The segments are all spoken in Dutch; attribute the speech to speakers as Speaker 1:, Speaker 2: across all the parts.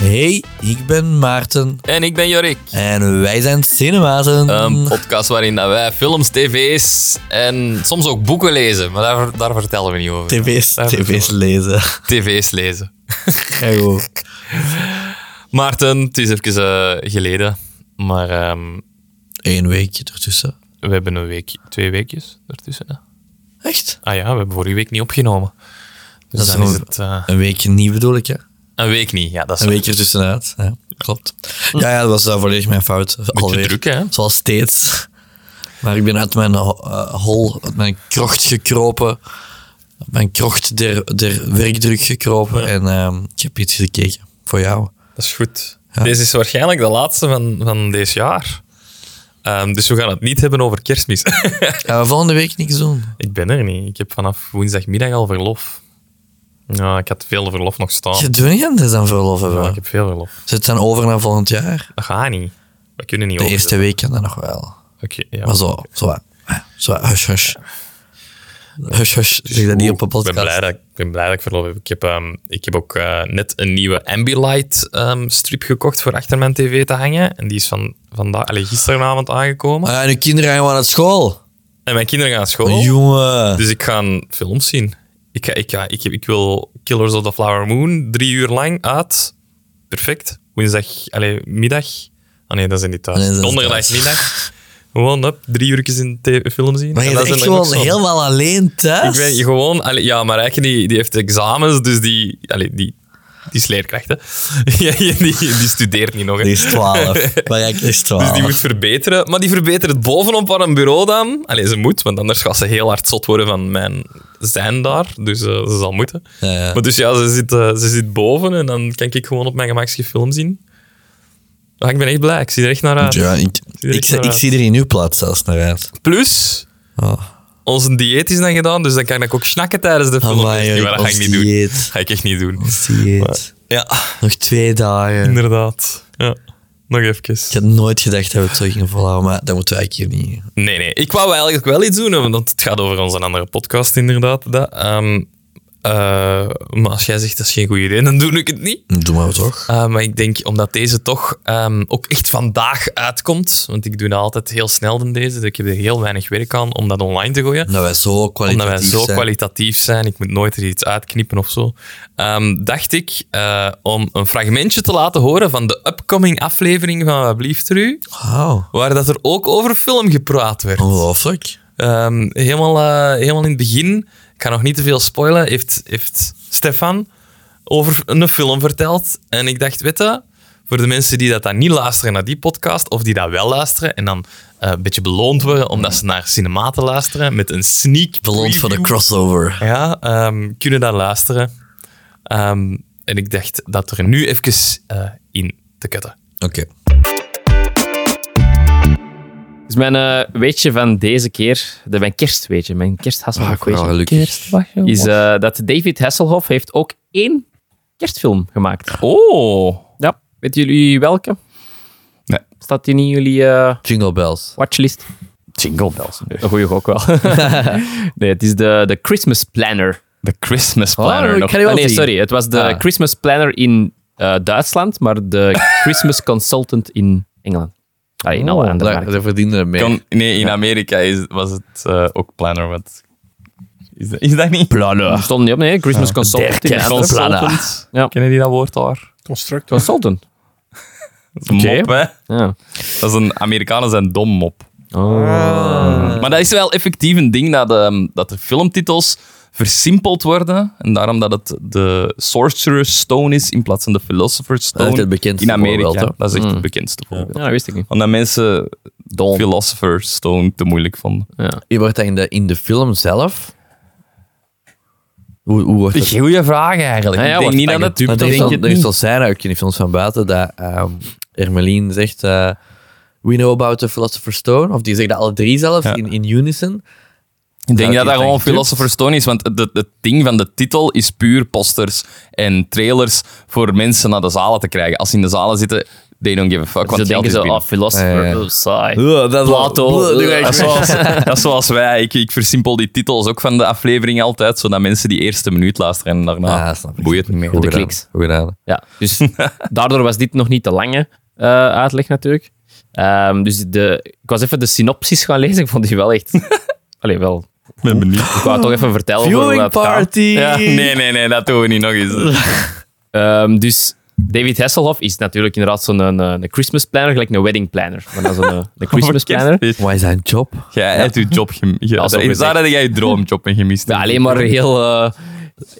Speaker 1: Hey, ik ben Maarten
Speaker 2: En ik ben Jorik.
Speaker 1: en wij zijn Cinemazen.
Speaker 2: Een podcast waarin dat wij films, tv's en soms ook boeken lezen. Maar daar, daar vertellen we niet over.
Speaker 1: TV's,
Speaker 2: Daar vertellen
Speaker 1: tv's
Speaker 2: we-
Speaker 1: lezen.
Speaker 2: tv's lezen.
Speaker 1: Ja, goed.
Speaker 2: Maarten, het is even eh, geleden. Maar ehm,
Speaker 1: Eén weekje ertussen.
Speaker 2: we hebben een week, twee weekjes ertussen. hè.
Speaker 1: Echt?
Speaker 2: Ah ja, we hebben vorige week niet opgenomen. Dus
Speaker 1: Dat is
Speaker 2: dan is
Speaker 1: gewoon-
Speaker 2: het eh,
Speaker 1: Een weekje niet bedoel ik, ja.
Speaker 2: een week niet. Ja, dat is
Speaker 1: Een weekje ertussenuit. Ja, klopt. Ja, ja dat was eh, volledig mijn fout. Alweer.
Speaker 2: Hm. druk, hè?
Speaker 1: Zoals steeds. Maar ik ben uit mijn ho- eh, hol, uit mijn krocht gekropen. Uit Mijn krocht der, der werkdruk gekropen. En ehm, ik heb iets gekeken voor jou.
Speaker 2: Dat is goed. Deze is waarschijnlijk de laatste van, van dit jaar. Ehm, dus we gaan het niet hebben over kerstmis.
Speaker 1: Gaan we volgende week niks doen?
Speaker 2: Ik ben er niet. Ik heb vanaf woensdagmiddag al verlof. Ja, ik had veel verlof nog staan.
Speaker 1: Je doet niet anders dan verlof hebben.
Speaker 2: Oh. Ja, ik heb veel verlof.
Speaker 1: Zit dan Dus over naar volgend jaar?
Speaker 2: Dat gaat niet. We kunnen niet
Speaker 1: De
Speaker 2: over-
Speaker 1: eerste week kan dat nog wel.
Speaker 2: Oké, ja.
Speaker 1: Maar zo, zo, wat- zo, wat, hush, hush. Hush, hush, zeg dat niet op een
Speaker 2: Oeh, Ik ben blij
Speaker 1: podcast.
Speaker 2: dat ik, ik ben blij dat ik verlof heb. Ik heb, ehm, ik heb ook eh, net een nieuwe Ambilight ehm, strip gekocht voor achter mijn tv te hangen. En die is van, vandaag, allee, gisteravond aangekomen.
Speaker 1: Ah, en uw kinderen gaan gewoon naar
Speaker 2: Oh.
Speaker 1: school.
Speaker 2: En mijn kinderen gaan naar school.
Speaker 1: Oh. Jongen.
Speaker 2: Dus ik ga een film zien. Ik, ga, ik, ga, ik, ik wil Killers of the Flower Moon drie uur lang uit. Perfect. Woensdag, allee, middag. Ah nee, dat is in niet thuis.
Speaker 1: Nee, dat is
Speaker 2: Donderdagmiddag. Gewoon op drie uurtjes in de film zien.
Speaker 1: Maar je
Speaker 2: En
Speaker 1: bent
Speaker 2: dat
Speaker 1: echt
Speaker 2: zijn dan ook
Speaker 1: gewoon
Speaker 2: zo-
Speaker 1: helemaal alleen thuis?
Speaker 2: Ik ben gewoon... Allee, ja, maar Rijke die, die heeft examens, dus die... Allee, die, die is leerkracht, hè. Ja, die, die studeert niet nog, hè.
Speaker 1: Die is 12. Maar ik is 12.
Speaker 2: Dus die moet verbeteren. Maar die verbetert het bovenop aan een bureau dan. Allee, ze moet, want anders gaat ze heel hard zot worden van mijn zijn daar. Dus eh, ze zal moeten.
Speaker 1: Ja, ja.
Speaker 2: Maar dus ja, ze zit, eh, ze zit boven en dan kan ik gewoon op mijn gemakje film zien. Ah, ik ben echt blij. Ik zie er echt naar uit.
Speaker 1: Ja, ik,
Speaker 2: er
Speaker 1: ik,
Speaker 2: echt
Speaker 1: zie-
Speaker 2: naar
Speaker 1: ik zie er in uw plaats zelfs naar uit.
Speaker 2: Plus,
Speaker 1: Oh.
Speaker 2: onze dieet is dan gedaan, dus dan kan ik ook snakken tijdens de film.
Speaker 1: Amai, oh,
Speaker 2: Nee, maar
Speaker 1: Erik,
Speaker 2: dat
Speaker 1: ons
Speaker 2: ga ik niet doen.
Speaker 1: dieet.
Speaker 2: Dat ga ik echt niet doen.
Speaker 1: Ons dieet.
Speaker 2: Ja,
Speaker 1: Oh, Nog twee dagen.
Speaker 2: inderdaad. Ja. Nog even.
Speaker 1: Ik had nooit gedacht dat we het zo gingen volhouden, maar dat moeten we eigenlijk hier niet.
Speaker 2: Nee, nee. Ik wou eigenlijk wel iets doen, want het gaat over onze andere podcast, inderdaad. Dat. Ehm, eh, maar als jij zegt dat is geen goed idee, dan doe ik het niet.
Speaker 1: Doe maar toch?
Speaker 2: Eh, maar ik denk, omdat deze toch ehm, ook echt vandaag uitkomt, want ik doe dat altijd heel snel dan deze, dus ik heb er heel weinig werk aan om dat online te gooien.
Speaker 1: Omdat wij zo kwalitatief
Speaker 2: Omdat wij zo
Speaker 1: zijn.
Speaker 2: kwalitatief zijn, ik moet nooit er iets uitknippen of zo. Ehm, dacht ik eh, om een fragmentje te laten horen van de upcoming aflevering van Wat Blieft Er U,
Speaker 1: Wauw.
Speaker 2: waar dat er ook over film gepraat werd.
Speaker 1: Ongelooflijk.
Speaker 2: Ehm, helemaal, eh, helemaal in het begin, ik ga nog niet te veel spoilen, heeft, heeft Stefan over een film verteld. En ik dacht, weet je, voor de mensen die dat dan niet luisteren naar die podcast, of die dat wel luisteren en dan eh, een beetje beloond worden omdat ze naar cinema te luisteren met een sneak
Speaker 1: Beloond voor de
Speaker 2: preview.
Speaker 1: crossover.
Speaker 2: Ja, ehm, kunnen dat luisteren. Ehm, en ik dacht dat er nu even eh, in te kutten.
Speaker 1: Oké.
Speaker 3: Dus mijn eh, weetje van deze keer, de, mijn kerstweetje, mijn kersthasselhoff
Speaker 1: Ah, wel
Speaker 3: weetje, is eh, dat David Hasselhoff heeft ook één kerstfilm gemaakt.
Speaker 2: Oh,
Speaker 3: Ja, weten jullie welke?
Speaker 4: Nee.
Speaker 3: Staat die niet in jullie eh,
Speaker 1: Jingle bells.
Speaker 3: watchlist?
Speaker 4: Jingle bells.
Speaker 3: Een goeie gok wel. nee, het is de, de Christmas Planner.
Speaker 4: De Christmas
Speaker 3: Oh,
Speaker 4: planner.
Speaker 3: ik
Speaker 4: nog.
Speaker 3: ga die wel nee,
Speaker 4: zien.
Speaker 3: sorry. Het was de
Speaker 4: Ah.
Speaker 3: Christmas Planner in eh, Duitsland, maar de Christmas Consultant in Engeland. Allee,
Speaker 1: Oh,
Speaker 3: in alle andere markten.
Speaker 1: verdienen er mee.
Speaker 4: Kan- nee, in Amerika is, was het eh, ook planner. Wat, is, dat, is dat niet? Planner.
Speaker 3: Stond niet op, nee. Christmas Consultant in Antwerpen.
Speaker 4: Consultant.
Speaker 3: Ja.
Speaker 4: Kennen die dat woord daar?
Speaker 5: Construct.
Speaker 3: Consultant.
Speaker 4: Dat is een
Speaker 3: Oké.
Speaker 4: mop, hè?
Speaker 3: Ja.
Speaker 4: Dat is een Amerikanen zijn dom mop.
Speaker 3: Oh.
Speaker 4: Maar dat is wel effectief een ding dat de, dat de filmtitels versimpeld worden. En daarom dat het de Sorcerer's Stone is in plaats van de Philosopher's
Speaker 1: Dat is
Speaker 4: Stone
Speaker 1: het bekendste
Speaker 4: in Amerika.
Speaker 1: voorbeeld, hè?
Speaker 4: dat is echt het bekendste voorbeeld.
Speaker 3: Ja, dat wist ik niet.
Speaker 4: Omdat mensen
Speaker 3: Dom.
Speaker 4: Philosopher's Stone te moeilijk vonden.
Speaker 1: Je wordt dat in de, in de film zelf. Hoe, hoe wordt dat?
Speaker 4: Goeie vraag eigenlijk.
Speaker 3: Ja, ja,
Speaker 4: ik denk
Speaker 3: wat
Speaker 4: niet
Speaker 3: fijn
Speaker 4: dat het
Speaker 1: Maar
Speaker 4: dubbel
Speaker 1: er is
Speaker 4: is.
Speaker 1: wel- er is wel scène ook in die films van buiten dat ehm Ermelien zegt eh, We know about the Philosopher's Stone. Of die zegt dat alle drie zelf
Speaker 4: Ja.
Speaker 1: in, in unison.
Speaker 4: Ik denk
Speaker 1: Ja,
Speaker 4: dat
Speaker 1: die
Speaker 4: dat gewoon
Speaker 1: denkt
Speaker 4: Philosopher's Stone is, want het- het het ding van de titel is puur posters en trailers voor mensen naar de zalen te krijgen. Als ze in de zalen zitten,
Speaker 2: They don't give a fuck. want
Speaker 3: Ze
Speaker 2: geld
Speaker 3: denken
Speaker 2: is
Speaker 3: zo,
Speaker 2: binnen.
Speaker 3: oh, philosopher,
Speaker 1: Ja, ja.
Speaker 3: oh, saai.
Speaker 2: Ugh, dat is al-
Speaker 3: Plato.
Speaker 2: Ugh,
Speaker 3: Ugh.
Speaker 2: dat, is zoals, dat is zoals wij. Ik, ik versimpel die titels ook van de aflevering altijd, zodat mensen die eerste minuut luisteren en daarna
Speaker 1: Ah, snap ik.
Speaker 2: boeit het niet meer.
Speaker 1: Goed gedaan.
Speaker 3: kliks.
Speaker 1: Goed gedaan.
Speaker 3: Ja, dus daardoor was dit nog niet de lange eh, uitleg natuurlijk. Ehm, dus de, ik was even de synopsis gaan lezen. Ik vond die wel echt... Allee, wel.
Speaker 2: Ik ben benieuwd.
Speaker 3: Ik wou het toch even vertellen over hoe dat gaat.
Speaker 2: Ja, nee, nee, nee, dat doen we niet nog eens.
Speaker 3: Ehm, dus David Hasselhoff is natuurlijk inderdaad zo'n eh, een, een Christmas planner, gelijk een wedding planner. Maar dan zo'n eh, een Christmas planner.
Speaker 1: Wat is zijn job?
Speaker 2: Jij hebt je job gemist. Ja,
Speaker 3: zo
Speaker 2: daar
Speaker 3: gezegd.
Speaker 2: had jij je droomjob mee gemist.
Speaker 3: Ja, alleen maar heel... eh,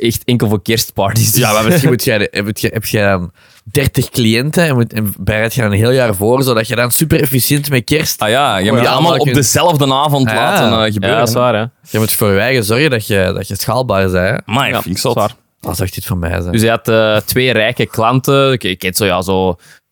Speaker 3: echt enkel voor kerstparties.
Speaker 1: Ja, maar misschien moet jij, heb, je, heb jij dan 30 cliënten en, moet, en bereid je dan een heel jaar voor, zodat je dan super efficiënt met kerst.
Speaker 2: Ah ja, je
Speaker 1: Oh
Speaker 2: moet
Speaker 1: ja,
Speaker 2: je allemaal
Speaker 1: dat
Speaker 2: op
Speaker 1: kun-
Speaker 2: dezelfde avond
Speaker 1: Ja.
Speaker 2: laten eh,
Speaker 3: Ja,
Speaker 2: gebeuren.
Speaker 3: dat is waar, hè.
Speaker 1: Je moet voor je eigen zorgen dat je, dat je schaalbaar bent.
Speaker 2: Maar
Speaker 3: Ja,
Speaker 2: vind ik
Speaker 3: dat is
Speaker 2: zot.
Speaker 3: waar.
Speaker 1: Als dacht dit van mij zijn.
Speaker 3: Dus hij had eh, twee rijke klanten. Ik, ik ken zo, ja, zo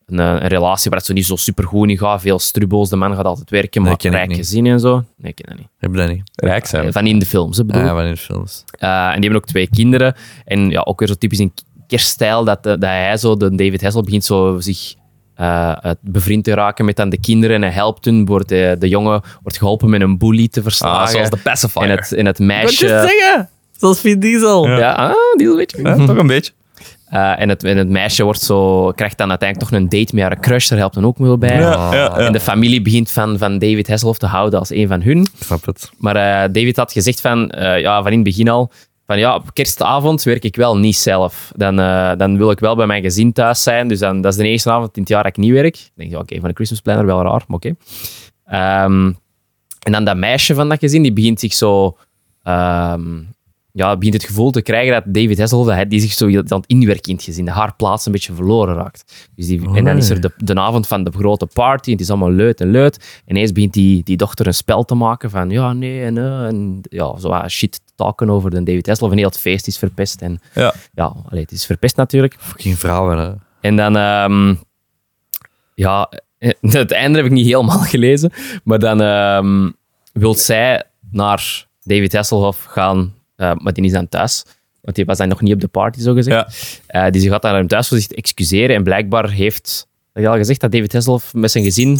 Speaker 3: een, eh, een relatie waar het zo niet zo super goed in gaat. Veel strubbels, de man gaat altijd werken, maar
Speaker 1: Nee, ken ik
Speaker 3: rijk
Speaker 1: niet.
Speaker 3: gezin en zo. Nee, ik ken dat niet. Eh,
Speaker 1: Heb je dat niet?
Speaker 2: Rijk zijn.
Speaker 3: Van in de films, hè, bedoel
Speaker 1: Ah, Ja,
Speaker 3: ik.
Speaker 1: van in de films.
Speaker 3: Eh, en die hebben ook twee kinderen. En ja, ook weer zo typisch in kerststijl dat, eh, dat hij zo, de David Hessel, begint zo zich eh, eh, bevriend te raken met aan de kinderen. En hij helpt hun, wordt, eh, de jongen wordt geholpen met een bully te verslagen.
Speaker 2: Ah, zoals de pacifier.
Speaker 3: en het, en het meisje...
Speaker 1: zeggen? Zoals Vin Diesel.
Speaker 3: ja. ah, die weet je.
Speaker 2: Ja,
Speaker 1: Mhm.
Speaker 2: toch een beetje.
Speaker 3: Eh, en, het, en het meisje wordt zo, krijgt dan uiteindelijk toch een date met haar crush. Daar helpt hem ook wel bij.
Speaker 2: Ja, ja, ja.
Speaker 3: En de familie begint van, van David Hasselhoff te houden als een van hun.
Speaker 1: Ik snap het.
Speaker 3: Maar eh, David had gezegd van, eh, ja, van in het begin al, van ja, op kerstavond werk ik wel niet zelf. Dan, eh, dan wil ik wel bij mijn gezin thuis zijn. Dus dan, dat is de eerste avond in het jaar dat ik niet werk. Dan denk je, oké, van een Christmas planner, wel raar, maar oké. Ehm, en dan dat meisje van dat gezin, die begint zich zo... ehm, ja, begint het gevoel te krijgen dat David Hasselhoff, dat hij- die zich zo aan het inwerken in het gezin, dat haar plaats een beetje verloren raakt. Dus die, en dan is er de, de avond van de grote party, en het is allemaal leut en leut. En ineens begint die, die dochter een spel te maken van ja, nee, en, eh, en ja, zo wat shit talken over de David Hasselhoff. En heel het feest is verpest. En
Speaker 2: Ja.
Speaker 3: ja, allee, het is verpest natuurlijk.
Speaker 1: Fucking vrouwen, hè.
Speaker 3: En dan, ehm, ja, eh, het einde heb ik niet helemaal gelezen. Maar dan ehm wil zij naar David Hasselhoff gaan, eh, maar die is dan thuis. Want die was dan nog niet op de party, zo gezegd. Eh, dus die gaat dan naar hem thuis voor zich te excuseren. En blijkbaar heeft, had je al gezegd, dat David Hasselhoff met zijn gezin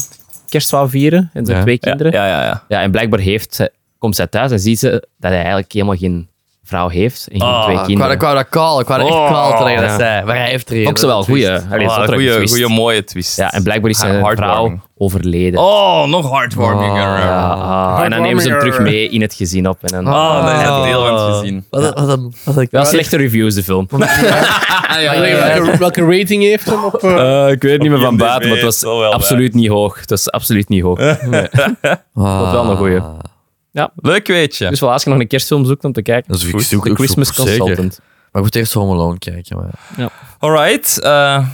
Speaker 3: kerst wou vieren. En zijn
Speaker 1: Ja.
Speaker 3: twee
Speaker 2: Ja,
Speaker 3: kinderen.
Speaker 2: ja, ja, ja.
Speaker 3: Ja, en blijkbaar heeft, ze- komt zij thuis en ziet ze dat hij eigenlijk helemaal geen vrouw heeft. En
Speaker 2: Ah,
Speaker 3: geen twee
Speaker 1: Ah, Ik wou,
Speaker 3: kinderen.
Speaker 1: ik wou dat kaal, ik wou dat echt kaal tegen dat
Speaker 3: Ja.
Speaker 1: zij. Maar hij heeft er
Speaker 3: Ook zo wel, goeie. Allee,
Speaker 2: Ah,
Speaker 3: zotter
Speaker 2: goeie,
Speaker 3: twist.
Speaker 2: goeie mooie twist.
Speaker 3: Ja, en blijkbaar is zijn
Speaker 2: Heartwarming.
Speaker 3: vrouw overleden.
Speaker 2: Oh, nog heartwarming.
Speaker 3: Ja,
Speaker 2: Ah,
Speaker 3: ah, en dan nemen ze hem terug mee in het gezin op. En dan,
Speaker 2: Ah, dat is
Speaker 1: Oh.
Speaker 2: het deel van het gezien.
Speaker 1: Wat een... Wat een, wat een
Speaker 3: wel slechte reviews, de film.
Speaker 5: Welke, welke rating heeft hem op... eh,
Speaker 3: ik weet niet
Speaker 2: meer van buiten, maar het was absoluut
Speaker 3: niet hoog. Het was absoluut niet hoog.
Speaker 1: Ah.
Speaker 3: wel een goeie.
Speaker 2: Leuk weetje.
Speaker 3: Dus wel, als je nog een kerstfilm zoekt om te kijken,
Speaker 1: Dus ik
Speaker 3: goed,
Speaker 1: zoek-
Speaker 3: The
Speaker 1: ik zoek
Speaker 3: Christmas
Speaker 1: zeker.
Speaker 3: Consultant.
Speaker 1: Maar ik moet eerst Home Alone kijken, maar...
Speaker 2: Alright. eh,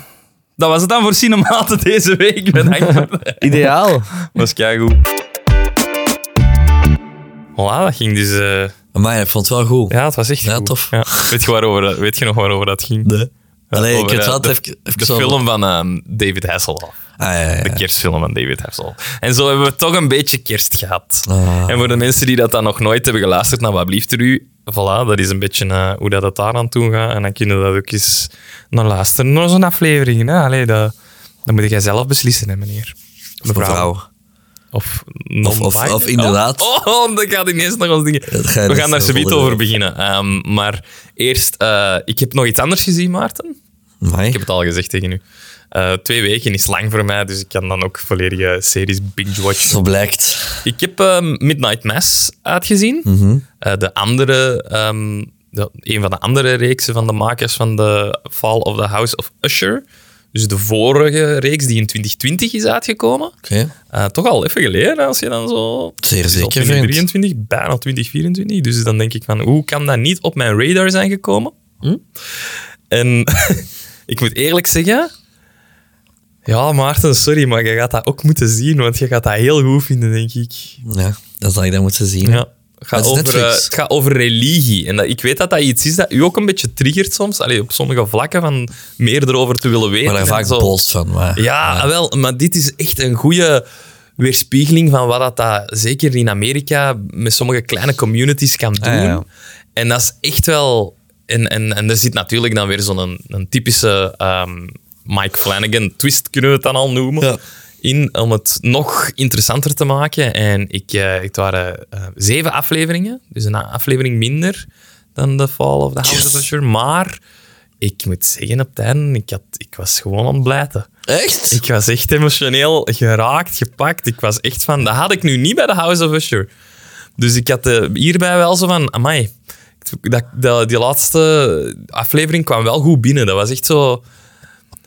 Speaker 2: dat was het dan voor Cinematen deze week. Bedankt. voor-
Speaker 1: Ideaal.
Speaker 2: was keigoed.
Speaker 6: Voilà, dat ging dus... eh,
Speaker 1: Maar ik vond het wel goed.
Speaker 6: ja, het was echt
Speaker 1: Ja,
Speaker 6: goed.
Speaker 1: tof.
Speaker 2: Weet je, waarover, dat- weet je nog waarover dat ging?
Speaker 1: Nee. Allee, ik
Speaker 2: over,
Speaker 1: het
Speaker 2: eh,
Speaker 1: had
Speaker 2: de-
Speaker 1: even... even
Speaker 2: De
Speaker 1: zo-
Speaker 2: film van ehm, David Hasselhoff.
Speaker 1: Ah, ja, ja,
Speaker 2: De
Speaker 1: ja.
Speaker 2: kerstfilm van David Hasselhoff. En zo hebben we toch een beetje kerst gehad.
Speaker 1: Ah.
Speaker 2: En voor de mensen die dat dan nog nooit hebben geluisterd, nou, wat blieft er u? Voilà, dat is een beetje eh, hoe dat het daar aan toe gaat. En dan kunnen we dat ook eens naar luisteren. Naar zo'n aflevering. Hè? Allee, dat, dat moet jij zelf beslissen, hè, meneer.
Speaker 1: Mevrouw.
Speaker 2: Of,
Speaker 1: Of, of, of inderdaad.
Speaker 2: Oh, oh, dat gaat ineens nog ons dingen.
Speaker 1: Dat ga je
Speaker 2: We
Speaker 1: dus
Speaker 2: gaan daar
Speaker 1: heel
Speaker 2: zo
Speaker 1: veel doen.
Speaker 2: over beginnen. Ehm, maar eerst, eh, ik heb nog iets anders gezien, Maarten.
Speaker 1: Amai.
Speaker 2: Ik heb het al gezegd tegen u. Eh, twee weken is lang voor mij, dus ik kan dan ook volledige series binge watchen.
Speaker 1: Zo blijkt.
Speaker 2: Ik heb eh, Midnight Mass uitgezien. Eh, de andere, ehm, de- een van de andere reeksen van de makers van de Fall of the House of Usher. Dus de vorige reeks die in 2020 is uitgekomen.
Speaker 1: Oké.
Speaker 2: Eh, toch al even geleden, hè, als je dan zo...
Speaker 1: Zeer
Speaker 2: Het is al
Speaker 1: zeker, vriend.
Speaker 2: 2023, bijna 2024. Dus dan denk ik van, hoe kan dat niet op mijn radar zijn gekomen? Hm? En ik moet eerlijk zeggen... Ja, Maarten, sorry, maar je gaat dat ook moeten zien, want je gaat dat heel goed vinden, denk ik.
Speaker 1: Ja, dat zal ik dan moeten zien.
Speaker 2: Ja. Het gaat,
Speaker 1: Dat is
Speaker 2: over,
Speaker 1: Netflix.
Speaker 2: eh, het gaat over religie. En dat, ik weet dat dat iets is dat u ook een beetje triggert soms. Allee, op sommige vlakken van meer erover te willen weten.
Speaker 1: Maar daar
Speaker 2: en
Speaker 1: vaak
Speaker 2: zo.
Speaker 1: bolst van. Maar,
Speaker 2: Ja, ah, wel, maar dit is echt een goede weerspiegeling van wat dat, dat zeker in Amerika met sommige kleine communities kan doen.
Speaker 1: Ah, ja.
Speaker 2: En dat is echt wel. En, en, en er zit natuurlijk dan weer zo'n een, typische ehm, Mike Flanagan twist kunnen we het dan al noemen.
Speaker 1: Ja.
Speaker 2: In om het nog interessanter te maken. En ik, eh, het waren eh, zeven afleveringen. Dus een aflevering minder dan The Fall of the House of Usher. Maar ik moet zeggen, op het einde, ik, had, ik was gewoon aan het blijten.
Speaker 1: Echt?
Speaker 2: Ik was echt emotioneel geraakt, gepakt. Ik was echt van, dat had ik nu niet bij de House of Usher. Dus ik had eh, hierbij wel zo van, amai. Dat, dat, die laatste aflevering kwam wel goed binnen. Dat was echt zo...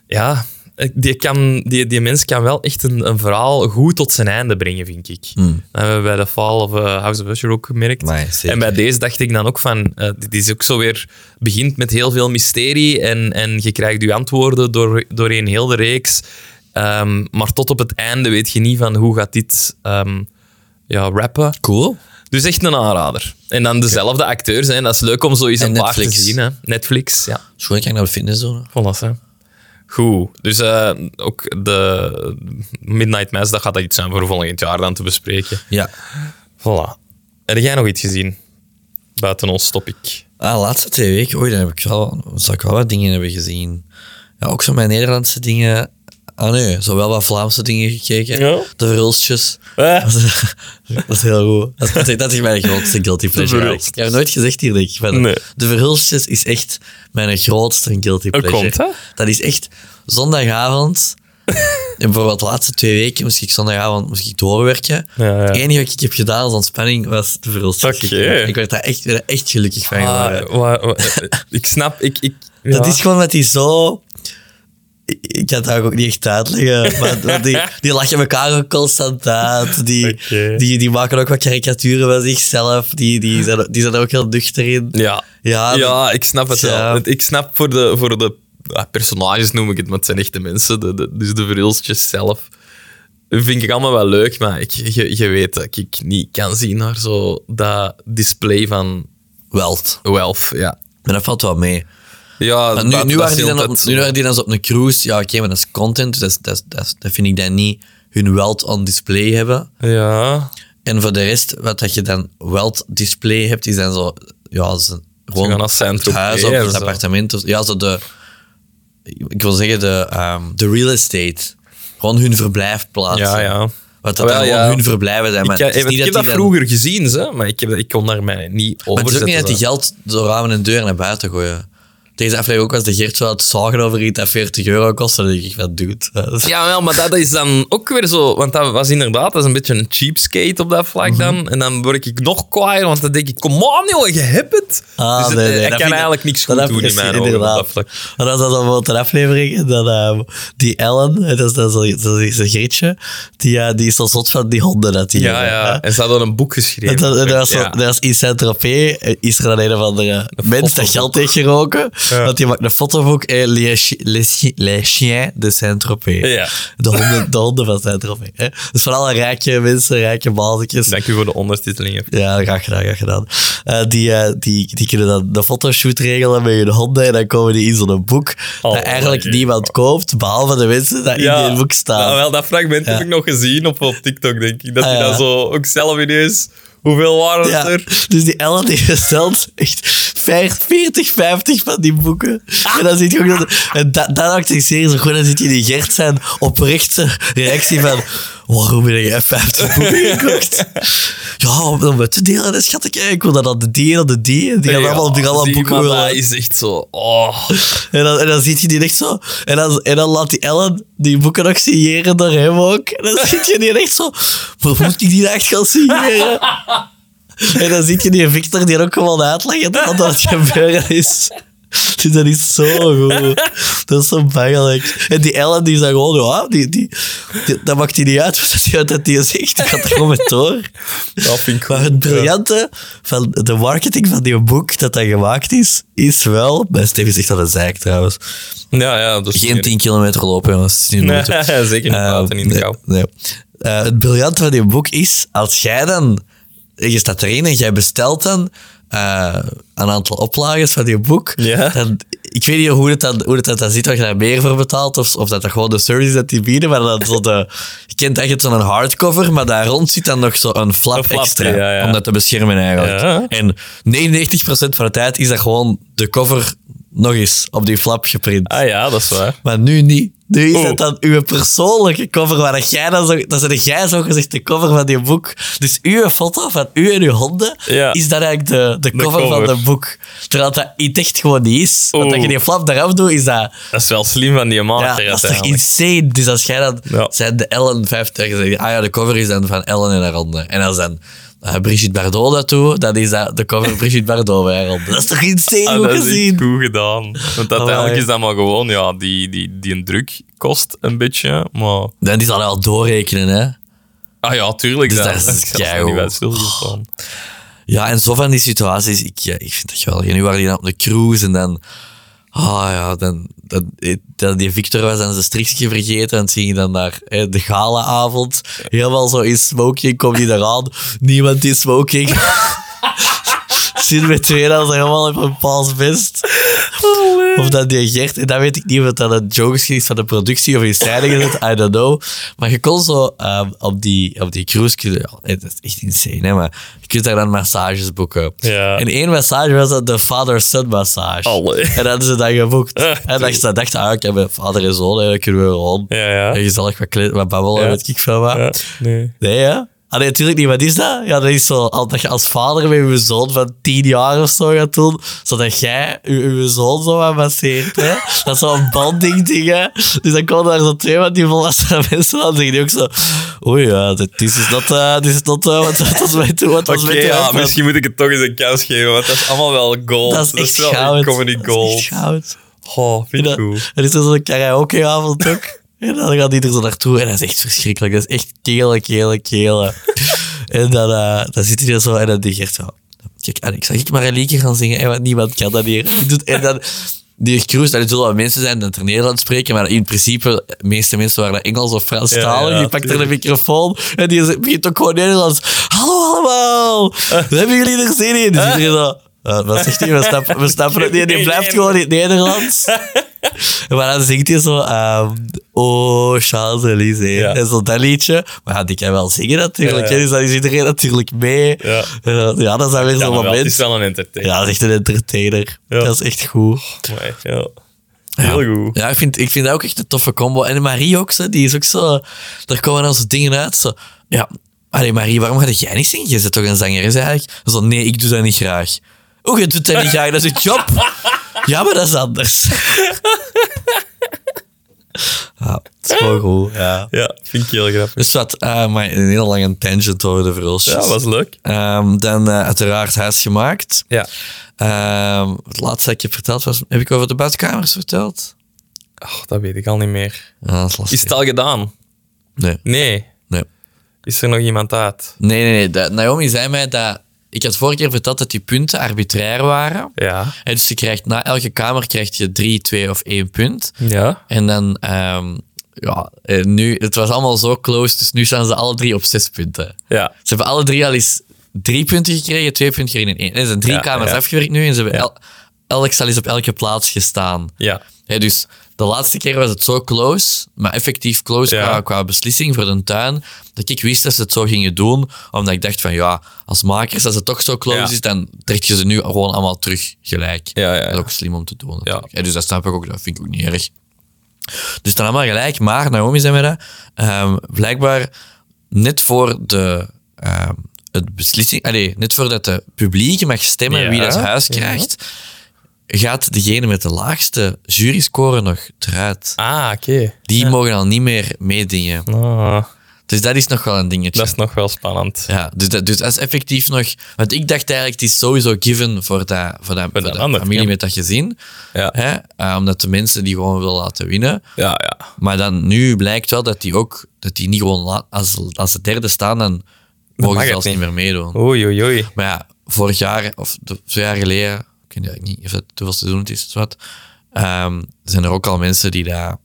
Speaker 2: Ja, die, kan, die, die mens kan wel echt een, een verhaal goed tot zijn einde brengen, vind ik. Dat hebben we bij de Fall of eh, House of Usher ook gemerkt.
Speaker 1: Amai, Hmm. zeker.
Speaker 2: en bij deze dacht ik dan ook van... eh, dit is ook zo weer... begint met heel veel mysterie en, en je krijgt je antwoorden door, doorheen heel de reeks. Ehm, maar tot op het einde weet je niet van hoe gaat dit ehm ja, rappen.
Speaker 1: Cool.
Speaker 2: Dus echt een aanrader. En dan dezelfde acteurs. Hè. Dat is leuk om zo eens
Speaker 1: En
Speaker 2: een paar te
Speaker 1: Netflix.
Speaker 2: zien. Hè. Netflix, ja.
Speaker 1: Schoon kan ik naar de fitnesszone.
Speaker 2: Voilà, hè. Goed. Dus eh, ook de Midnight Mass, dat gaat dat iets zijn voor volgend jaar dan te bespreken.
Speaker 1: Ja.
Speaker 2: Voilà. Heb jij nog iets gezien? Buiten ons topic.
Speaker 1: Ah, de laatste twee weken, oei, dan heb ik wel, zou ik wel wat dingen hebben gezien. Ja, ook zo mijn Nederlandse dingen. Ah nee, zo wel wat Vlaamse dingen gekeken.
Speaker 2: Ja. Eh.
Speaker 1: De verhulstjes. Dat, is, dat is heel goed. Dat is, dat is- dat is mijn grootste guilty pleasure. eigenlijk. Ik heb het nooit gezegd hier, denk ik. maar
Speaker 2: Nee.
Speaker 1: De verhulstjes is echt mijn grootste guilty pleasure.
Speaker 2: komt dat?
Speaker 1: Dat is echt zondagavond. En bijvoorbeeld de laatste twee weken moest ik zondagavond moest ik doorwerken.
Speaker 2: Ja, ja.
Speaker 1: Het enige wat ik heb gedaan als ontspanning was de verhulstjes.
Speaker 2: Oké.
Speaker 1: kijken. Ik werd daar echt, werd daar echt gelukkig van. geworden.
Speaker 2: Ah, wa- wa- ik snap, ik... ik
Speaker 1: Dat
Speaker 2: ja.
Speaker 1: is gewoon dat die zo. Ik- Ik kan het eigenlijk ook niet echt uitleggen. Maar dat die, die lachen elkaar ook constant uit. Die,
Speaker 2: Oké.
Speaker 1: die, die maken ook wat karikaturen van zichzelf. Die, die, zijn, die zijn er ook heel nuchter in.
Speaker 2: Ja.
Speaker 1: Ja,
Speaker 2: ja, ik snap het
Speaker 1: ja.
Speaker 2: wel. Want Ik snap voor de, voor de ah, personages noem ik het, maar het zijn echte mensen. De, de- dus de verhulstjes zelf. Vind ik allemaal wel leuk, maar ik, je, je weet dat ik niet kan zien naar zo dat display van
Speaker 1: Welt.
Speaker 2: wealth. Ja,
Speaker 1: Maar dat valt wel mee.
Speaker 2: ja
Speaker 1: Maar
Speaker 2: dat-
Speaker 1: nu, nu,
Speaker 2: dat
Speaker 1: waren
Speaker 2: is
Speaker 1: die dan op,
Speaker 2: altijd
Speaker 1: nu
Speaker 2: zo.
Speaker 1: waren die dan zo op een cruise. Ja, oké, maar dat is content. Dus dat, is- dat, is- dat, is- dat vind ik dan niet hun welt on display hebben.
Speaker 2: Ja,
Speaker 1: En voor de rest, wat dat je dan welt display hebt, is dan zo... Ja, dat is een- gewoon
Speaker 2: gaan naar Saint-Tropez
Speaker 1: het huis of
Speaker 2: en
Speaker 1: het
Speaker 2: zo.
Speaker 1: appartement. Of, ja, zo de... Ik wil zeggen, de, ehm, de real estate. Gewoon hun verblijfplaats.
Speaker 2: ja, ja.
Speaker 1: Wat dat
Speaker 2: Wel,
Speaker 1: dan gewoon
Speaker 2: ja.
Speaker 1: hun verblijven zijn.
Speaker 2: Ik,
Speaker 1: Maar
Speaker 2: eh,
Speaker 1: het is
Speaker 2: ik
Speaker 1: niet
Speaker 2: heb
Speaker 1: dat
Speaker 2: dat
Speaker 1: die dan-
Speaker 2: vroeger gezien, ze, maar ik, heb, ik kon daar mij niet over
Speaker 1: Maar het is ook niet dat die geld door ramen en deuren naar buiten gooien. Deze aflevering ook was de Geert zo aan het zagen over iets dat 40 euro kost. Dan denk ik, wat doet dat?
Speaker 2: Ja, wel, maar dat is dan ook weer zo. Want dat was inderdaad dat is een beetje een cheapskate op dat vlak dan.
Speaker 1: Mhm.
Speaker 2: En dan word ik nog kwaaier, want dan denk ik: kom aan, joh, je hebt het.
Speaker 1: Ah,
Speaker 2: dus het-
Speaker 1: nee, nee, dat
Speaker 2: hij kan
Speaker 1: vind ik-
Speaker 2: eigenlijk niks
Speaker 1: dat
Speaker 2: goed doen in
Speaker 1: precies,
Speaker 2: mijn ogen op
Speaker 1: inderdaad.
Speaker 2: dat vlak.
Speaker 1: Maar dat was dan bijvoorbeeld een aflevering. En dan ehm, die Ellen, hè, dat is, dat is, dat is een grietje, die, eh, die is zo zot van die honden dat die
Speaker 2: Ja,
Speaker 1: hebben, Ah,
Speaker 2: ja.
Speaker 1: hè.
Speaker 2: En ze hadden een boek geschreven.
Speaker 1: En dat, en dat was, zo-
Speaker 2: Ja.
Speaker 1: dat was in Saint-Tropez eh, is er dan een of andere mens dat
Speaker 2: fotoboek.
Speaker 1: geld heeft geroken. Want die maakt een fotoboek. eh, Les, chi- les, chi- les chiens de Saint-Tropez.
Speaker 2: Ja.
Speaker 1: De, honden, de honden van Saint-Tropez. hè. Dus vooral rijke mensen, rijke balzetjes.
Speaker 2: Dank u voor de ondertiteling.
Speaker 1: Ja, graag gedaan, graag gedaan. Eh, die, eh, die, die kunnen dan de fotoshoot regelen met hun honden en dan komen die in zo'n boek
Speaker 2: Oh,
Speaker 1: dat eigenlijk niemand koopt, behalve de mensen die in die boek staan.
Speaker 2: Nou, wel, dat fragment
Speaker 1: Ja.
Speaker 2: heb ik nog gezien op, op TikTok, denk ik. Dat
Speaker 1: Ah,
Speaker 2: hij
Speaker 1: ja.
Speaker 2: dat zo ook zelf ineens. Hoeveel waren het
Speaker 1: ja,
Speaker 2: er?
Speaker 1: dus die Ellen die bestelt echt vijf- 40, 50 van die boeken. En dan ziet je ook dat... En da, dat maakt die serie zo goed. Dan zit je die Gert zijn oprechte reactie van... Waarom heb jij 50 boeken gekocht? Ja, om, om het te delen, hè, schat ik. Ik wil dat aan de die en aan de die. En Die gaan
Speaker 2: Ja,
Speaker 1: allemaal, die gaan allemaal
Speaker 2: zie,
Speaker 1: boeken
Speaker 2: maar
Speaker 1: willen.
Speaker 2: dat is echt zo. Oh.
Speaker 1: En dan, en dan ziet je die echt zo. En dan, en dan laat die Ellen die boeken ook signeren door hem ook. En dan ziet je die echt zo. Waarom moet ik die nou echt gaan signeren? En dan ziet je die Victor die ook gewoon uitleggen dat dat gebeuren is. Dus dat is zo goed. Dat is zo bangelijk. En die Ellen die zegt gewoon, ja, die, die, die- dat maakt hij niet uit wat hij- wat hij zegt. Die gaat er gewoon mee door.
Speaker 2: Dat vind ik
Speaker 1: Maar het briljante van de marketing van die boek dat dat gemaakt is, is wel... Bij Steve is echt aan de zeik trouwens.
Speaker 2: Ja, ja. Dat is
Speaker 1: Geen 10 kilometer lopen, jongens. Het is niet nodig.
Speaker 2: Nee, zeker niet.
Speaker 1: Eh,
Speaker 2: Laten in de
Speaker 1: nee,
Speaker 2: kou.
Speaker 1: nee. Eh, het briljante van die boek is, als jij dan... Je staat erin en jij bestelt dan eh, een aantal oplages van je boek.
Speaker 2: Ja.
Speaker 1: Dan, ik weet niet hoe het dan, hoe het dat dan zit, wat je daar meer voor betaalt. Of, of dat dat gewoon de service is dat die bieden. Maar dat zo de, je kent echt zo'n hardcover, maar daar rond zit dan nog zo'n flap,
Speaker 2: flap,
Speaker 1: extra.
Speaker 2: ja, ja.
Speaker 1: Om dat te beschermen eigenlijk.
Speaker 2: Ja.
Speaker 1: En 99% van de tijd is dat gewoon de cover nog eens op die flap geprint.
Speaker 2: Ah ja, dat is waar. Oh.
Speaker 1: Maar nu niet. Nu is het dan uw persoonlijke cover, waar dat jij dan zo... Dan zit jij zo gezegd de cover van je boek. Dus uw foto van u en uw honden
Speaker 2: Ja.
Speaker 1: is dan eigenlijk de, de,
Speaker 2: De
Speaker 1: cover,
Speaker 2: cover. Oh.
Speaker 1: van het boek. Terwijl dat het echt gewoon niet is. Want dat je die flap eraf doet, is dat...
Speaker 2: Dat is wel slim van die man.
Speaker 1: Ja, dat is toch insane? Dus als jij dan
Speaker 2: Ja.
Speaker 1: zijn de Ellen 50, dan zeg je, ah ja, de cover is dan van Ellen en haar honden. En als dan eh, Brigitte Bardot dat doet, dan is dat de cover Brigitte Bardot bij haar honden. Dat is toch insane
Speaker 2: Ah,
Speaker 1: goed
Speaker 2: dat is echt
Speaker 1: gezien?
Speaker 2: goed gedaan. Want uiteindelijk
Speaker 1: Amai.
Speaker 2: is dat maar gewoon, ja, die, die, die een druk kost een beetje. Maar,
Speaker 1: Dan is dat al doorrekenen, hè?
Speaker 2: ah ja, tuurlijk.
Speaker 1: Dus
Speaker 2: dat,
Speaker 1: dat is
Speaker 2: ik zou
Speaker 1: keigoed.
Speaker 2: niet bij stilgestaan.
Speaker 1: Ja, en zo van die situaties, ik, ja, ik vind dat geweldig. En nu waren die dan op de cruise en dan... Ah ja, dan, dan, dat eh, die Victor was aan zijn strikje vergeten. En dan ging je dan naar hè, de galaavond. Helemaal zo in smoking, kom die eraan. Niemand in smoking. Zit met twee als helemaal op een paals vest. of dat die Gert, en dat weet ik niet of dat een joke is van de productie of in scène gezet, I don't know. Maar je kon zo ehm, op, die, op die cruise, kun je- ja, dat is echt insane, hè, maar je kunt daar dan massages boeken.
Speaker 2: Ja.
Speaker 1: En één massage was dat de father-son massage.
Speaker 2: Allee.
Speaker 1: En dat hadden ze dan geboekt. en dat ze dachten, ah, ik heb een vader en zoon, hè, dan kunnen we gewoon
Speaker 2: Ja, ja.
Speaker 1: en gezellig wat, kle- wat babbelen,
Speaker 2: Ja.
Speaker 1: weet ik veel wat.
Speaker 2: Ja, nee.
Speaker 1: Nee, hè? Ah, nee, natuurlijk niet. Wat is dat? Ja, dat is zo al- dat je als vader met je zoon van tien jaar of zo gaat doen, zodat jij je, je zoon zo wat masseert. Hè? Dat is zo'n banding ding, hè? Dus dan komen daar zo twee van die volwassen mensen aan zeggen die ook zo... Oei, ja, dit dit is dat... eh, dit is dat... eh, wat wat was mij toe? Wat was
Speaker 2: Oké,
Speaker 1: mij toe?
Speaker 2: ja,
Speaker 1: uitgebracht?
Speaker 2: misschien moet ik het toch eens een kans geven, want dat is allemaal wel gold.
Speaker 1: Dat is echt
Speaker 2: wel
Speaker 1: goud.
Speaker 2: comedy
Speaker 1: Dat is
Speaker 2: gold.
Speaker 1: echt goud.
Speaker 2: Oh, vind ik
Speaker 1: En dan-
Speaker 2: goed.
Speaker 1: Er is er zo'n karaokeavond ook. En dan gaat iedereen zo naartoe. En dat is echt verschrikkelijk. Dat is echt kelen, kelen, kelen. en dan, eh, dan zit hij er zo en dan denkt hij zo... Kijk, Annick, zal ik maar een liedje gaan zingen? En want niemand kan dat hier. Ik doe het- En dan... Die cruise, daar zullen wel mensen zijn dat er Nederlands spreken, maar in principe, de meeste mensen waren dat Engels of Frans talen.
Speaker 2: ja,
Speaker 1: die pakt er een microfoon en die zegt- begint ook gewoon Nederlands. Hallo allemaal! Hebben jullie er zin in? Dus iedereen zo... "Eh, Wat zegt hij? We snappen, we snappen het niet. En die blijft gewoon in het Nederlands. Maar dan zingt hij zo... ehm oh, Champs-Élysées.
Speaker 2: Ja.
Speaker 1: En zo dat liedje. Maar ja, die kan wel zingen natuurlijk. hè.
Speaker 2: Ja, ja.
Speaker 1: Dus dan is iedereen natuurlijk mee.
Speaker 2: Ja.
Speaker 1: En dan- ja dat is dan weer
Speaker 2: Ja,
Speaker 1: zo'n
Speaker 2: maar wel, het
Speaker 1: moment.
Speaker 2: is wel een entertainer.
Speaker 1: Ja, dat is echt een entertainer.
Speaker 2: Ja.
Speaker 1: Dat is echt goed.
Speaker 2: Amai, ja. Heel goed.
Speaker 1: Ja, ik vind, ik vind dat ook echt een toffe combo. En Marie ook, zo, die is ook zo... Daar komen dan zo dingen uit. Zo, ja, allee Marie, waarom ga jij niet zingen? Je bent toch een zangeres eigenlijk? Zo, nee, ik doe dat niet graag. Oeh, je doet dat niet graag, dat is een job. Ja, maar dat is anders. Ja, het is wel goed, ja.
Speaker 2: Ja, vind ik heel grappig.
Speaker 1: Dus wat, eh, maar een heel lange tangent over de verhulsjes.
Speaker 2: Ja, was leuk.
Speaker 1: Ehm, dan eh, uiteraard huis gemaakt.
Speaker 2: Ja.
Speaker 1: Ehm, het laatste dat ik heb verteld was... Heb ik over de badkamers verteld?
Speaker 2: Oh, dat weet ik al niet meer.
Speaker 1: Ja, dat is lastig.
Speaker 2: Is het al gedaan?
Speaker 1: Nee.
Speaker 2: Nee.
Speaker 1: Nee.
Speaker 2: Is er nog iemand uit?
Speaker 1: Nee, nee, nee. Dat- Naomi zei mij dat... Ik had vorige keer verteld dat die punten arbitrair waren.
Speaker 2: Ja.
Speaker 1: En dus je krijgt, na elke kamer krijg je drie, twee of één punt.
Speaker 2: Ja.
Speaker 1: En dan... ehm, ja, eh, nu, het was allemaal zo close, dus nu staan ze alle drie op zes punten.
Speaker 2: Ja.
Speaker 1: Ze hebben alle drie al eens drie punten gekregen, twee punten gekregen en één. En Er zijn drie
Speaker 2: Ja,
Speaker 1: kamers
Speaker 2: ja.
Speaker 1: afgewerkt nu en ze hebben el- elk zal eens op elke plaats gestaan.
Speaker 2: Ja.
Speaker 1: Hè, dus de laatste keer was het zo close, maar effectief close
Speaker 2: Ja.
Speaker 1: qua, qua beslissing voor de tuin, dat ik wist dat ze het zo gingen doen, omdat ik dacht van ja, als makers, als het toch zo close
Speaker 2: Ja.
Speaker 1: is, dan trek je ze nu gewoon allemaal terug gelijk.
Speaker 2: Ja, ja, ja.
Speaker 1: Dat is ook slim om te doen. natuurlijk. Hè, dus dat snap ik ook, dat vind ik ook niet erg. Dus dan allemaal gelijk, maar Naomi zei mij dat, ehm, blijkbaar net voor de ehm, het beslissing, allee, net voordat de publiek mag stemmen
Speaker 2: Ja.
Speaker 1: wie dat huis krijgt, gaat degene met de laagste juryscore nog eruit.
Speaker 2: Ah, oké.
Speaker 1: Die mogen al niet meer meedingen.
Speaker 2: Ah,
Speaker 1: Dus dat is nog wel een dingetje.
Speaker 2: dat is nog wel spannend.
Speaker 1: Ja, dus dat, dus dat is effectief nog... Want ik dacht eigenlijk, het is sowieso given voor, dat, voor, dat, voor
Speaker 2: dat
Speaker 1: de
Speaker 2: ander,
Speaker 1: familie
Speaker 2: ja.
Speaker 1: met dat gezin.
Speaker 2: Ja.
Speaker 1: Hè? Eh, omdat de mensen die gewoon willen laten winnen.
Speaker 2: Ja, ja.
Speaker 1: Maar dan nu blijkt wel dat die ook... Dat die niet gewoon... la- als, als ze derde staan, dan mogen
Speaker 2: mag
Speaker 1: ze
Speaker 2: het
Speaker 1: zelfs niet
Speaker 2: niet.
Speaker 1: meer meedoen.
Speaker 2: Oei, oei, oei.
Speaker 1: Maar ja, vorig jaar of de- twee jaar geleden, ik weet eigenlijk niet of dat hoeveel seizoen het is, wat, ehm, zijn er ook al mensen die daar,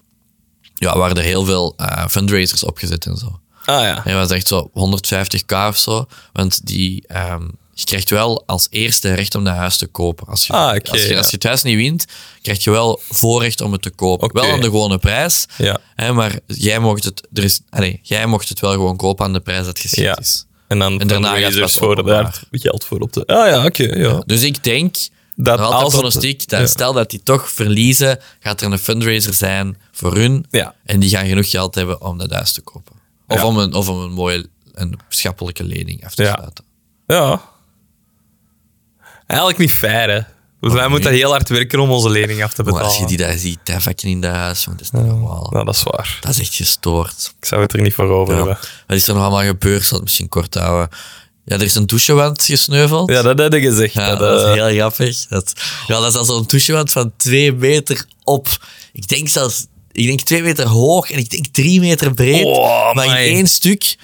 Speaker 1: ja, waren er heel veel eh, fundraisers opgezet en zo.
Speaker 2: Ah, ja.
Speaker 1: En dat was echt zo 150k of zo, want die, ehm, je krijgt wel als eerste recht om dat huis te kopen. Als je,
Speaker 2: Ah, oké,
Speaker 1: als, je,
Speaker 2: ja.
Speaker 1: als je het huis niet wint, krijg je wel voorrecht om het te kopen.
Speaker 2: Oké.
Speaker 1: Wel aan de gewone prijs,
Speaker 2: Ja.
Speaker 1: hè, maar jij mocht, het, er is, allee, jij mocht het wel gewoon kopen aan de prijs dat geschikt
Speaker 2: Ja.
Speaker 1: is.
Speaker 2: En dan
Speaker 1: En daarna gaat het
Speaker 2: fundraisers
Speaker 1: pas
Speaker 2: voor
Speaker 1: openbaar.
Speaker 2: daar geld voor op de... Ah, ja, oké. ja.
Speaker 1: Dus ik denk
Speaker 2: dat
Speaker 1: Nog altijd
Speaker 2: als het-
Speaker 1: pronostiek. dat Stel dat die toch verliezen, gaat er een fundraiser zijn voor hun.
Speaker 2: Ja.
Speaker 1: En die gaan genoeg geld hebben om dat huis te kopen. Of,
Speaker 2: Ja.
Speaker 1: om, een, of om een mooie en schappelijke lening af te
Speaker 2: Ja.
Speaker 1: sluiten.
Speaker 2: Ja. Eigenlijk niet fair, hè. Want wij moeten heel hard werken om onze lening af te
Speaker 1: Maar
Speaker 2: betalen.
Speaker 1: Oh, als je die daar ziet, dat vakken in dat huis, want dat is niet normaal.
Speaker 2: Nou, dat is waar.
Speaker 1: Dat is echt gestoord.
Speaker 2: Ik zou het er niet voor over
Speaker 1: Ja.
Speaker 2: hebben.
Speaker 1: Wat is er nog allemaal gebeurd? Ik zal het misschien kort houden. Ja, er is een douchewand gesneuveld.
Speaker 2: Ja, dat heb je gezegd.
Speaker 1: Ja,
Speaker 2: dat,
Speaker 1: dat
Speaker 2: eh,
Speaker 1: is heel grappig. Dat, ja, dat is al zo'n douchewand van twee meter op. Ik denk zelfs, ik denk twee meter hoog en ik denk drie meter breed.
Speaker 2: Oh,
Speaker 1: maar in
Speaker 2: amai.
Speaker 1: één stuk,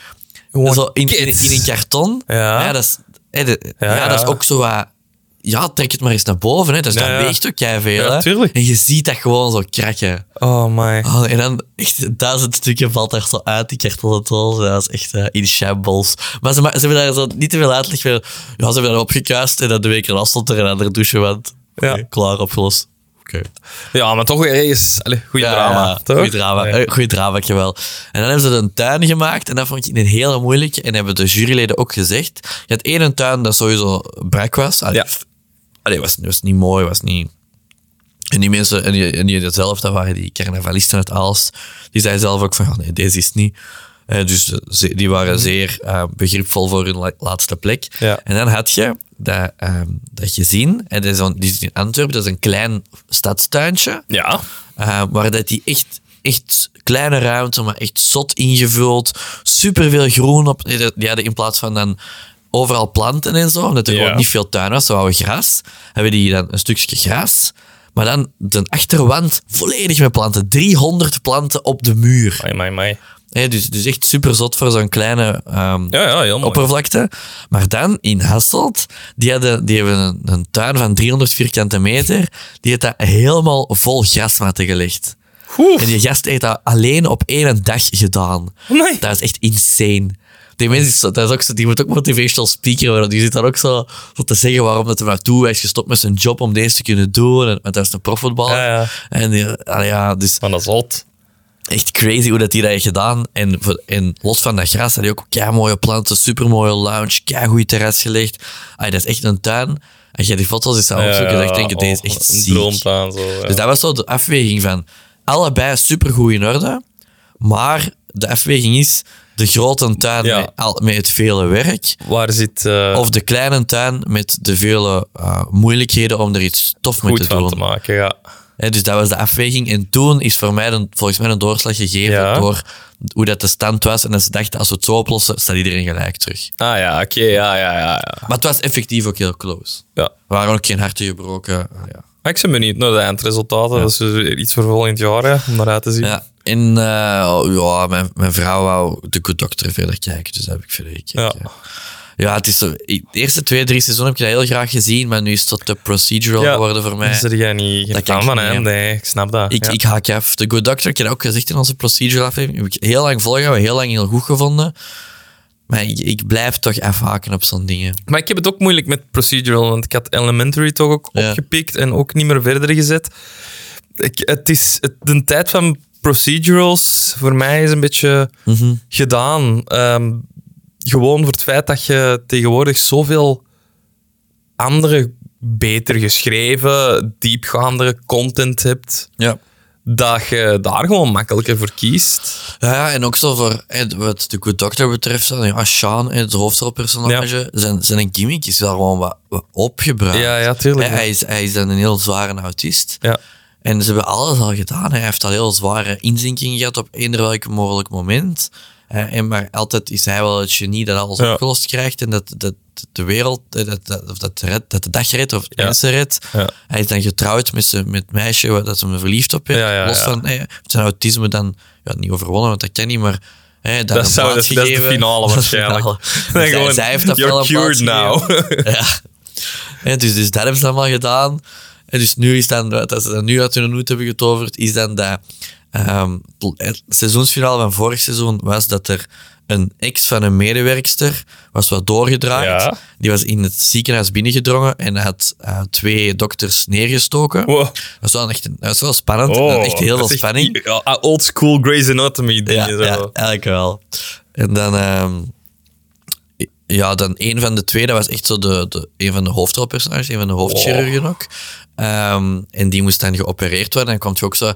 Speaker 1: zo in, in,
Speaker 2: kids.
Speaker 1: in een karton.
Speaker 2: Ja.
Speaker 1: dat, is, hè, de- ja,
Speaker 2: Ja,
Speaker 1: dat
Speaker 2: ja.
Speaker 1: is ook zo wat... Ja, trek het maar eens naar boven. Hè. Dus
Speaker 2: Ja,
Speaker 1: dat
Speaker 2: ja.
Speaker 1: weegt ook jij veel.
Speaker 2: Ja,
Speaker 1: hè.
Speaker 2: tuurlijk.
Speaker 1: En je ziet dat gewoon zo krakken.
Speaker 2: Oh my.
Speaker 1: Oh, en dan echt duizend stukken valt daar zo uit, die kartonnetol. Dat is echt eh, in shambles. Maar ze, ma- ze hebben daar zo niet te veel uitleg voor. Ja, ze hebben daar opgekuist en dan de week erna stond er een andere douche, want eh,
Speaker 2: Ja.
Speaker 1: klaar, opgelost. Oké.
Speaker 2: Ja, maar toch ergens... Allee, goeie drama, toch?
Speaker 1: Goeie drama,
Speaker 2: Ja.
Speaker 1: eh, goeie drama wel. En dan hebben ze een tuin gemaakt en dat vond ik een hele moeilijke. En hebben de juryleden ook gezegd. Je had één een tuin dat sowieso brak was. Allee,
Speaker 2: Ja.
Speaker 1: pff, allee, was, was niet mooi, was niet... En die mensen, en die, en die dat zelf, dat waren die carnavalisten uit Aalst, die zeiden zelf ook van, "Ah, nee, deze is het niet. Eh, dus eh, ze- die waren zeer eh, begripvol voor hun la- laatste plek.
Speaker 2: Mhm. Ja.
Speaker 1: En dan had je dat, ehm, dat gezien, en dat is, dan- die is in Antwerpen, dat is een klein stadstuintje.
Speaker 2: Ja.
Speaker 1: Eh, maar dat die echt, echt kleine ruimte, maar echt zot ingevuld. Superveel groen op. Die hadden- die hadden in plaats van dan overal planten en zo, omdat er
Speaker 2: Ja.
Speaker 1: gewoon niet veel tuin was, zo hadden we gras. Hebben die dan een stukje gras. Maar dan de achterwand volledig met planten. 300 planten op de muur.
Speaker 2: Amai, amai, amai.
Speaker 1: Hè, dus, dus echt super zot voor zo'n kleine ehm,
Speaker 2: Ja, ja, heel mooi.
Speaker 1: oppervlakte. Maar dan in Hasselt, die, hadden, die hebben een, een tuin van 300 vierkante meter. Die heeft dat helemaal vol grasmatten gelegd. En die gast heeft dat alleen op één dag gedaan.
Speaker 2: Amai.
Speaker 1: Dat is echt insane. Die mensen, is zo- dat is ook zo, die moet ook motivational speaker worden. Die zit dan ook zo, zo te zeggen waarom dat er naartoe is gestopt met zijn job om deze te kunnen doen. En, want dat is een profvoetballer.
Speaker 2: Ja, ja.
Speaker 1: En die- ah ja, dus
Speaker 2: Van dat zot.
Speaker 1: echt crazy hoe dat hij dat heeft gedaan. En, voor- en los van dat gras had hij ook mooie planten, supermooie lounge, goed terras gelegd. Ay, dat is echt een tuin. Als je die foto's eens zou opzoeken, dan denk je,
Speaker 2: oh,
Speaker 1: deze is echt
Speaker 2: een
Speaker 1: ziek.
Speaker 2: droomtaan, zo. ja.
Speaker 1: Dus dat was zo de afweging van allebei supergoed in orde, maar de afweging is de grote tuin
Speaker 2: Ja.
Speaker 1: met, al- met het vele werk
Speaker 2: Waar zit... eh,
Speaker 1: of de kleine tuin met de vele eh, moeilijkheden om er iets tof mee
Speaker 2: goed
Speaker 1: te
Speaker 2: van
Speaker 1: doen.
Speaker 2: te maken, ja.
Speaker 1: Hè, dus dat was de afweging. En toen is voor mij een, volgens mij een doorslag gegeven
Speaker 2: Ja.
Speaker 1: door hoe dat de stand was. En dat ze dachten, als we het zo oplossen, staat iedereen gelijk terug.
Speaker 2: Ah ja, oké, ja, ja, ja, ja.
Speaker 1: Maar het was effectief ook heel close.
Speaker 2: ja.
Speaker 1: Er waren ook geen harten gebroken. Ah, Ja.
Speaker 2: Maar ik ben benieuwd naar de eindresultaten. Dat is dus iets voor volgend jaar, hè, om naar uit te zien.
Speaker 1: Ja, en eh, oh, ja, mijn, mijn vrouw wou de Good Doctor verder kijken, dus dat heb ik verder gekeken. Ja.
Speaker 2: Ja.
Speaker 1: het is zo, ik- de eerste twee, drie seizoenen heb ik dat heel graag gezien, maar nu is dat de procedural
Speaker 2: Ja, Dus
Speaker 1: geworden voor
Speaker 2: Daar
Speaker 1: mij.
Speaker 2: zit jij niet geen
Speaker 1: Dat kan ik
Speaker 2: fan van,
Speaker 1: niet,
Speaker 2: hè?
Speaker 1: hè.
Speaker 2: Nee, ik snap dat.
Speaker 1: Ik,
Speaker 2: ja.
Speaker 1: ik haak je af. The Good Doctor, ik heb dat ook gezegd in onze procedural aflevering, heb ik heel lang volgehouden, heel lang heel goed gevonden. Maar ik, ik blijf toch afhaken op zo'n dingen.
Speaker 2: Maar ik heb het ook moeilijk met procedural, want ik had Elementary toch ook
Speaker 1: Ja.
Speaker 2: opgepikt en ook niet meer verder gezet. Ik, het is het, de tijd van procedurals voor mij is een beetje gedaan. Ehm, gewoon voor het feit dat je tegenwoordig zoveel andere, beter geschreven, diepgaandere content hebt,
Speaker 1: Ja.
Speaker 2: dat je daar gewoon makkelijker voor kiest.
Speaker 1: Ja, ja, en ook zo voor eh, wat de Good Doctor betreft, dan, ja, Sean, eh, het hoofdrolpersonage, zijn, zijn gimmick is wel gewoon wat, wat opgebruikt.
Speaker 2: Ja, Ah. ja, tuurlijk.
Speaker 1: Hè, hij, is, hij is dan een heel zware autist.
Speaker 2: Ja.
Speaker 1: En ze hebben alles al gedaan. Hij heeft al heel zware inzinkingen gehad op eender welk mogelijk moment. Eh, en maar altijd is hij wel het genie dat alles
Speaker 2: Ja.
Speaker 1: opgelost krijgt en dat, dat de wereld, eh, dat, dat, of dat, red, dat de dag redt of
Speaker 2: Ja.
Speaker 1: mensen redt.
Speaker 2: Ja.
Speaker 1: Hij is dan getrouwd met zijn- met het meisje waar dat ze me verliefd op heeft.
Speaker 2: Ja, ja,
Speaker 1: Los
Speaker 2: ja.
Speaker 1: van eh, zijn autisme dan ja, niet overwonnen, want dat kan niet, maar... eh, daar
Speaker 2: Dat
Speaker 1: een
Speaker 2: zou-
Speaker 1: plaats
Speaker 2: dat- dat is de
Speaker 1: gegeven.
Speaker 2: finale
Speaker 1: Dat is de
Speaker 2: waarschijnlijk.
Speaker 1: finale.
Speaker 2: Nee,
Speaker 1: Dus
Speaker 2: gewoon,
Speaker 1: hij, zij heeft dat
Speaker 2: "You're
Speaker 1: wel een
Speaker 2: cured
Speaker 1: plaats
Speaker 2: now."
Speaker 1: gegeven. ja. Ja, dus, dus dat hebben ze allemaal gedaan. En dus nu is dan, dat ze dat nu uit hun hoed hebben getoverd, is dan dat ehm, het seizoensfinale van vorig seizoen was dat er een ex van een medewerkster was wat doorgedraaid.
Speaker 2: Ja.
Speaker 1: Die was in het ziekenhuis binnengedrongen en had eh, twee dokters neergestoken.
Speaker 2: Wow.
Speaker 1: Dat, is wel echt, een- dat is wel spannend. en Eh, echt heel
Speaker 2: Oh, dat
Speaker 1: veel
Speaker 2: is echt
Speaker 1: spanning.
Speaker 2: i- ja, Old school Grey's Anatomy.
Speaker 1: Ja,
Speaker 2: dingen zo.
Speaker 1: ja, eigenlijk wel. En dan... ehm, Ja, dan een van de twee, dat was echt zo de, de, een van de hoofdrolpersonages, een van de hoofdchirurgen ook. Ehm, en die moest dan geopereerd worden. En kwam je ook zo...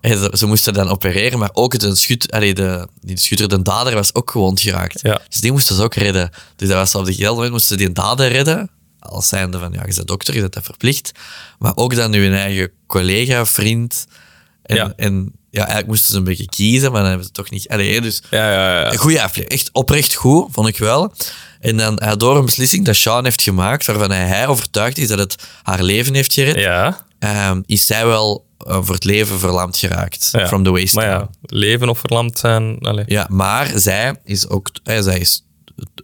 Speaker 1: eh, Ze, ze moesten dan opereren, maar ook de, schut, allee, de, die schutter, de dader, was ook gewond geraakt.
Speaker 2: Ja.
Speaker 1: Dus die moesten ze ook redden. Dus dat was zo op de geld moment moesten ze die dader redden. Als zijnde van, ja, je bent dokter, je bent dat verplicht. Maar ook dan je eigen collega, vriend. En ja.
Speaker 2: Ja.
Speaker 1: en ja, eigenlijk moesten ze een beetje kiezen, maar dan hebben ze het toch niet... Allee, dus
Speaker 2: Ja, ja, ja.
Speaker 1: een goede aflevering. Echt oprecht goed, vond ik wel. En dan eh, door een beslissing dat Sean heeft gemaakt, waarvan hij- hij overtuigd is dat het haar leven heeft gered,
Speaker 2: Ja,
Speaker 1: ehm, is zij wel eh, voor het leven verlamd geraakt.
Speaker 2: Ja.
Speaker 1: From the waist
Speaker 2: maar
Speaker 1: down.
Speaker 2: ja, leven of verlamd zijn. Allee.
Speaker 1: Ja, maar zij is ook, eh, zij is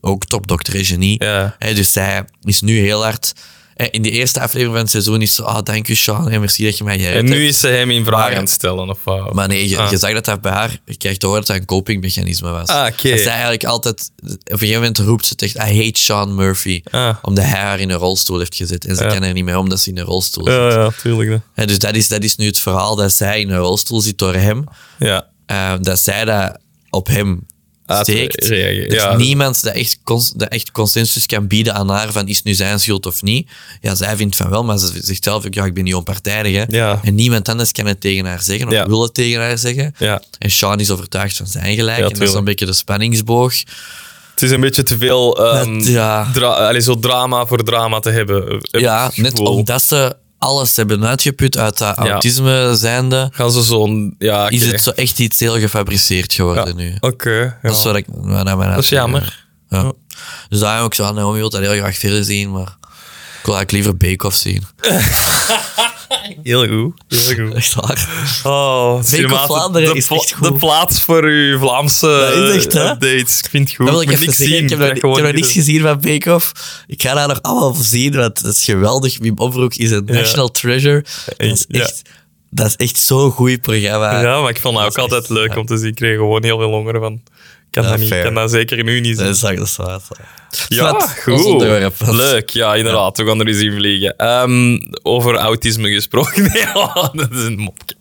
Speaker 1: ook topdokter in genie.
Speaker 2: Ja.
Speaker 1: Hè, dus zij is nu heel hard... eh, in de eerste aflevering van het seizoen is ze... Ah, dank je, Sean. En merci dat je mij gered
Speaker 2: En nu
Speaker 1: hebt."
Speaker 2: is ze hem in vraag
Speaker 1: Maar-
Speaker 2: aan het stellen. Of, wat?
Speaker 1: Maar nee, je,
Speaker 2: Ah.
Speaker 1: je zag dat dat bij haar... Je krijgt te horen dat dat een copingmechanisme was.
Speaker 2: Ah, oké.
Speaker 1: Dat zij eigenlijk altijd... Op een gegeven moment roept ze tegen... I hate Sean Murphy.
Speaker 2: Ah.
Speaker 1: Omdat hij haar in een rolstoel heeft gezet. En ze kan er niet meer om dat ze in een rolstoel zit.
Speaker 2: Ja, ja, tuurlijk. hè.
Speaker 1: Hè, dus dat is, dat is nu het verhaal dat zij in een rolstoel zit door hem.
Speaker 2: Ja.
Speaker 1: Eh, dat zij dat op hem
Speaker 2: Uit-
Speaker 1: steekt.
Speaker 2: reageer-
Speaker 1: Dat
Speaker 2: ja.
Speaker 1: niemand dat echt, cons- dat echt consensus kan bieden aan haar van is nu zijn schuld of niet. Ja, zij vindt van wel, maar ze zegt zelf ook, ja, ik ben niet onpartijdig. Hè.
Speaker 2: Ja.
Speaker 1: En niemand anders kan het tegen haar zeggen of
Speaker 2: Ja.
Speaker 1: wil het tegen haar zeggen.
Speaker 2: Ja.
Speaker 1: En Sean is overtuigd van zijn gelijk. en
Speaker 2: Ja,
Speaker 1: dat is
Speaker 2: tuurlijk.
Speaker 1: een beetje de spanningsboog.
Speaker 2: Het is een beetje te veel ehm,
Speaker 1: Dat- ja.
Speaker 2: dra allee, zo drama voor drama te hebben. eh, heb
Speaker 1: Ja,
Speaker 2: ik het
Speaker 1: net
Speaker 2: gevoel.
Speaker 1: omdat ze alles hebben uitgeput uit dat
Speaker 2: Ja.
Speaker 1: autisme zijnde,
Speaker 2: Gaan ze zo'n... Ja,
Speaker 1: is
Speaker 2: oké.
Speaker 1: het zo echt iets heel gefabriceerd geworden
Speaker 2: Ja.
Speaker 1: nu.
Speaker 2: Oké, ja.
Speaker 1: Dat is wat ik... wat naar mijn
Speaker 2: Dat is jammer.
Speaker 1: Ja. Dus daarom ook zo aan Naomi wil dat heel graag verder zien, maar ik wil eigenlijk liever Bake Off zien.
Speaker 2: Heel goed. Heel goed.
Speaker 1: Echt waar.
Speaker 2: Oh, Cinematen,
Speaker 1: Vlaanderen
Speaker 2: de,
Speaker 1: is
Speaker 2: pla-
Speaker 1: echt goed.
Speaker 2: de plaats voor uw Vlaamse
Speaker 1: Dat is echt, hè?
Speaker 2: updates. Ik vind het goed.
Speaker 1: Dat wil ik
Speaker 2: moet
Speaker 1: even
Speaker 2: niks
Speaker 1: zeggen.
Speaker 2: zien.
Speaker 1: Ik heb nog,
Speaker 2: Ja,
Speaker 1: ik
Speaker 2: gewoon
Speaker 1: heb nog
Speaker 2: hier-
Speaker 1: niks gezien van Bake Off. Ik ga daar nog allemaal voor zien, want dat is geweldig. Wim Oproek is een national treasure. Dat is
Speaker 2: Ja.
Speaker 1: echt, dat is echt zo'n goed programma.
Speaker 2: Ja, maar ik vond dat
Speaker 1: Dat
Speaker 2: ook
Speaker 1: is echt-
Speaker 2: altijd leuk om te zien. Ik kreeg gewoon heel veel honger van. Ik kan,
Speaker 1: Ja,
Speaker 2: dat niet,
Speaker 1: fair.
Speaker 2: ik kan dat zeker nu niet
Speaker 1: Dat
Speaker 2: zien.
Speaker 1: is dat is waar. dat is waar.
Speaker 2: Ja,
Speaker 1: Wat? Ons
Speaker 2: goed.
Speaker 1: onderwerp.
Speaker 2: Leuk, ja, inderdaad. We gaan er eens in vliegen. Ehm, over autisme gesproken. Nee, oh, dat is een mopje.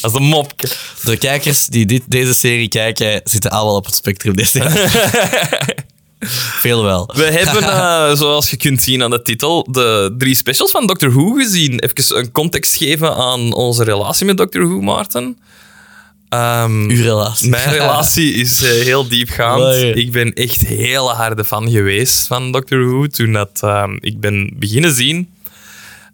Speaker 2: Dat is een mopje.
Speaker 1: De kijkers die dit, deze serie kijken, zitten allemaal op het spectrum. Deze Veel wel.
Speaker 2: We hebben, eh, zoals je kunt zien aan de titel, de drie specials van Doctor Who gezien. Even een context geven aan onze relatie met Doctor Who, Maarten. Ehm,
Speaker 1: Uw relatie.
Speaker 2: Mijn relatie is eh, heel diepgaand.
Speaker 1: Amai.
Speaker 2: Ik ben echt heel harde fan geweest van Doctor Who toen dat, ehm, ik ben beginnen zien.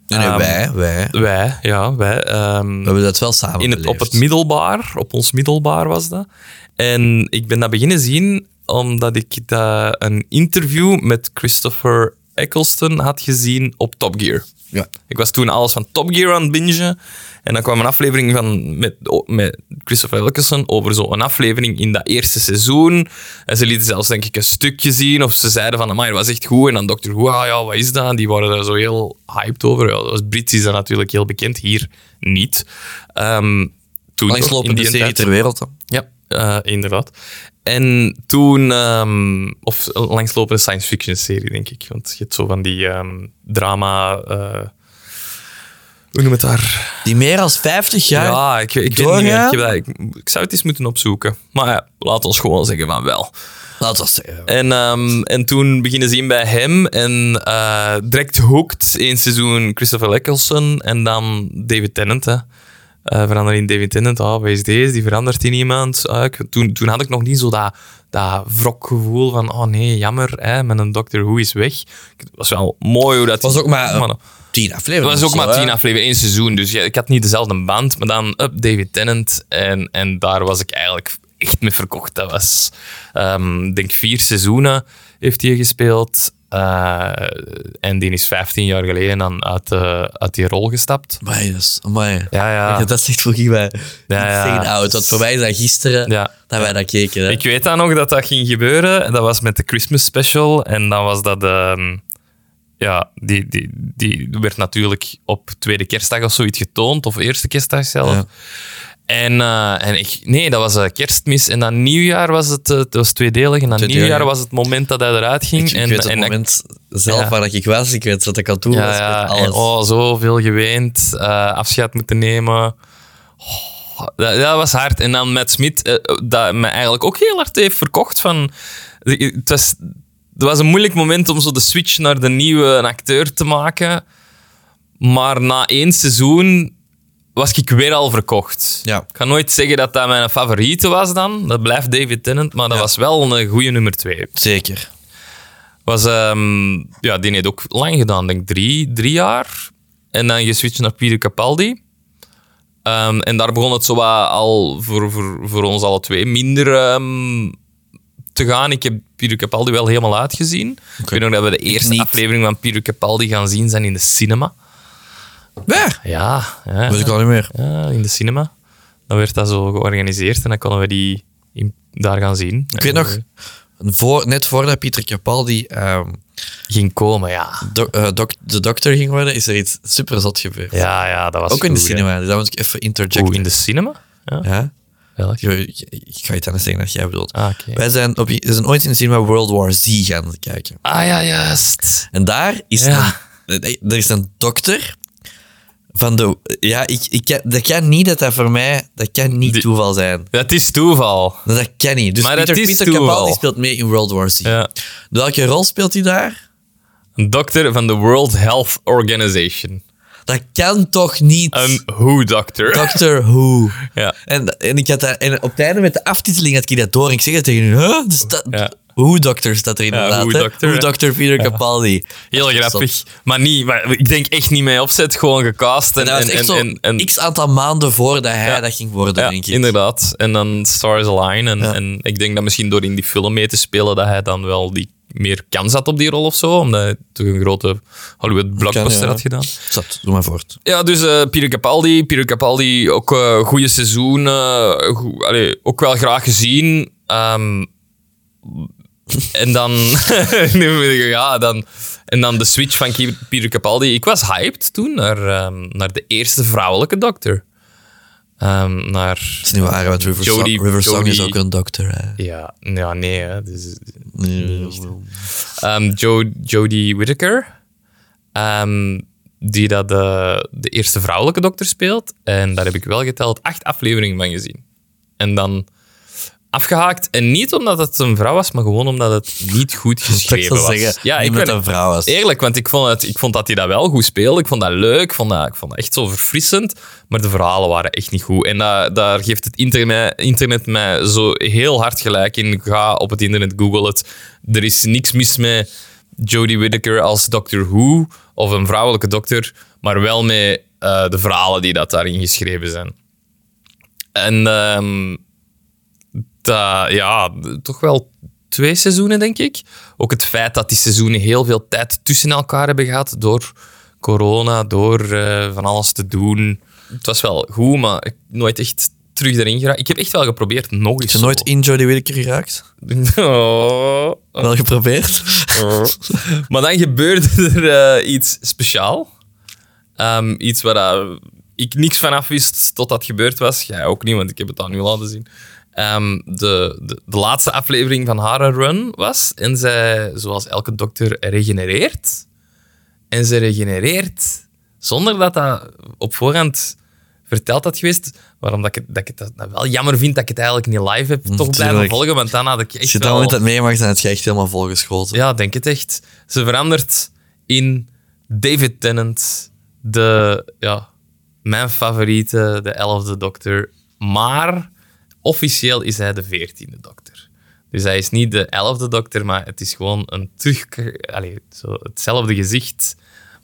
Speaker 1: Nee, nee,
Speaker 2: Ehm,
Speaker 1: wij, wij. We
Speaker 2: Wij, ja, wij. ehm,
Speaker 1: hebben dat wel samen
Speaker 2: in het, op
Speaker 1: beleefd.
Speaker 2: het middelbaar, op ons middelbaar was dat. En ik ben dat beginnen zien omdat ik dat, een interview met Christopher Eccleston had gezien op Top Gear.
Speaker 1: Ja.
Speaker 2: Ik was toen alles van Top Gear aan het bingen. En dan kwam een aflevering van, met, o- met Christopher Wilkinson over zo'n aflevering in dat eerste seizoen. En ze lieten zelfs, denk ik, een stukje zien. Of ze zeiden van, maar dat was echt goed. En dan Dr. Who, ah ja, wat is dat? En die waren daar zo heel hyped over. Ja, dat was Brits is dat natuurlijk heel bekend. Hier niet. Ehm toen in
Speaker 1: Langslopende
Speaker 2: die
Speaker 1: serie
Speaker 2: tijd-
Speaker 1: ter wereld. hè.
Speaker 2: ja, eh, inderdaad. En toen, ehm, of een langslopende science fiction serie, denk ik. Want je hebt zo van die ehm, drama. eh, hoe noem het daar?
Speaker 1: Die meer dan 50 jaar. Nou,
Speaker 2: ja, ik, ik, weet niet, meer. ik, heb dat- ik, ik zou het eens moeten opzoeken. Maar ja, laat ons gewoon zeggen van wel.
Speaker 1: Laten we dat eh, zeggen.
Speaker 2: En, ehm, en toen beginnen ze in bij hem. En eh, direct hooked één seizoen Christopher Eccleston en dan David Tennant. Hè. Eh, verander in David Tennant. Ah, wie is deze? Die verandert in iemand. Ah, ik- toen, toen had ik nog niet zo dat, dat wrokgevoel van... Oh nee, jammer, hè, met een Doctor Who is weg. Het was wel mooi hoe dat...
Speaker 1: was ook maar, eh,
Speaker 2: Man,
Speaker 1: Tien
Speaker 2: het
Speaker 1: afleveringen.
Speaker 2: was ook
Speaker 1: of zo,
Speaker 2: maar
Speaker 1: hè.
Speaker 2: tien afleveringen, één seizoen. Dus ja, ik had niet dezelfde band. Maar dan up David Tennant. En, en daar was ik eigenlijk echt mee verkocht. Dat was, ehm, ik denk vier seizoenen heeft hij gespeeld. Eh, en die is 15 jaar geleden dan uit, eh, uit die rol gestapt.
Speaker 1: Amai, dat is- amai.
Speaker 2: Ja, ja.
Speaker 1: Dat- Dat zegt vroeg ik bij.
Speaker 2: ja.
Speaker 1: Insane oud. Want voor mij is dat gisteren
Speaker 2: Ja.
Speaker 1: dat wij dat keken. Hè.
Speaker 2: Ik weet dan nog dat dat ging gebeuren. En dat was met de Christmas special. En dan was dat... ehm, ja, die, die, die werd natuurlijk op tweede kerstdag of zoiets getoond. Of eerste kerstdag zelf.
Speaker 1: Ja.
Speaker 2: En, eh, en ik, nee, dat was eh, kerstmis. En dan nieuwjaar was het, eh, het was tweedelig. En dan
Speaker 1: Tweedelig,
Speaker 2: nieuwjaar
Speaker 1: ja.
Speaker 2: was het moment dat hij eruit
Speaker 1: Ik-
Speaker 2: ging.
Speaker 1: ik
Speaker 2: en,
Speaker 1: weet op het
Speaker 2: en dat-
Speaker 1: moment zelf
Speaker 2: Ja.
Speaker 1: waar ik was. Ik weet wat ik aan het doen was.
Speaker 2: ja,
Speaker 1: Ik
Speaker 2: ja,
Speaker 1: weet alles.
Speaker 2: en oh, zoveel geweend. eh, afscheid moeten nemen. Oh, dat, dat was hard. En dan met Smit, eh, dat me eigenlijk ook heel hard heeft verkocht. Van, het was Het was een moeilijk moment om zo de switch naar de nieuwe acteur te maken. Maar na één seizoen was ik weer al verkocht.
Speaker 1: Ja.
Speaker 2: Ik ga nooit zeggen dat dat mijn favoriete was dan. Dat blijft David Tennant, maar dat was wel een goede nummer twee.
Speaker 1: Zeker.
Speaker 2: Was, ehm, ja, die heeft ook lang gedaan, denk ik drie, drie jaar. En dan geswitcht naar Peter Capaldi. Ehm, en daar begon het zo wat al voor, voor, voor ons alle twee minder ehm, te gaan. Ik heb Peter Capaldi wel helemaal uitgezien. Ik weet nog dat we de eerste
Speaker 1: niet.
Speaker 2: aflevering van Peter Capaldi gaan zien zijn in de cinema.
Speaker 1: Waar?
Speaker 2: Ja, ja,
Speaker 1: Weet ik al niet meer.
Speaker 2: ja, in de cinema. Dan werd dat zo georganiseerd en dan konden we die in- daar gaan zien.
Speaker 1: Ik weet nog, voor, net voordat Pieter Capaldi ehm,
Speaker 2: Ging komen, ja.
Speaker 1: do- eh, dok- de dokter ging worden, is er iets super zot gebeurd.
Speaker 2: Ja, ja, dat was
Speaker 1: Ook in de
Speaker 2: goed, hè.
Speaker 1: cinema, dus dat moet ik even
Speaker 2: Oeh, in
Speaker 1: interjecten.
Speaker 2: de cinema? Ja.
Speaker 1: Ja?
Speaker 2: Welk?
Speaker 1: Ik, ik, ik ga iets anders zeggen dat jij bedoelt.
Speaker 2: Ah, oké.
Speaker 1: Wij zijn, op, we zijn ooit in de cinema World War Z gaan kijken.
Speaker 2: Ah ja, juist.
Speaker 1: En daar is,
Speaker 2: Ja.
Speaker 1: een, er is een dokter van de... Ja, ik, ik, dat kan niet dat dat voor mij... Dat kan niet
Speaker 2: Die-
Speaker 1: toeval zijn.
Speaker 2: Dat is toeval.
Speaker 1: Dat kan niet. Dus
Speaker 2: Maar dat
Speaker 1: Peter,
Speaker 2: is
Speaker 1: Peter
Speaker 2: toeval.
Speaker 1: Capaldi speelt mee in World War Z.
Speaker 2: Ja.
Speaker 1: Welke rol speelt hij daar?
Speaker 2: Een dokter van de World Health Organization.
Speaker 1: Dat kan toch niet?
Speaker 2: Een WHO-dokter.
Speaker 1: Doctor Who.
Speaker 2: Ja.
Speaker 1: En, en, ik had dat, en op het einde met de aftiteling had ik dat door. En ik zeg het tegen u. Huh? Dus dat,
Speaker 2: Ja.
Speaker 1: Who Doctor staat er inderdaad.
Speaker 2: Who
Speaker 1: hè?
Speaker 2: Doctor,
Speaker 1: Who
Speaker 2: hè?
Speaker 1: Doctor Peter Capaldi.
Speaker 2: Heel
Speaker 1: Dat is zot.
Speaker 2: grappig. Maar, niet, maar ik denk echt niet mee opzet. Gewoon gecast. En,
Speaker 1: En dat was
Speaker 2: en,
Speaker 1: echt
Speaker 2: en,
Speaker 1: zo
Speaker 2: en, en-
Speaker 1: x aantal maanden voordat hij dat ging worden,
Speaker 2: ja,
Speaker 1: denk ik.
Speaker 2: inderdaad. En dan Stars Align. En, en ik denk dat misschien door in die film mee te spelen, dat hij dan wel die, meer kans had op die rol of zo. Omdat hij toch een grote Hollywood-blockbuster
Speaker 1: ja.
Speaker 2: had gedaan.
Speaker 1: Zot, doe maar voort.
Speaker 2: Ja, dus eh Piero Capaldi. Piero Capaldi, ook een goede seizoen. eh, goe- allee, ook wel graag gezien. Ehm, en dan... nu moet ik- ja, dan... En dan de switch van Ki- Piero Capaldi. Ik was hyped toen naar, ehm, naar de eerste vrouwelijke dokter. Ehm, naar...
Speaker 1: Dat is niet waar, want River,
Speaker 2: Jodie-
Speaker 1: Song, River Song is
Speaker 2: Jodie-
Speaker 1: ook een dokter. Hè.
Speaker 2: Ja, ja nee. Hè, dus, Ehm, Jo- Jodie Whittaker. ehm, die dat de, de eerste vrouwelijke dokter speelt. En daar heb ik wel geteld acht afleveringen van gezien. En dan afgehaakt. En niet omdat het een vrouw was, maar gewoon omdat het niet goed
Speaker 1: Ik
Speaker 2: geschreven
Speaker 1: zou
Speaker 2: was.
Speaker 1: zeggen,
Speaker 2: ja, ik
Speaker 1: met
Speaker 2: ben-
Speaker 1: een vrouw was.
Speaker 2: Eerlijk, want ik vond, het, ik vond dat hij dat wel goed speelde. Ik vond dat leuk. Ik vond dat, ik vond dat echt zo verfrissend. Maar de verhalen waren echt niet goed. En dat, daar geeft het internet, internet mij zo heel hard gelijk in. Ga op het internet, google het. Er is niks mis met Jodie Whittaker als Doctor Who of een vrouwelijke dokter. Maar wel met eh, de verhalen die dat daarin geschreven zijn. En ehm, dat, ja, d- toch wel twee seizoenen, denk ik. Ook het feit dat die seizoenen heel veel tijd tussen elkaar hebben gehad door corona, door eh, van alles te doen. Het was wel goed, maar ik nooit echt terug erin geraakt. Ik heb echt wel geprobeerd nog eens.
Speaker 1: Heb je nooit in Jodie Whittaker geraakt?
Speaker 2: Oh.
Speaker 1: Wel geprobeerd?
Speaker 2: Maar dan gebeurde er eh, iets speciaal. Ehm, iets waar eh, ik niks van af wist tot dat gebeurd was. Jij ook niet, want ik heb het aan u laten zien. Ehm, de, de, de laatste aflevering van haar run was. En zij, zoals elke dokter, regenereert. En ze regenereert zonder dat dat op voorhand verteld had geweest. Waarom dat ik, het- dat ik het dat wel jammer vind dat ik het eigenlijk niet live heb toch blijven
Speaker 1: tuurlijk.
Speaker 2: volgen. Want dan had ik echt
Speaker 1: Als je dat
Speaker 2: wel-
Speaker 1: moment dat meemaakt, dan had je echt helemaal volgeschoten.
Speaker 2: ja, denk het echt. Ze verandert in David Tennant, de, ja, mijn favoriete, de elfde dokter. Maar officieel is hij de veertiende dokter. Dus hij is niet de elfde dokter, maar het is gewoon een terug... Allee, zo hetzelfde gezicht,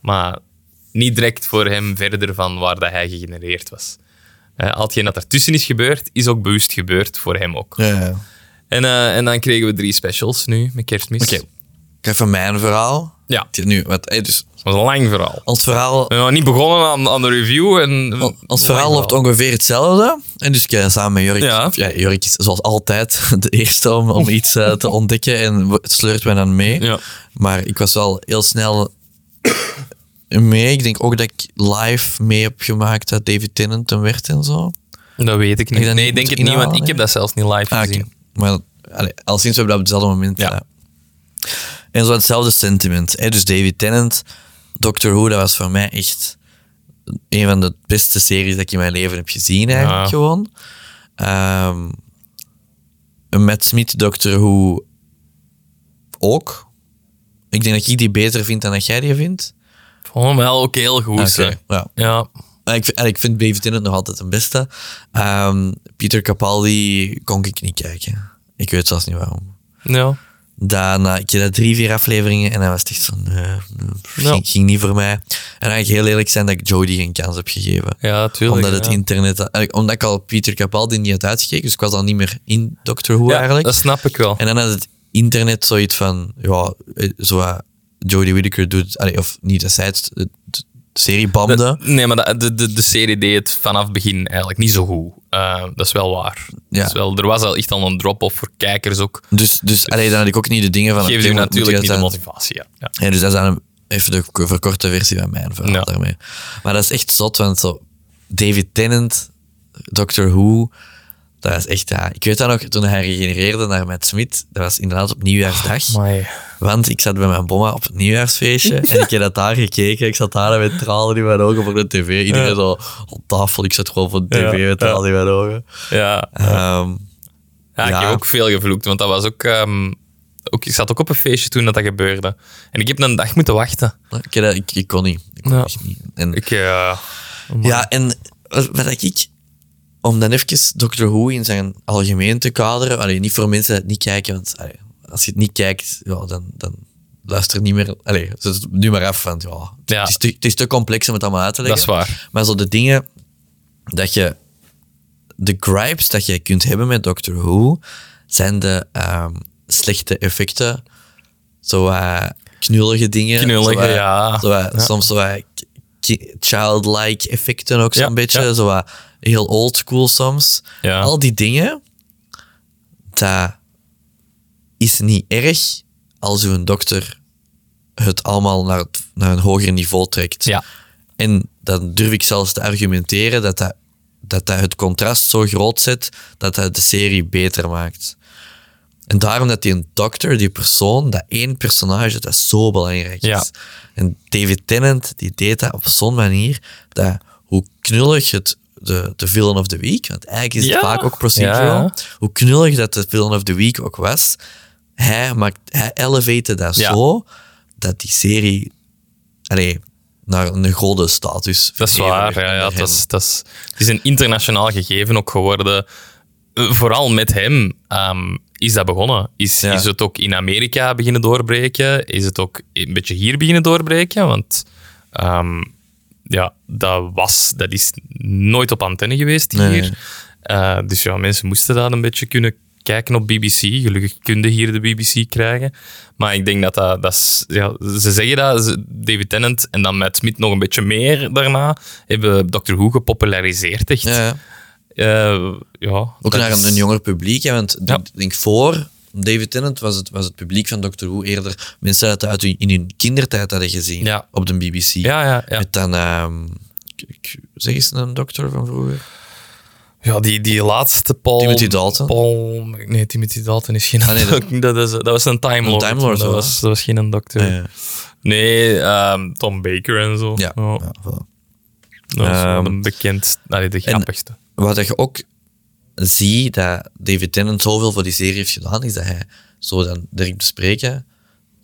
Speaker 2: maar niet direct voor hem verder van waar dat hij gegenereerd was. Eh, al hetgeen dat ertussen is gebeurd, is ook bewust gebeurd voor hem ook.
Speaker 1: Ja, ja.
Speaker 2: En, eh, en dan kregen we drie specials nu, met kerstmis.
Speaker 1: Oké. Ik heb van mijn verhaal.
Speaker 2: Ja,
Speaker 1: Die- Nu, wat, hey, dus
Speaker 2: dat was een lang verhaal.
Speaker 1: ons verhaal,
Speaker 2: We zijn nog niet begonnen aan, aan de review. En,
Speaker 1: ons verhaal loopt ongeveer hetzelfde. En dus ik, eh, samen met Jorik.
Speaker 2: Ja.
Speaker 1: of Ja, Jorik is zoals altijd de eerste om, om iets eh, te ontdekken. En w- sleurt mij dan mee.
Speaker 2: Ja.
Speaker 1: Maar ik was wel heel snel mee. Ik denk ook dat ik live mee heb gemaakt dat David Tennant hem werd en zo.
Speaker 2: Dat weet ik niet.
Speaker 1: dat
Speaker 2: nee,
Speaker 1: niet
Speaker 2: ik denk
Speaker 1: moet
Speaker 2: het niet, want
Speaker 1: inhalen,
Speaker 2: ik heb dat zelfs niet live
Speaker 1: Ah, oké.
Speaker 2: gezien.
Speaker 1: Maar allee, al sinds we hebben dat op hetzelfde moment
Speaker 2: Ja.
Speaker 1: gedaan. En zo hetzelfde sentiment. Hè? Dus David Tennant, Doctor Who, dat was voor mij echt een van de beste series dat ik in mijn leven heb gezien eigenlijk
Speaker 2: Ja.
Speaker 1: gewoon. Ehm Matt Smith, Doctor Who ook. Ik denk dat ik die beter vind dan dat jij die vindt.
Speaker 2: Vond hem wel ook heel goed.
Speaker 1: Ah, Oké,
Speaker 2: hè.
Speaker 1: ja.
Speaker 2: Ja,
Speaker 1: En ik, en ik vind Beavis in het nog altijd een beste. Ehm Pieter Capaldi kon ik niet kijken. Ik weet zelfs niet waarom.
Speaker 2: ja.
Speaker 1: Daarna, ik deed dat drie, vier afleveringen en dan was het echt zo, nee, nee,
Speaker 2: Ja.
Speaker 1: ging, ging niet voor mij. En dan ga ik heel eerlijk zijn dat ik Jodie geen kans heb gegeven.
Speaker 2: Ja, tuurlijk.
Speaker 1: omdat het
Speaker 2: ja.
Speaker 1: internet, eigenlijk, omdat ik al Pieter Capaldi niet had uitgekeken, dus ik was al niet meer in Doctor Who
Speaker 2: Ja,
Speaker 1: eigenlijk.
Speaker 2: dat snap ik wel.
Speaker 1: En dan had het internet zoiets van, ja, eh, zo wat Jodie Whittaker doet, allee, of niet, dat zij het, de de serie bamde.
Speaker 2: Dat- Eh, nee, maar dat- de, de, de serie deed het vanaf het begin eigenlijk niet zo goed. Eh, dat is wel waar.
Speaker 1: Ja.
Speaker 2: Dat is wel, er was al echt al een drop-off voor kijkers ook.
Speaker 1: Dus, dus allee, dan had ik ook niet de dingen van...
Speaker 2: Geeft
Speaker 1: oké,
Speaker 2: u
Speaker 1: moet- moet
Speaker 2: natuurlijk
Speaker 1: jij
Speaker 2: niet de
Speaker 1: zijn-
Speaker 2: motivatie. Ja. Ja.
Speaker 1: Ja, dus dat is dan een- even de k- verkorte versie van mijn verhaal
Speaker 2: Ja.
Speaker 1: daarmee. Maar dat is echt zot, want zo David Tennant, Doctor Who, dat is echt... Ja, ik weet dat nog, toen hij regenereerde naar Matt Smith, dat was inderdaad op Nieuwjaarsdag.
Speaker 2: Oh,
Speaker 1: want ik zat bij mijn bomma op het Nieuwjaarsfeestje en ik heb dat daar gekeken. Ik zat daar met tralen in mijn ogen voor de tv. Iedereen zo op tafel, ik zat gewoon voor de tv
Speaker 2: Ja,
Speaker 1: met
Speaker 2: ja.
Speaker 1: tralen in mijn ogen.
Speaker 2: Ja.
Speaker 1: Ehm,
Speaker 2: Ja,
Speaker 1: Ja.
Speaker 2: ik heb ook veel gevloekt, want dat was ook, ehm, ook... Ik zat ook op een feestje toen dat, dat gebeurde. En ik heb een dag moeten wachten.
Speaker 1: ik, heb dat- ik, ik kon niet. Ik kon
Speaker 2: Ja.
Speaker 1: echt niet. En,
Speaker 2: Ik, eh,
Speaker 1: Ja, en wat wat ik, om dan even Doctor Who in zijn algemeen te kaderen, allee, niet voor mensen die het niet kijken, want allee, als je het niet kijkt, ja, dan, dan luister niet meer, allee, zet het nu maar af, want ja,
Speaker 2: Ja.
Speaker 1: Het, is te, het is te complex om het allemaal uit te
Speaker 2: dat
Speaker 1: leggen.
Speaker 2: is waar.
Speaker 1: Maar zo de dingen dat je, de gripes dat je kunt hebben met Doctor Who, zijn de ehm, slechte effecten, zo eh, knullige dingen.
Speaker 2: Knullige,
Speaker 1: zo, eh,
Speaker 2: ja.
Speaker 1: zo wat- Soms zo wat ki- childlike effecten ook zo'n
Speaker 2: Ja,
Speaker 1: beetje.
Speaker 2: ja.
Speaker 1: Zo wat heel old school soms.
Speaker 2: Ja.
Speaker 1: Al die dingen, dat is niet erg als uw dokter het allemaal naar, het- naar een hoger niveau trekt.
Speaker 2: Ja.
Speaker 1: En dan durf ik zelfs te argumenteren dat dat, dat, dat het contrast zo groot zet dat dat de serie beter maakt. En daarom dat die een dokter, die persoon, dat één personage, dat dat zo belangrijk is.
Speaker 2: Ja.
Speaker 1: En David Tennant, die deed dat op zo'n manier dat hoe knullig het de, de villain of the week, want eigenlijk is het
Speaker 2: Ja.
Speaker 1: vaak ook procedural,
Speaker 2: Ja.
Speaker 1: hoe knullig dat de villain of the week ook was, hij, maakt, hij elevate dat
Speaker 2: Ja.
Speaker 1: zo dat die serie allee, naar een godenstatus
Speaker 2: Dat is
Speaker 1: verheven
Speaker 2: waar,
Speaker 1: werd
Speaker 2: ja, ja,
Speaker 1: onder
Speaker 2: dat
Speaker 1: hem.
Speaker 2: is, dat is, het is een internationaal gegeven ook geworden. Eh, Vooral met hem ehm, is dat begonnen. Is,
Speaker 1: Ja.
Speaker 2: is het ook in Amerika beginnen doorbreken? Is het ook een beetje hier beginnen doorbreken? Want ehm, ja, dat, was, dat is nooit op antenne geweest hier.
Speaker 1: Nee.
Speaker 2: Eh, dus ja, mensen moesten dat een beetje kunnen kijken op BBC. Gelukkig konden hier de BBC krijgen. Maar ik denk dat dat... dat is- ja, ze zeggen dat, ze- David Tennant en dan met Smith nog een beetje meer daarna, hebben Doctor Who gepopulariseerd echt.
Speaker 1: Ja, ja.
Speaker 2: Eh, ja,
Speaker 1: Ook
Speaker 2: dat
Speaker 1: naar een,
Speaker 2: is-
Speaker 1: een jonger publiek. Hè, want
Speaker 2: Ja.
Speaker 1: ik denk voor David Tennant was het, was het publiek van Doctor Who eerder mensen dat uit hun, in hun kindertijd hadden gezien
Speaker 2: Ja.
Speaker 1: op de BBC.
Speaker 2: Ja, ja, ja.
Speaker 1: Met dan, ehm, k- k- zeg eens een dokter van vroeger.
Speaker 2: ja die, die laatste Paul...
Speaker 1: Timothy Dalton.
Speaker 2: Paul... Nee, Timothy Dalton is geen...
Speaker 1: Ah, nee, dat-
Speaker 2: dat, is, dat was een Time
Speaker 1: Een
Speaker 2: Lord.
Speaker 1: Time Lord,
Speaker 2: dat,
Speaker 1: wel,
Speaker 2: was, dat was geen een dokter.
Speaker 1: Ja, ja.
Speaker 2: Nee, ehm, Tom Baker en zo.
Speaker 1: Ja,
Speaker 2: Oh,
Speaker 1: ja, voilà.
Speaker 2: dat is wel
Speaker 1: Ehm,
Speaker 2: een bekend... Allee, de grappigste.
Speaker 1: Wat je ook ziet, dat David Tennant zoveel voor die serie heeft gedaan, is dat hij, zo dan direct bespreken,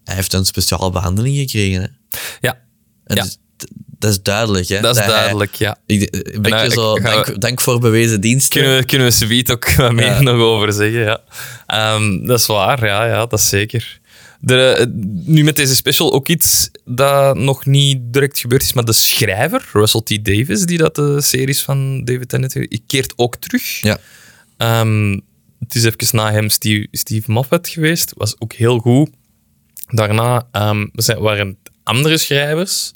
Speaker 1: hij heeft een speciale behandeling gekregen. Hè.
Speaker 2: ja,
Speaker 1: En
Speaker 2: Ja.
Speaker 1: dus d- dat is duidelijk. Hè,
Speaker 2: dat is
Speaker 1: hij-
Speaker 2: duidelijk, ja.
Speaker 1: Ik, eh, een beetje
Speaker 2: nou, ik-
Speaker 1: zo,
Speaker 2: gaan
Speaker 1: dank,
Speaker 2: we-
Speaker 1: dank voor bewezen diensten.
Speaker 2: Kunnen we, kunnen we subiet ook wat meer
Speaker 1: Ja.
Speaker 2: nog over zeggen, ja. Ehm, dat is waar, ja, ja, dat is zeker. Er, eh, nu met deze special ook iets dat nog niet direct gebeurd is, maar de schrijver, Russell T. Davis, die dat de series van David Tennant heeft, keert ook terug.
Speaker 1: Ja.
Speaker 2: Ehm, het is even na hem Steve, Steve Moffat geweest, was ook heel goed. Daarna ehm, zijn, waren het andere schrijvers,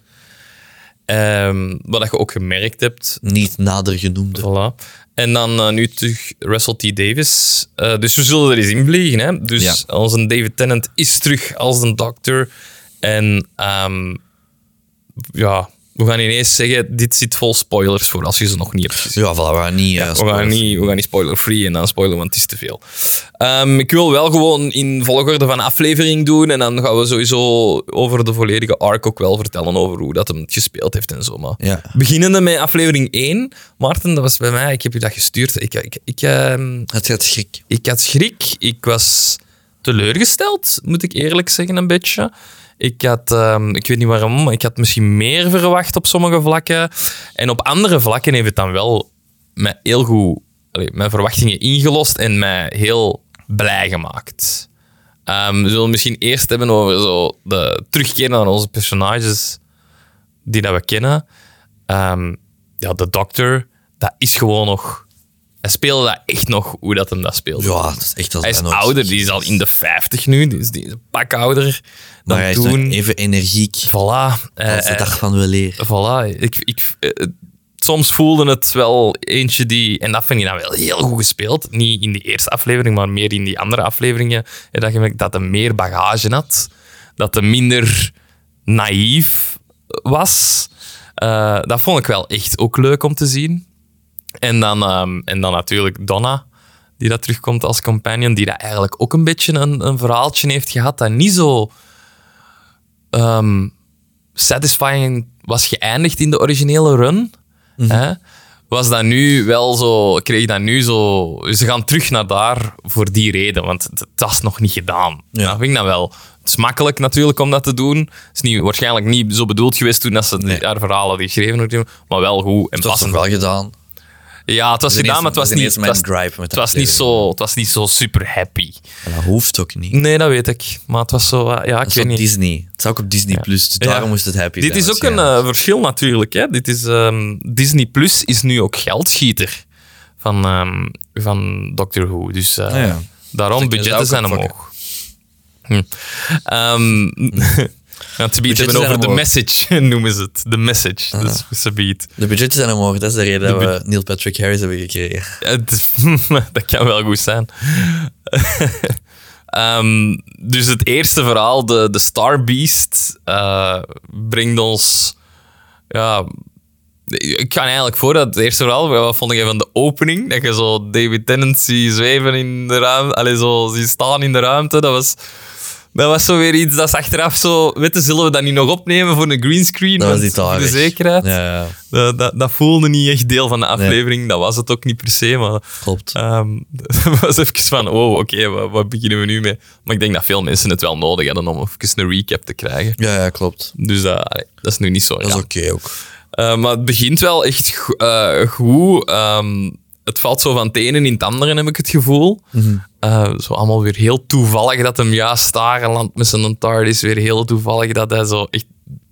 Speaker 2: Ehm, wat dat je ook gemerkt hebt,
Speaker 1: Niet nader genoemde.
Speaker 2: Voilà. En dan eh, nu terug Russell T. Davis. Eh, dus we zullen er eens in vliegen. Hè? Dus onze David Tennant is terug als een dokter. En ehm, ja, we gaan ineens zeggen, dit zit vol spoilers voor als je ze nog niet hebt gezien.
Speaker 1: Ja, voilà, we gaan niet... eh,
Speaker 2: We
Speaker 1: spoilers.
Speaker 2: gaan, niet, we gaan niet spoiler-free en dan spoilen, want het is te veel. Ehm, ik wil wel gewoon in volgorde van aflevering doen. En dan gaan we sowieso over de volledige arc ook wel vertellen over hoe dat hem het gespeeld heeft en zo. Maar
Speaker 1: Ja.
Speaker 2: Beginnende met aflevering 1. Maarten, dat was bij mij. Ik heb je dat gestuurd. Ik, ik, ik, ehm,
Speaker 1: Het gaat schrik.
Speaker 2: ik had schrik. Ik was teleurgesteld, moet ik eerlijk zeggen, een beetje. Ik had, ehm, ik weet niet waarom, maar ik had misschien meer verwacht op sommige vlakken. En op andere vlakken heeft het dan wel mij heel goed, allee, mijn verwachtingen ingelost en mij heel blij gemaakt. Ehm, we zullen misschien eerst hebben over zo de terugkeer naar onze personages die dat we kennen. Ehm, ja, de dokter, dat is gewoon nog... Hij speelde dat echt nog hoe dat hem dat speelde.
Speaker 1: Ja, dat is echt als
Speaker 2: Hij is
Speaker 1: bijna nooit.
Speaker 2: ouder, die is al in de 50 nu, die is, die is een pak ouder dan
Speaker 1: Maar hij is nog
Speaker 2: toen.
Speaker 1: even energiek
Speaker 2: Voilà. eh,
Speaker 1: als de
Speaker 2: eh,
Speaker 1: dag van weleer.
Speaker 2: voilà. Ik, ik, eh, soms voelde het wel eentje die, en dat vind ik dan wel heel goed gespeeld, niet in die eerste aflevering, maar meer in die andere afleveringen, En dat je merkt dat hij meer bagage had, dat hij minder naïef was. Eh, dat vond ik wel echt ook leuk om te zien. En dan, ehm, en dan natuurlijk Donna, die dat terugkomt als companion, die dat eigenlijk ook een beetje een, een verhaaltje heeft gehad dat niet zo ehm, satisfying was geëindigd in de originele run.
Speaker 1: Mhm.
Speaker 2: hè, was dat nu wel zo, kreeg dat nu zo, ze gaan terug naar daar voor die reden, want het, het was nog niet gedaan.
Speaker 1: Ja.
Speaker 2: Dat vind ik dan wel. Het is makkelijk natuurlijk om dat te doen. Het is niet, waarschijnlijk niet zo bedoeld geweest toen dat ze die- haar verhalen hadden geschreven, hadden, maar wel goed en
Speaker 1: Dat was nog
Speaker 2: passend.
Speaker 1: wel gedaan.
Speaker 2: Ja, het was
Speaker 1: Dat is
Speaker 2: gedaan, maar het
Speaker 1: ineens- dat is
Speaker 2: was niet, het
Speaker 1: ineens
Speaker 2: was,
Speaker 1: mijn gripe met
Speaker 2: het
Speaker 1: de
Speaker 2: was niet
Speaker 1: aflevering.
Speaker 2: zo, het was niet zo super happy.
Speaker 1: En dat hoeft ook niet.
Speaker 2: Nee, dat weet ik. Maar het was zo, eh, ja, ik
Speaker 1: Dat is
Speaker 2: weet
Speaker 1: op
Speaker 2: niet.
Speaker 1: Disney. Het is ook op Disney+. Plus, dus daarom
Speaker 2: Ja.
Speaker 1: moest het happy
Speaker 2: Dit
Speaker 1: zijn, dus
Speaker 2: is ook een
Speaker 1: waarschijnlijk.
Speaker 2: eh, verschil natuurlijk. Hè? Dit is, ehm, Disney Plus is nu ook geldschieter van, ehm, van Doctor Who. Dus eh,
Speaker 1: Ah, ja.
Speaker 2: daarom,
Speaker 1: kunnen ze
Speaker 2: budgetten
Speaker 1: dat ook
Speaker 2: zijn omhoog. Hm. Ehm ja, te bieden
Speaker 1: Budgetten
Speaker 2: hebben
Speaker 1: zijn
Speaker 2: over de
Speaker 1: omhoog.
Speaker 2: message, noemen ze het. De message. Dus ze biedt.
Speaker 1: De budgetten zijn omhoog. Dat is de reden dat we Neil Patrick Harris hebben gekregen.
Speaker 2: Ja, het is- dat kan wel goed zijn. Ehm, dus het eerste verhaal, de, de Star Beast, eh, brengt ons. Ja, ik ga eigenlijk voor dat het eerste verhaal, wat vond ik van de opening? Dat je zo David Tennant ziet zweven in de ruimte, allee, zo ziet staan in de ruimte. Dat was, dat was zo weer iets dat is achteraf zo. Weet je, zullen we dat niet nog opnemen voor een greenscreen?
Speaker 1: Dat was
Speaker 2: Want
Speaker 1: niet
Speaker 2: voor
Speaker 1: daar.
Speaker 2: de zekerheid.
Speaker 1: Ja, ja,
Speaker 2: Dat, Eh, dat, dat voelde niet echt deel van de aflevering. Dat was het ook niet per se. Maar
Speaker 1: klopt.
Speaker 2: Ehm, dat was even van, oh, oké, wa- wat beginnen we nu mee? Maar ik denk dat veel mensen het wel nodig hadden om even een recap te krijgen.
Speaker 1: Ja, ja, klopt.
Speaker 2: Dus dat, allee, dat is nu niet zo.
Speaker 1: Dat is
Speaker 2: raar.
Speaker 1: oké ook.
Speaker 2: Eh, maar het begint wel echt go- eh, goed. Ehm, het valt zo van het ene in het andere, heb ik het gevoel.
Speaker 1: Mhm.
Speaker 2: Eh, zo allemaal weer heel toevallig dat hem juist daar landt met zijn TARDIS. Weer heel toevallig dat hij zo echt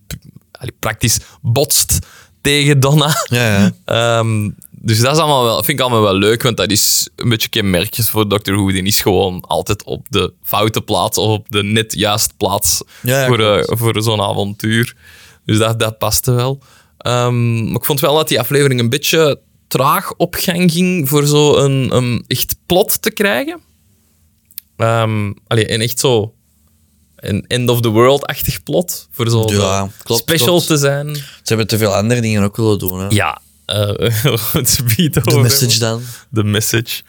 Speaker 2: p- allee, praktisch botst tegen Donna.
Speaker 1: Ja, ja.
Speaker 2: Ehm, dus dat is allemaal wel, vind ik allemaal wel leuk, want dat is een beetje kenmerkjes voor Doctor Who. Die is gewoon altijd op de foute plaats of op de net juiste plaats
Speaker 1: Ja, ja,
Speaker 2: voor, eh, voor zo'n avontuur. Dus dat, dat paste wel. Ehm, maar ik vond wel dat die aflevering een beetje traag op gang ging voor zo'n een, een echt plot te krijgen. Ehm allee, en echt zo een end-of-the-world-achtig plot voor zo'n
Speaker 1: Ja,
Speaker 2: eh,
Speaker 1: klopt,
Speaker 2: special
Speaker 1: klopt.
Speaker 2: te zijn.
Speaker 1: Ze hebben te veel andere dingen ook willen doen. Hè.
Speaker 2: Ja, eh het biedt
Speaker 1: De message dan.
Speaker 2: De message.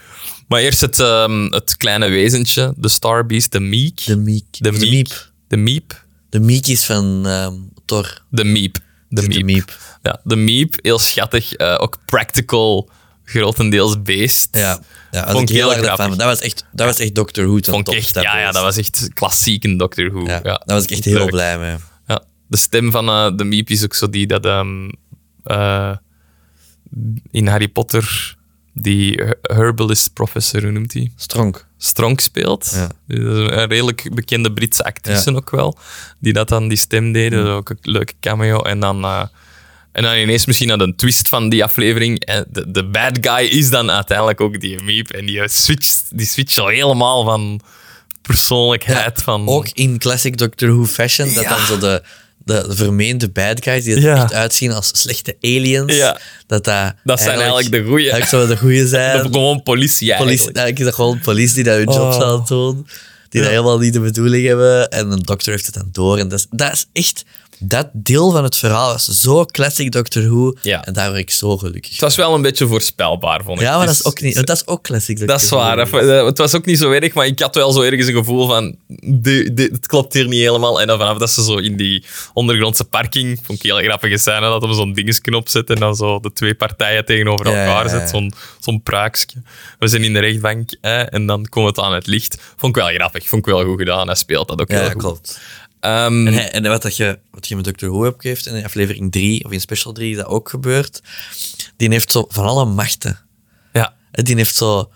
Speaker 2: Maar eerst het, ehm, het kleine wezentje, de Starbeast, de Meek.
Speaker 1: De Meek.
Speaker 2: De
Speaker 1: Of De
Speaker 2: Meek.
Speaker 1: Meep.
Speaker 2: De Meep.
Speaker 1: De Meek is van ehm Thor.
Speaker 2: De Meep. De
Speaker 1: De
Speaker 2: Meep.
Speaker 1: Meep.
Speaker 2: Ja, de Meep, heel schattig. eh, ook practical, grotendeels beest.
Speaker 1: Ja. ja als
Speaker 2: Vond
Speaker 1: ik
Speaker 2: ik
Speaker 1: heel
Speaker 2: heel
Speaker 1: erg
Speaker 2: grappig.
Speaker 1: van. Dat was echt, dat was echt Doctor Who ten
Speaker 2: Vond ik
Speaker 1: top.
Speaker 2: echt, ja, ja, dat was echt klassiek in Doctor Who.
Speaker 1: Ja,
Speaker 2: Ja,
Speaker 1: Daar was ik echt heel
Speaker 2: Leuk.
Speaker 1: blij mee.
Speaker 2: Ja, de stem van eh, de Meep is ook zo die dat ehm, eh, in Harry Potter, die her- herbalist professor, hoe noemt hij?
Speaker 1: Stronk.
Speaker 2: Stronk speelt.
Speaker 1: Ja.
Speaker 2: Dus dat is Een redelijk bekende Britse actrice ook wel. Die dat dan die stem deden.
Speaker 1: Mm.
Speaker 2: Dat is Ook een leuke cameo. En dan, eh, en dan ineens misschien aan een twist van die aflevering. En de, de bad guy is dan uiteindelijk ook die Meep. En die switcht, die switcht al helemaal van persoonlijkheid. van,
Speaker 1: Ook in classic Doctor Who fashion, dat dan zo de, de vermeende bad guys, die er
Speaker 2: Ja.
Speaker 1: echt uitzien als slechte aliens,
Speaker 2: Ja.
Speaker 1: dat, dat,
Speaker 2: dat zijn eigenlijk de goeie.
Speaker 1: eigenlijk zouden de goeie zijn.
Speaker 2: Of gewoon politie eigenlijk.
Speaker 1: eh,
Speaker 2: Oh.
Speaker 1: politie, eigenlijk is dat gewoon politie die dat hun job zouden doen. Die dat helemaal niet de bedoeling hebben. En een dokter heeft het dan door. En dat, is, dat is echt... Dat deel van het verhaal was zo classic Doctor Who.
Speaker 2: Ja.
Speaker 1: En daar word ik zo gelukkig
Speaker 2: Het was wel een beetje voorspelbaar, vond ik.
Speaker 1: Ja, maar
Speaker 2: Het
Speaker 1: dat is ook niet... want Dat is ook classic Doctor
Speaker 2: Dat is waar.
Speaker 1: Who.
Speaker 2: hè. Eh, Het was ook niet zo erg, maar ik had wel zo ergens een gevoel van... de- de- het klopt hier niet helemaal. En dan vanaf dat ze zo in die ondergrondse parking... Vond ik heel grappige scène, dat we zo'n dingesknop zetten en dan zo de twee partijen tegenover
Speaker 1: Ja,
Speaker 2: elkaar
Speaker 1: ja, ja.
Speaker 2: zetten. Zo'n zo'n pruikske. We zijn in de rechtbank hè, en dan komt het aan het licht. Vond ik wel grappig. Vond ik wel goed gedaan. Hij speelt dat ook
Speaker 1: Ja,
Speaker 2: heel goed.
Speaker 1: klopt.
Speaker 2: Ehm, Ehm,
Speaker 1: En, hij- en wat, dat je, wat je met Dr. Who hebt geeft, en in aflevering 3 of in special 3 dat ook gebeurt, die heeft zo van alle machten.
Speaker 2: ja,
Speaker 1: Die heeft zo...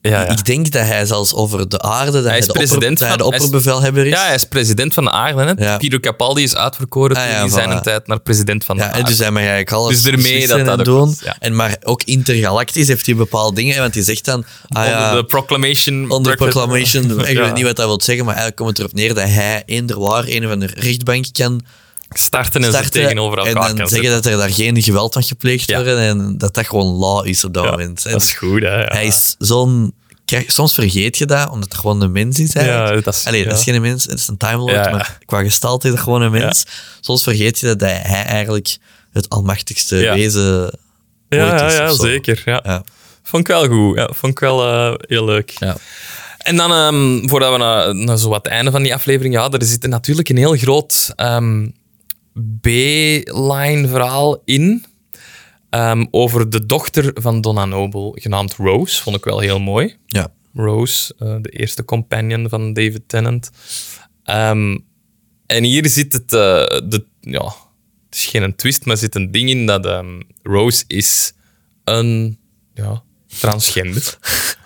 Speaker 2: ja, ja.
Speaker 1: Ik denk dat hij zelfs over de aarde, dat hij,
Speaker 2: is
Speaker 1: de, opper-
Speaker 2: president
Speaker 1: dat hij
Speaker 2: van-
Speaker 1: de
Speaker 2: hij is-
Speaker 1: opperbevelhebber is.
Speaker 2: Ja, hij is president van de aarde. Hè?
Speaker 1: Ja.
Speaker 2: Piero Capaldi is uitverkoren
Speaker 1: Ah,
Speaker 2: toen
Speaker 1: ja,
Speaker 2: in zijn
Speaker 1: voilà.
Speaker 2: tijd naar president van de
Speaker 1: Ja, en
Speaker 2: aarde.
Speaker 1: dus hij mag eigenlijk alles
Speaker 2: Dus ermee
Speaker 1: beslissen
Speaker 2: dat dat
Speaker 1: en
Speaker 2: ook
Speaker 1: doen.
Speaker 2: was, ja.
Speaker 1: en maar ook intergalactisch heeft hij bepaalde dingen, want hij zegt dan... Ah, ja,
Speaker 2: Onder de proclamation.
Speaker 1: Onder proclamation, ik
Speaker 2: Ja.
Speaker 1: weet niet wat dat wil zeggen, maar eigenlijk komt het erop neer dat hij eender waar een van de rechtbank kan
Speaker 2: starten en ze
Speaker 1: starten
Speaker 2: tegenover
Speaker 1: en
Speaker 2: elkaar
Speaker 1: dan
Speaker 2: kan
Speaker 1: zeggen
Speaker 2: zetten.
Speaker 1: dat er daar geen geweld van gepleegd
Speaker 2: Ja.
Speaker 1: wordt en dat dat gewoon law is op dat
Speaker 2: Ja,
Speaker 1: moment. Dus En
Speaker 2: dat is goed, hè? Ja,
Speaker 1: Hij is zo'n... krijg- Soms vergeet je dat, omdat het gewoon een mens is eigenlijk.
Speaker 2: Ja, dat is-
Speaker 1: Allee,
Speaker 2: ja.
Speaker 1: dat is geen mens, het is een Time Lord,
Speaker 2: Ja, ja.
Speaker 1: maar qua gestalte is het gewoon een mens. Soms vergeet je dat hij hij eigenlijk het almachtigste
Speaker 2: Ja.
Speaker 1: wezen
Speaker 2: ja,
Speaker 1: ooit
Speaker 2: ja,
Speaker 1: is
Speaker 2: ja,
Speaker 1: of zo.
Speaker 2: zeker. Ja.
Speaker 1: Ja.
Speaker 2: Vond ik wel goed. Ja, vond ik wel eh, heel leuk.
Speaker 1: Ja.
Speaker 2: En dan, ehm, voordat we naar, naar zo wat het einde van die aflevering gaan, er zit er natuurlijk een heel groot ehm, B-line verhaal in. ehm, over de dochter van Donna Noble, genaamd Rose. Vond ik wel heel mooi.
Speaker 1: Ja.
Speaker 2: Rose, eh, de eerste companion van David Tennant. Ehm, en hier zit het, eh, de, ja, het is geen een twist, maar er zit een ding in dat ehm, Rose is een ja, transgender.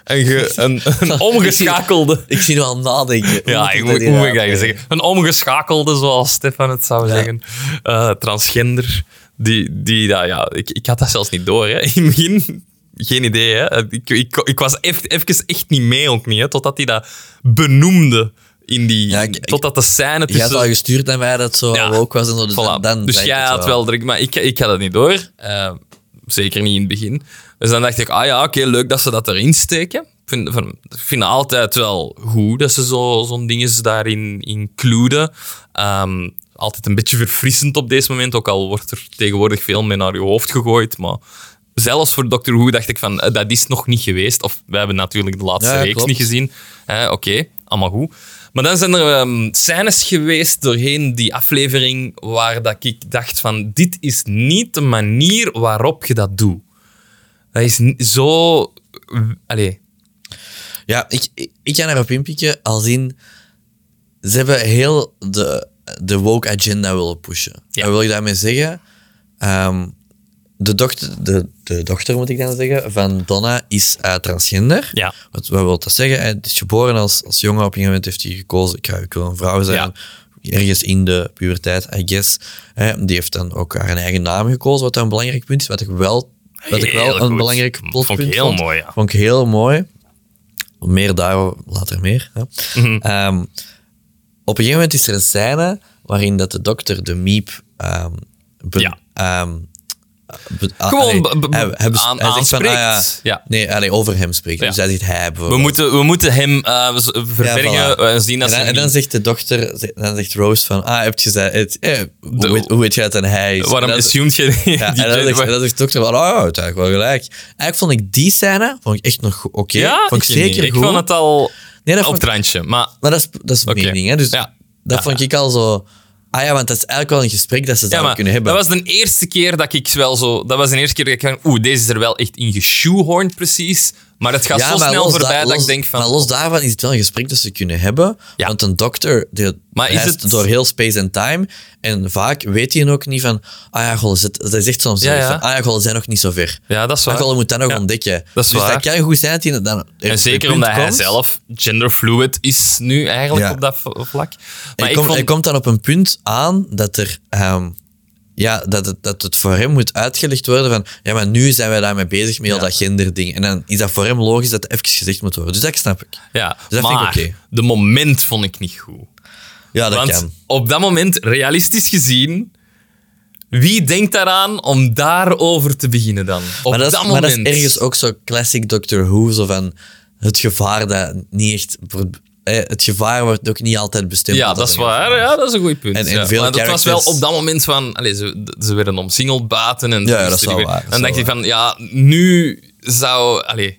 Speaker 2: een, ge- een, een omgeschakelde.
Speaker 1: Ik zie nu al nadenken. Hoe
Speaker 2: Ja,
Speaker 1: moet
Speaker 2: ik
Speaker 1: dat
Speaker 2: moet,
Speaker 1: hier
Speaker 2: hoe moet ik dat
Speaker 1: uitleggen?
Speaker 2: hier zeggen? Een omgeschakelde, zoals Stefan het zou zeggen. Eh, transgender. Die, die dat, ja, ik, ik had dat zelfs niet door. Hè. In het begin, geen idee. Hè. Ik, ik, ik was even, even echt niet mee, ook niet. Hè, totdat hij dat benoemde. In die,
Speaker 1: Ja, ik- ik-
Speaker 2: totdat de scène
Speaker 1: Jij had
Speaker 2: tussen...
Speaker 1: al gestuurd naar mij dat zo
Speaker 2: Dus, eh, Ja.
Speaker 1: ook was. En zo, dus
Speaker 2: Voilà.
Speaker 1: dan, dan
Speaker 2: dus
Speaker 1: zei ik
Speaker 2: jij
Speaker 1: het
Speaker 2: had wel druk, maar ik, ik had het niet door. Eh, zeker niet in het begin. Dus dan dacht ik, ah ja, oké, leuk dat ze dat erin steken. Ik vind, van, ik vind het altijd wel goed dat ze zo- zo'n ding is daarin includen. Ehm, altijd een beetje verfrissend op deze moment, ook al wordt er tegenwoordig veel mee naar je hoofd gegooid. Maar zelfs voor Doctor Who dacht ik van, eh, dat is nog niet geweest. Of we hebben natuurlijk de laatste
Speaker 1: Ja, ja,
Speaker 2: reeks
Speaker 1: klopt.
Speaker 2: niet gezien. Eh, Oké, allemaal goed. Maar dan zijn er ehm, scènes geweest doorheen die aflevering waar dat ik dacht van, dit is niet de manier waarop je dat doet. Dat is ni- zo... eh, Allee,
Speaker 1: Ja, ik, ik, ik kan erop inpikken als in... Ze hebben heel de, de woke agenda willen pushen.
Speaker 2: Ja.
Speaker 1: Wat wil ik daarmee zeggen? Ehm, de, dochter, de, de dochter, moet ik dan zeggen, van Donna is eh, transgender.
Speaker 2: Ja.
Speaker 1: Wat, wat wil dat zeggen? Hij is geboren als, als jongen. Op een gegeven moment heeft hij gekozen, ik, ga, ik wil een vrouw zijn. Ergens in de puberteit, I guess. Hè, die heeft dan ook haar eigen naam gekozen, wat dan een belangrijk punt is. Wat ik wel, wat ik wel
Speaker 2: Heel
Speaker 1: een
Speaker 2: goed.
Speaker 1: belangrijk
Speaker 2: Vond ik
Speaker 1: plotpunt
Speaker 2: heel mooi, ja.
Speaker 1: Vond ik heel mooi. Meer daarover later meer. Hè.
Speaker 2: Mhm.
Speaker 1: Ehm, op een gegeven moment is er een scène waarin dat de dokter de miep... ehm, be-
Speaker 2: Ja.
Speaker 1: ehm, be- ah,
Speaker 2: Gewoon
Speaker 1: allee,
Speaker 2: be- be-
Speaker 1: hij- hij bes-
Speaker 2: aan-
Speaker 1: hij zegt van, ah ja,
Speaker 2: aanspreekt. Ja.
Speaker 1: Nee, allee, over hem spreekt.
Speaker 2: Ja.
Speaker 1: Dus hij zegt hij
Speaker 2: we,
Speaker 1: bijvoorbeeld.
Speaker 2: moeten, we moeten hem eh, z- verbergen
Speaker 1: Ja, voilà.
Speaker 2: eh, zien
Speaker 1: en,
Speaker 2: als
Speaker 1: dan,
Speaker 2: hij
Speaker 1: en dan
Speaker 2: niet-
Speaker 1: zegt de dochter, ze- dan zegt Rose van, ah, heb je gezegd, het, eh, hoe, weet, hoe weet je dat dan hij is?
Speaker 2: Waarom
Speaker 1: En dan-
Speaker 2: assumed je die
Speaker 1: ja, en
Speaker 2: die
Speaker 1: dan
Speaker 2: gender-
Speaker 1: zegt, en dan zegt de dokter van, oh, het eigenlijk wel gelijk. Eigenlijk vond ik die scène vond ik echt nog go- oké.
Speaker 2: Ja,
Speaker 1: vond ik
Speaker 2: weet
Speaker 1: zeker
Speaker 2: niet. Ik
Speaker 1: goed.
Speaker 2: vond het al
Speaker 1: nee, dat
Speaker 2: op
Speaker 1: vond
Speaker 2: het randje, maar...
Speaker 1: Maar dat is, dat is
Speaker 2: Oké.
Speaker 1: mening, hè? Dus
Speaker 2: Ja.
Speaker 1: dat
Speaker 2: Ja,
Speaker 1: vond ik al zo... Ah ja, want dat is eigenlijk wel een gesprek dat ze
Speaker 2: Ja,
Speaker 1: zouden
Speaker 2: maar
Speaker 1: kunnen hebben.
Speaker 2: dat was de eerste keer dat ik wel zo... Dat was de eerste keer dat ik van... Oeh, deze is er wel echt in geshoehorned precies. Maar het gaat
Speaker 1: ja,
Speaker 2: zo
Speaker 1: maar
Speaker 2: snel
Speaker 1: los
Speaker 2: voorbij
Speaker 1: da-
Speaker 2: dat
Speaker 1: los-
Speaker 2: ik denk van...
Speaker 1: Maar los daarvan is het wel een gesprek dat ze kunnen hebben.
Speaker 2: Ja.
Speaker 1: Want een dokter die
Speaker 2: Maar is
Speaker 1: reist
Speaker 2: het-
Speaker 1: door heel space en time. En vaak weet hij ook niet van... Ah ja, goh, ze- dat is echt soms
Speaker 2: Ja,
Speaker 1: zo
Speaker 2: ja.
Speaker 1: van, Ah ja, goh, ze zijn nog niet zo ver.
Speaker 2: ja, dat is
Speaker 1: Maar
Speaker 2: waar.
Speaker 1: goh, je moet dat nog
Speaker 2: Ja.
Speaker 1: ontdekken.
Speaker 2: Dat is
Speaker 1: dus
Speaker 2: waar.
Speaker 1: dat kan goed zijn dat hij dan...
Speaker 2: En zeker omdat hij zelf genderfluid is nu eigenlijk
Speaker 1: Ja.
Speaker 2: op dat v- vlak. Maar
Speaker 1: hij,
Speaker 2: ik
Speaker 1: komt-
Speaker 2: vond...
Speaker 1: hij komt dan op een punt aan dat er... ehm, ja, dat het, dat het voor hem moet uitgelegd worden van... Ja, maar nu zijn wij daarmee bezig met heel dat genderding. En dan is dat voor hem logisch dat het even gezegd moet worden. Dus dat snap ik.
Speaker 2: ja,
Speaker 1: dat vind ik
Speaker 2: maar
Speaker 1: oké.
Speaker 2: de moment vond ik niet goed.
Speaker 1: Ja, dat
Speaker 2: Want
Speaker 1: kan.
Speaker 2: op dat moment, realistisch gezien... Wie denkt daaraan om daarover te beginnen dan? Op
Speaker 1: Maar dat, is, maar
Speaker 2: moment.
Speaker 1: dat is ergens ook zo classic Doctor Who, zo van het gevaar dat niet echt... wordt- eh, Het gevaar wordt ook niet altijd bestemd.
Speaker 2: Ja, dat is waar. Ja, dat is een goed punt.
Speaker 1: En- en
Speaker 2: ja.
Speaker 1: veel
Speaker 2: maar dat was wel
Speaker 1: characters-
Speaker 2: op dat moment van... Allee, ze, ze werden omsingeld baten. En
Speaker 1: Ja, ja, dat is
Speaker 2: moesten
Speaker 1: wel
Speaker 2: die-
Speaker 1: waar, dat is
Speaker 2: Dan
Speaker 1: wel
Speaker 2: dacht ik van, ja, nu zou... Allee,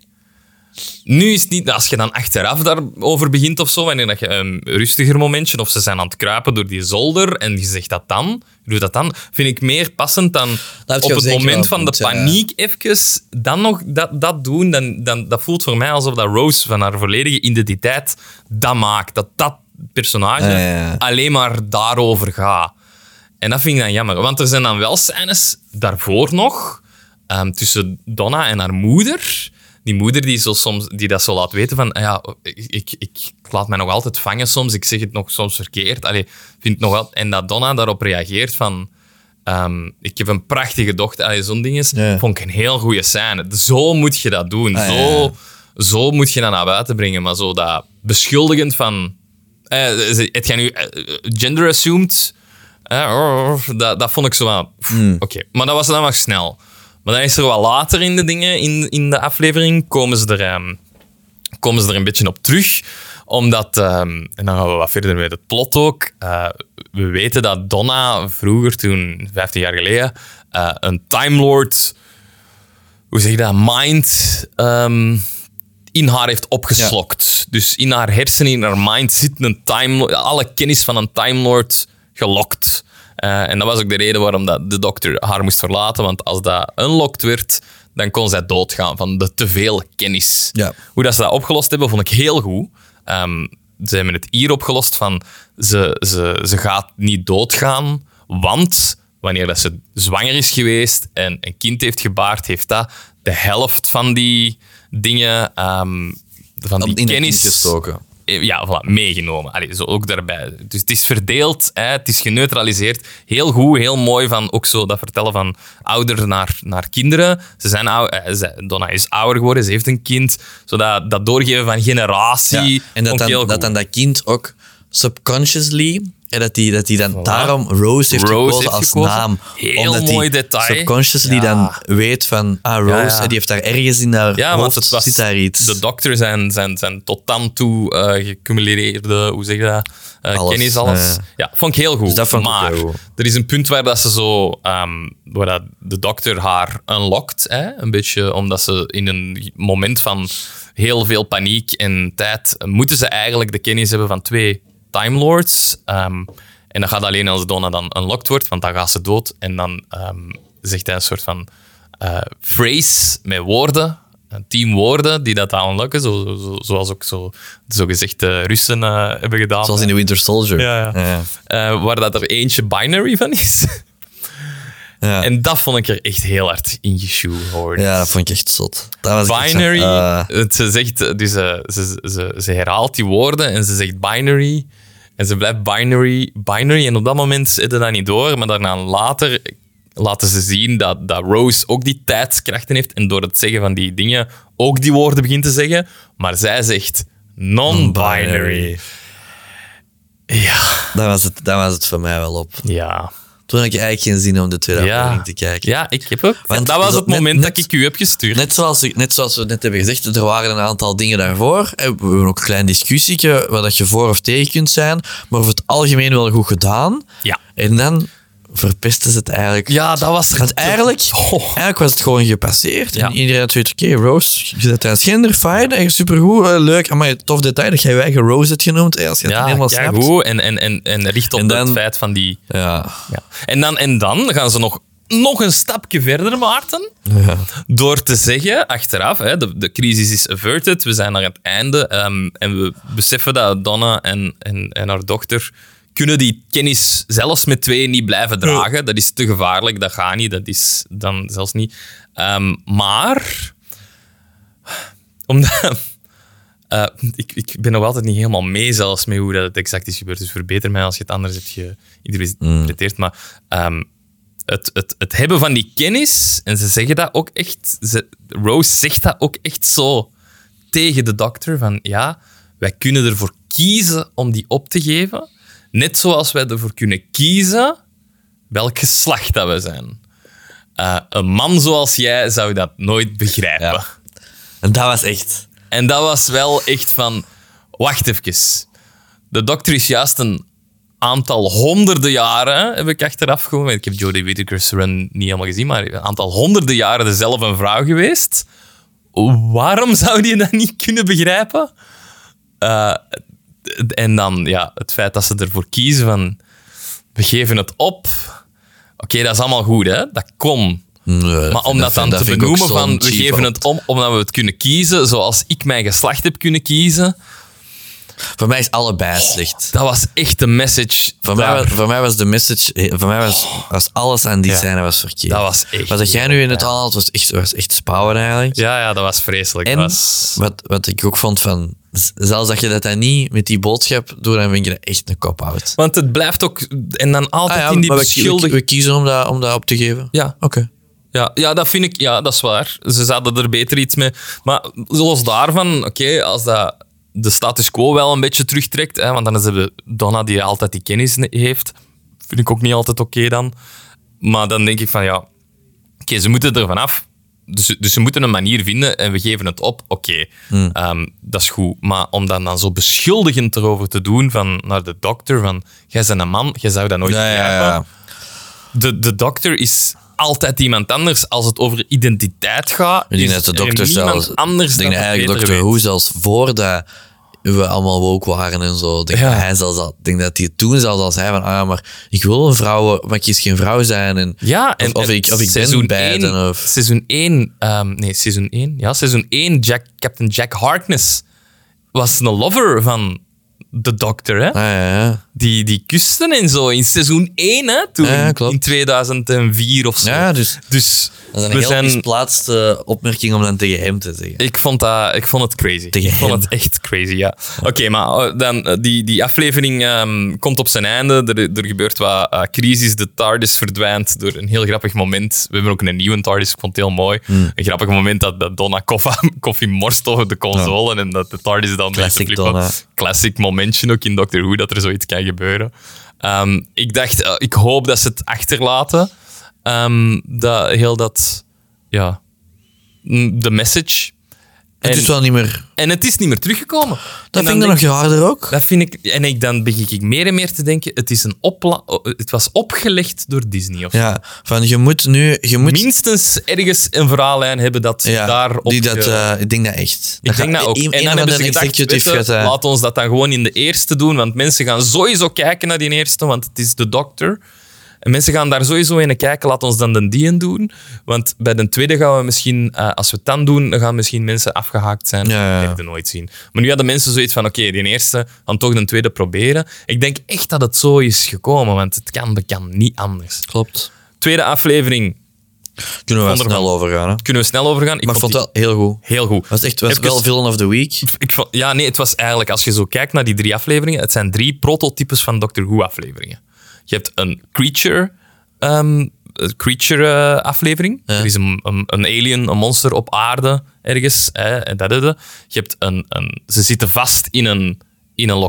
Speaker 2: nu is het niet... Als je dan achteraf daarover begint of zo, wanneer dat je een rustiger momentje... Of ze zijn aan het kruipen door die zolder en je zegt dat dan, je doet dat dan, vind ik meer passend dan
Speaker 1: heb je
Speaker 2: op
Speaker 1: wel
Speaker 2: het
Speaker 1: zeker
Speaker 2: moment
Speaker 1: wel
Speaker 2: van
Speaker 1: goed,
Speaker 2: de
Speaker 1: ja.
Speaker 2: paniek even dan nog dat, dat doen. Dan, dan, dat voelt voor mij alsof dat Rose van haar volledige identiteit dat maakt. Dat dat personage
Speaker 1: Ja, ja, ja.
Speaker 2: alleen maar daarover gaat. En dat vind ik dan jammer. Want er zijn dan wel scènes daarvoor nog ehm, tussen Donna en haar moeder. Die moeder die, zo soms, die dat zo laat weten van... "Ah Ja, ik, ik, ik laat mij nog altijd vangen soms. Ik zeg het nog soms verkeerd. Allee, vind het nog wel, en dat Donna daarop reageert van... ehm, ik heb een prachtige dochter. Allee, zo'n ding is...
Speaker 1: Ja.
Speaker 2: Vond ik een heel goede scène. Zo moet je dat doen.
Speaker 1: Ah, ja,
Speaker 2: zo,
Speaker 1: ja.
Speaker 2: zo moet je dat naar buiten brengen. Maar zo dat beschuldigend van... Eh, ze- het gaat nu eh, gender assumed. Eh, oh, oh, dat, dat vond ik zo aan.
Speaker 1: Hmm.
Speaker 2: Oké, maar dat was dan nog snel. Maar dan is er wat later in de dingen, in, in de aflevering, komen ze er, ehm, komen ze er een beetje op terug. Omdat, ehm, en dan gaan we wat verder met het plot ook. Eh, we weten dat Donna vroeger, toen 15 jaar geleden, eh, een Time Lord, hoe zeg je dat, mind ehm, in haar heeft opgeslokt. Dus in haar hersenen, in haar mind zit een Time Lord, alle kennis van een Time Lord gelokt. Eh, en dat was ook de reden waarom dat de dokter haar moest verlaten. Want als dat unlocked werd, dan kon zij doodgaan van de teveel kennis.
Speaker 1: Ja.
Speaker 2: Hoe dat ze dat opgelost hebben, vond ik heel goed. Ehm, ze hebben het hier opgelost van ze, ze, ze gaat niet doodgaan, want wanneer dat ze zwanger is geweest en een kind heeft gebaard, heeft dat de helft van die dingen, ehm, van die
Speaker 1: in het
Speaker 2: kennis
Speaker 1: kindje gestoken.
Speaker 2: eh, Ja, voilà, meegenomen. Allee, zo ook daarbij. Dus het is verdeeld, hè, het is geneutraliseerd. Heel goed, heel mooi van ook zo dat vertellen van ouder naar, naar kinderen. Ze zijn ou- eh, ze- Donna is ouder geworden, ze heeft een kind. Zo dat, dat doorgeven van generatie.
Speaker 1: Ja, en dat
Speaker 2: vond ik heel
Speaker 1: dan, dat
Speaker 2: goed.
Speaker 1: dan dat kind ook subconsciously, en dat hij dat die dan daarom Rose heeft
Speaker 2: Rose
Speaker 1: gekozen
Speaker 2: heeft
Speaker 1: als
Speaker 2: gekozen.
Speaker 1: naam.
Speaker 2: Heel
Speaker 1: omdat
Speaker 2: mooi
Speaker 1: die
Speaker 2: detail.
Speaker 1: subconsciously dan weet van, ah, Rose,
Speaker 2: ja.
Speaker 1: en die heeft daar ergens in haar
Speaker 2: Ja, want
Speaker 1: hoofd,
Speaker 2: het was,
Speaker 1: zit daar iets.
Speaker 2: de dokter zijn, zijn, zijn tot dan toe eh, gecumuleerde, hoe zeg je dat, Eh,
Speaker 1: Alles,
Speaker 2: kennis, alles.
Speaker 1: eh.
Speaker 2: ja, vond ik heel goed.
Speaker 1: dat vond ik ook
Speaker 2: maar
Speaker 1: heel goed.
Speaker 2: er is een punt waar dat ze zo, ehm, waar dat de dokter haar unlockt, hè, een beetje omdat ze in een moment van heel veel paniek en tijd, eh, moeten ze eigenlijk de kennis hebben van twee Time Lords. Ehm, en dat gaat alleen als Donna dan unlocked wordt, want dan gaat ze dood. En dan ehm, zegt hij een soort van eh, phrase met woorden, een team woorden, die dat dan unlocken. Zo, zo- zo- zoals ook zo, zo gezegd de Russen eh, hebben gedaan.
Speaker 1: Zoals in The Winter Soldier.
Speaker 2: Ja, ja.
Speaker 1: ja.
Speaker 2: Eh, waar dat er eentje binary van is.
Speaker 1: Ja.
Speaker 2: En dat vond ik er echt heel hard in geshoehorned.
Speaker 1: Ja, dat vond ik echt zot. Dat was ik echt zo,
Speaker 2: Binary,
Speaker 1: eh,
Speaker 2: het- ze, zegt, eh, dus, eh, ze, ze, ze herhaalt die woorden en ze zegt binary. En ze blijft binary, binary. En op dat moment zitten dat niet door. Maar daarna later laten ze zien dat, dat Rose ook die tijdskrachten heeft. En door het zeggen van die dingen ook die woorden begint te zeggen. Maar zij zegt non-binary.
Speaker 1: dat, was het, dat was het voor mij wel op.
Speaker 2: Ja.
Speaker 1: Toen had ik eigenlijk geen zin om de tweede
Speaker 2: Ja.
Speaker 1: aflevering te kijken.
Speaker 2: ja, ik heb ook.
Speaker 1: Want
Speaker 2: dat was
Speaker 1: dat
Speaker 2: het
Speaker 1: net-
Speaker 2: moment
Speaker 1: net-
Speaker 2: dat ik u heb gestuurd.
Speaker 1: Net zoals, ik- net zoals we net hebben gezegd, er waren een aantal dingen daarvoor. En We hebben ook een klein discussieke waar dat je voor of tegen kunt zijn. Maar over het algemeen wel goed gedaan.
Speaker 2: Ja.
Speaker 1: En dan verpesten ze het eigenlijk.
Speaker 2: Ja, dat was...
Speaker 1: Want eigenlijk, eigenlijk was het gewoon gepasseerd.
Speaker 2: Ja.
Speaker 1: En iedereen had zoiets, oké, Rose, je bent transgender, fijn, echt supergoed, eh, leuk. Amai, tof detail dat jij je eigen Rose hebt genoemd. eh, Als je het niet helemaal snapt.
Speaker 2: goed. En, en, en, en richt op
Speaker 1: En dan-
Speaker 2: het feit van die...
Speaker 1: Ja.
Speaker 2: En, dan, en dan gaan ze nog, nog een stapje verder, Maarten. Door te zeggen, achteraf, hè, de, de crisis is averted, we zijn naar het einde. ehm, en we beseffen dat Donna en, en, en haar dochter kunnen die kennis zelfs met twee niet blijven dragen. Dat is te gevaarlijk, dat gaat niet, dat is dan zelfs niet. Ehm, maar omdat. eh, ik, ik ben nog altijd niet helemaal mee, zelfs met hoe dat het exact is gebeurd. Dus verbeter mij als je het anders hebt geïnterpreteerd. Maar ehm, het, het, het hebben van die kennis, en ze zeggen dat ook echt. ze- Rose zegt dat ook echt zo tegen de dokter: van ja, wij kunnen ervoor kiezen om die op te geven. Net zoals wij ervoor kunnen kiezen welk geslacht dat we zijn. Eh, een man zoals jij zou dat nooit begrijpen.
Speaker 1: Ja. En dat was echt...
Speaker 2: En dat was wel echt van... Wacht even. De dokter is juist een aantal honderden jaren, heb ik achteraf gewoon... Ik heb Jodie Whittaker's run niet helemaal gezien, maar een aantal honderden jaren dezelfde een vrouw geweest. Waarom zou die dat niet kunnen begrijpen? Eh, en dan ja, het feit dat ze ervoor kiezen van... We geven het op. Oké, dat is allemaal goed, hè? Dat kon.
Speaker 1: Nee,
Speaker 2: Maar om dat dan
Speaker 1: vind-
Speaker 2: te
Speaker 1: vind ik ook
Speaker 2: benoemen
Speaker 1: zo'n
Speaker 2: van we
Speaker 1: cheap
Speaker 2: geven
Speaker 1: op.
Speaker 2: het om omdat we het kunnen kiezen, zoals ik mijn geslacht heb kunnen kiezen.
Speaker 1: Voor mij is allebei slecht.
Speaker 2: Dat was echt de message.
Speaker 1: Voor mij, was, voor mij was de message, eh, voor mij was, was alles aan die scène was verkeerd.
Speaker 2: Oh. Dat was echt
Speaker 1: Wat dat jij nu in het aanhaalt was echt, was echt spouwen eigenlijk.
Speaker 2: Ja, ja, dat was vreselijk.
Speaker 1: En
Speaker 2: Dat was...
Speaker 1: wat, wat ik ook vond van, z- zelfs dat je dat dan niet met die boodschap doet, dan vind je dat echt een cop-out.
Speaker 2: Want het blijft ook... En dan altijd
Speaker 1: Ah ja,
Speaker 2: in die
Speaker 1: maar we, we,
Speaker 2: beschuldiging...
Speaker 1: we kiezen om dat, om dat op te geven.
Speaker 2: Ja,
Speaker 1: Oké.
Speaker 2: ja, ja, dat vind ik... Ja, dat is waar. Ze zouden er beter iets mee... Maar los daarvan, oké, als dat de status quo wel een beetje terugtrekt, hè, want dan is het Donna die altijd die kennis ne- heeft, vind ik ook niet altijd oké dan. Maar dan denk ik van, ja... Oké, ze moeten er vanaf. Dus, dus ze moeten een manier vinden en we geven het op. Oké,
Speaker 1: Hmm.
Speaker 2: ehm, dat is goed. Maar om dan, dan zo beschuldigend erover te doen van, naar de dokter, van... Jij bent een man, jij zou dat nooit
Speaker 1: Ja, ja,
Speaker 2: begrijpen."
Speaker 1: ja.
Speaker 2: de, de dokter is altijd iemand anders als het over identiteit gaat.
Speaker 1: Ik denk
Speaker 2: is
Speaker 1: dat de
Speaker 2: er
Speaker 1: dokter
Speaker 2: niemand
Speaker 1: zelfs...
Speaker 2: anders
Speaker 1: ik denk
Speaker 2: dat
Speaker 1: dat
Speaker 2: het
Speaker 1: eigenlijk
Speaker 2: beter
Speaker 1: dokter
Speaker 2: weet.
Speaker 1: Who zelfs voordat we allemaal woke waren en zo. Ik Denk
Speaker 2: Ja.
Speaker 1: dat hij zelfs al, ik denk dat hij toen zelfs al zei van, ah ja, maar ik wil een vrouw, maar ik kies geen vrouw zijn. En,
Speaker 2: Ja, en
Speaker 1: of, of
Speaker 2: en
Speaker 1: ik, of ik ben
Speaker 2: seizoen
Speaker 1: beiden.
Speaker 2: één-
Speaker 1: of,
Speaker 2: Seizoen 1, nee, seizoen 1. Ja, seizoen 1, Jack, Captain Jack Harkness was een lover van de dokter, hè?
Speaker 1: ah, ja, ja.
Speaker 2: Die, die kusten en zo in seizoen 1, hè? Toen
Speaker 1: Ja, klopt.
Speaker 2: in 2004 of zo.
Speaker 1: ja, dus
Speaker 2: Dus
Speaker 1: dat is een
Speaker 2: we
Speaker 1: heel
Speaker 2: zijn,
Speaker 1: misplaatste opmerking om dan tegen hem te zeggen.
Speaker 2: Ik vond, dat, ik vond het crazy.
Speaker 1: Tegen
Speaker 2: ik vond
Speaker 1: hem.
Speaker 2: het echt crazy, ja. Oké, maar eh, dan, eh, die, die aflevering ehm, komt op zijn einde. Er, er gebeurt wat eh, crisis. De TARDIS verdwijnt door een heel grappig moment. We hebben ook een nieuwe TARDIS, ik vond het heel mooi.
Speaker 1: Hmm.
Speaker 2: Een grappig moment dat, dat Donna koffa, koffie morst over de console en dat de TARDIS dan begint te
Speaker 1: Classic
Speaker 2: flippen.
Speaker 1: Donna.
Speaker 2: Classic momentje ook in Doctor Who, dat er zoiets kan gebeuren. Ehm, ik dacht, eh, ik hoop dat ze het achterlaten. Ehm, dat, heel dat, ja, mm, de message.
Speaker 1: het
Speaker 2: en-
Speaker 1: is wel niet meer...
Speaker 2: En het is niet meer teruggekomen.
Speaker 1: Dat
Speaker 2: En dan
Speaker 1: vind ik nog
Speaker 2: denk-
Speaker 1: raarder ook.
Speaker 2: dat vind ik, en ik, dan begin ik meer en meer te denken, het, is een opla- oh, het was opgelegd door Disney. Of
Speaker 1: Ja, van je moet nu... Je moet,
Speaker 2: minstens ergens een verhaallijn hebben dat
Speaker 1: ja,
Speaker 2: daarop...
Speaker 1: die dat,
Speaker 2: ge-
Speaker 1: eh, ik denk dat echt.
Speaker 2: ik denk dat ook.
Speaker 1: Een,
Speaker 2: en dan
Speaker 1: van
Speaker 2: hebben
Speaker 1: de
Speaker 2: ze gedacht,
Speaker 1: executive
Speaker 2: weet je,
Speaker 1: gaat, eh,
Speaker 2: laat ons dat dan gewoon in de eerste doen, want mensen gaan sowieso kijken naar die eerste, want het is de dokter. En mensen gaan daar sowieso in kijken, laat ons dan de dien doen. Want bij de tweede gaan we misschien, eh, als we het dan doen, dan gaan misschien mensen afgehaakt zijn.
Speaker 1: Ja, ja, ja.
Speaker 2: Dat heb je nooit zien. Maar nu hadden mensen zoiets van, oké, die eerste, dan toch de tweede proberen. Ik denk echt dat het zo is gekomen, want het kan, dat kan niet anders.
Speaker 1: Klopt.
Speaker 2: Tweede aflevering,
Speaker 1: Kunnen we wel
Speaker 2: Vond ervan.
Speaker 1: snel overgaan, hè?
Speaker 2: kunnen we snel overgaan. Ik
Speaker 1: Maar ik vond
Speaker 2: die
Speaker 1: het wel heel goed.
Speaker 2: heel goed.
Speaker 1: was echt was
Speaker 2: Even-
Speaker 1: wel villain of the week.
Speaker 2: Ik vond- ja, nee, het was eigenlijk, als je zo kijkt naar die drie afleveringen, het zijn drie prototypes van Doctor Who-afleveringen. Je hebt een creature, ehm, een creature eh, aflevering. Er is een, een, een alien, een monster op aarde ergens. Hè, en dat, dat, dat. Je hebt een, een, ze zitten vast in een, in een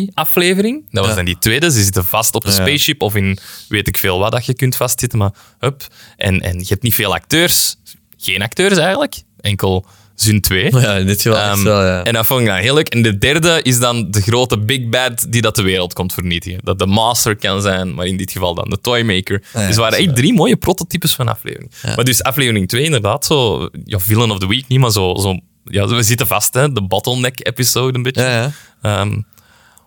Speaker 2: locatie-aflevering. Dat was dan die tweede. Ze zitten vast op een spaceship of in weet ik veel wat dat je kunt vastzitten. Maar hup. En, en je hebt niet veel acteurs. Geen acteurs eigenlijk. Enkel zin 2.
Speaker 1: Ja, in dit geval echt
Speaker 2: Ehm,
Speaker 1: wel, ja.
Speaker 2: En dat vond ik dan heel leuk. En de derde is dan de grote big bad die dat de wereld komt vernietigen. Dat de master kan zijn, maar in dit geval dan de toymaker.
Speaker 1: Ah, ja,
Speaker 2: dus er waren echt drie mooie prototypes van aflevering. Maar dus aflevering 2 inderdaad, zo, ja, villain of the week niet, maar zo, zo ja, we zitten vast, hè, de bottleneck episode een beetje.
Speaker 1: Ja, ja.
Speaker 2: Ehm,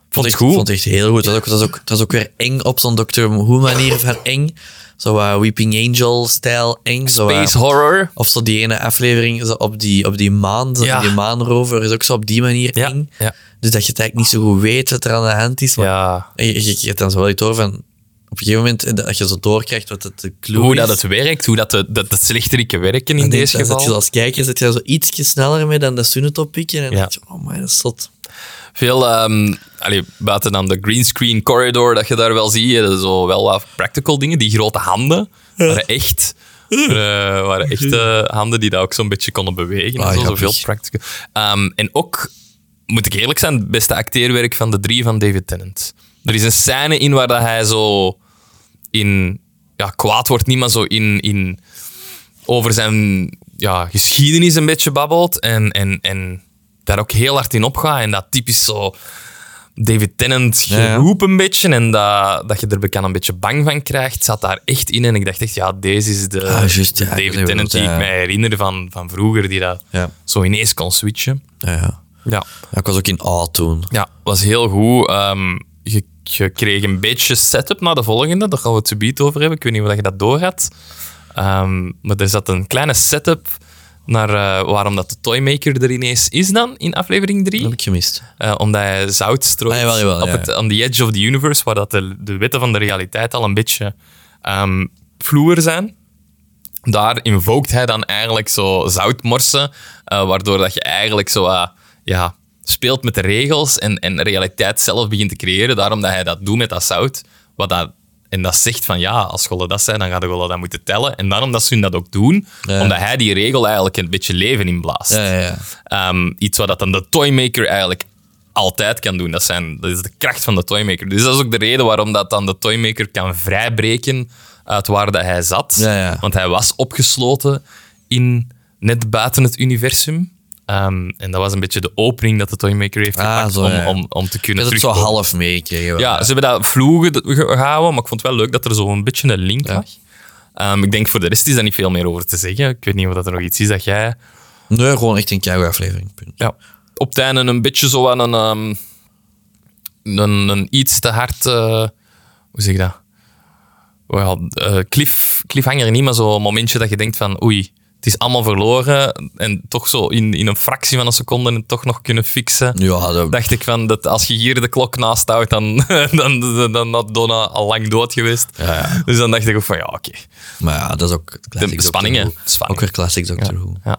Speaker 2: vond ik
Speaker 1: echt,
Speaker 2: goed.
Speaker 1: Vond ik echt heel goed. Dat is ook, dat is ook, dat is ook weer eng op zo'n Doctor Who manier van eng. Zo eh, Weeping Angel stijl eng. Zo, eh,
Speaker 2: Space horror.
Speaker 1: of zo die ene aflevering zo op die, op die maan, zo
Speaker 2: Ja.
Speaker 1: die maanrover, is ook zo op die manier
Speaker 2: Ja,
Speaker 1: eng.
Speaker 2: ja.
Speaker 1: Dus dat je het eigenlijk niet zo goed weet wat er aan de hand is. Maar
Speaker 2: Ja.
Speaker 1: je, je, je hebt dan zo wel iets door van... Op een gegeven moment, eh, dat je zo doorkrijgt wat het de clue
Speaker 2: Hoe
Speaker 1: is.
Speaker 2: dat het werkt, hoe dat de, dat de slechteriken werken in
Speaker 1: dan denk je,
Speaker 2: deze
Speaker 1: dan zit je
Speaker 2: geval.
Speaker 1: zo als kijker zit je daar zo ietsje sneller mee dan dat Sunetop pikken. En dan
Speaker 2: Ja.
Speaker 1: denk je, oh my, dat is zot.
Speaker 2: Veel, ehm allee, buiten dan de greenscreen corridor dat je daar wel ziet, eh, zo wel wat practical dingen. Die grote handen waren echt, eh, waren echte handen die dat ook zo'n beetje konden bewegen.
Speaker 1: Ah,
Speaker 2: en zo, zo
Speaker 1: grappig.
Speaker 2: veel practical. Ehm, en ook, moet ik eerlijk zijn, het beste acteerwerk van de drie van David Tennant. Er is een scène in waar dat hij zo in, ja, kwaad wordt niet, maar zo in, in over zijn ja, geschiedenis een beetje babbelt en, en, en daar ook heel hard in opgaat. En dat typisch zo David Tennant
Speaker 1: ja.
Speaker 2: geroep een beetje en dat, dat je er bekend een beetje bang van krijgt, zat daar echt in. En ik dacht echt, ja, deze is de
Speaker 1: Ah, juist, ja, ik weet
Speaker 2: David
Speaker 1: wat
Speaker 2: Tennant die
Speaker 1: je
Speaker 2: ik
Speaker 1: bedoelt,
Speaker 2: mij herinner van, van vroeger, die dat
Speaker 1: Ja.
Speaker 2: zo ineens kon switchen.
Speaker 1: Ja, ja.
Speaker 2: Ja.
Speaker 1: Ja, Ik was ook in awe toen.
Speaker 2: Ja, was heel goed. Ehm, je, je kreeg een beetje setup naar de volgende. Daar gaan we het subiet over hebben. Ik weet niet of je dat door had. Ehm, maar er zat een kleine setup naar eh, waarom dat de Toymaker er ineens is dan in aflevering 3.
Speaker 1: Dat heb ik gemist.
Speaker 2: Eh, omdat hij zout strooit
Speaker 1: Ah, jawel, jawel,
Speaker 2: op
Speaker 1: ja,
Speaker 2: het
Speaker 1: ja.
Speaker 2: on the edge of the universe, waar dat de, de wetten van de realiteit al een beetje ehm vloer zijn. Daar invoked hij dan eigenlijk zo zoutmorsen, eh, waardoor dat je eigenlijk zo wat, ja, speelt met de regels en, en realiteit zelf begint te creëren. Daarom dat hij dat doet met dat zout. Wat dat, en dat zegt van ja, als gollen dat zijn, dan gaat de gollen dat moeten tellen. En daarom dat ze hun dat ook doen,
Speaker 1: Ja.
Speaker 2: omdat hij die regel eigenlijk een beetje leven inblaast.
Speaker 1: Ja, ja, ja.
Speaker 2: Ehm, iets wat dat dan de toymaker eigenlijk altijd kan doen. Dat, zijn, dat is de kracht van de toymaker. Dus dat is ook de reden waarom dat dan de toymaker kan vrijbreken uit waar dat hij zat.
Speaker 1: Ja, ja.
Speaker 2: Want hij was opgesloten in net buiten het universum. Ehm, en dat was een beetje de opening dat de toymaker heeft
Speaker 1: Ah,
Speaker 2: gepakt
Speaker 1: zo,
Speaker 2: om,
Speaker 1: ja.
Speaker 2: om, om te
Speaker 1: Ik
Speaker 2: kunnen
Speaker 1: heb het zo
Speaker 2: terugkomen.
Speaker 1: half meegekregen.
Speaker 2: Ja, ze hebben dat vloegen ge- gehouden, maar ik vond het wel leuk dat er zo'n beetje een link lag. Ehm, ik denk voor de rest is daar niet veel meer over te zeggen. Ik weet niet of dat er nog iets is dat jij
Speaker 1: Nee, gewoon echt een keigoed aflevering. Punt.
Speaker 2: ja. Op het einde een beetje zo aan een, ehm, een, een iets te hard. eh, hoe zeg je dat? Well, eh cliff, cliffhanger niet, maar zo'n momentje dat je denkt van oei, het is allemaal verloren. En toch zo in, in een fractie van een seconde het toch nog kunnen fixen.
Speaker 1: Ja, dat...
Speaker 2: Dacht ik van dat als je hier de klok naast houdt, dan, dan, dan, dan had Donna al lang dood geweest. Dus dan dacht ik ook van ja, oké.
Speaker 1: Maar ja, dat is ook... classic
Speaker 2: spanning, hè.
Speaker 1: Doctor Who.
Speaker 2: Spanning.
Speaker 1: Ook weer classic Doctor Who.
Speaker 2: Ja.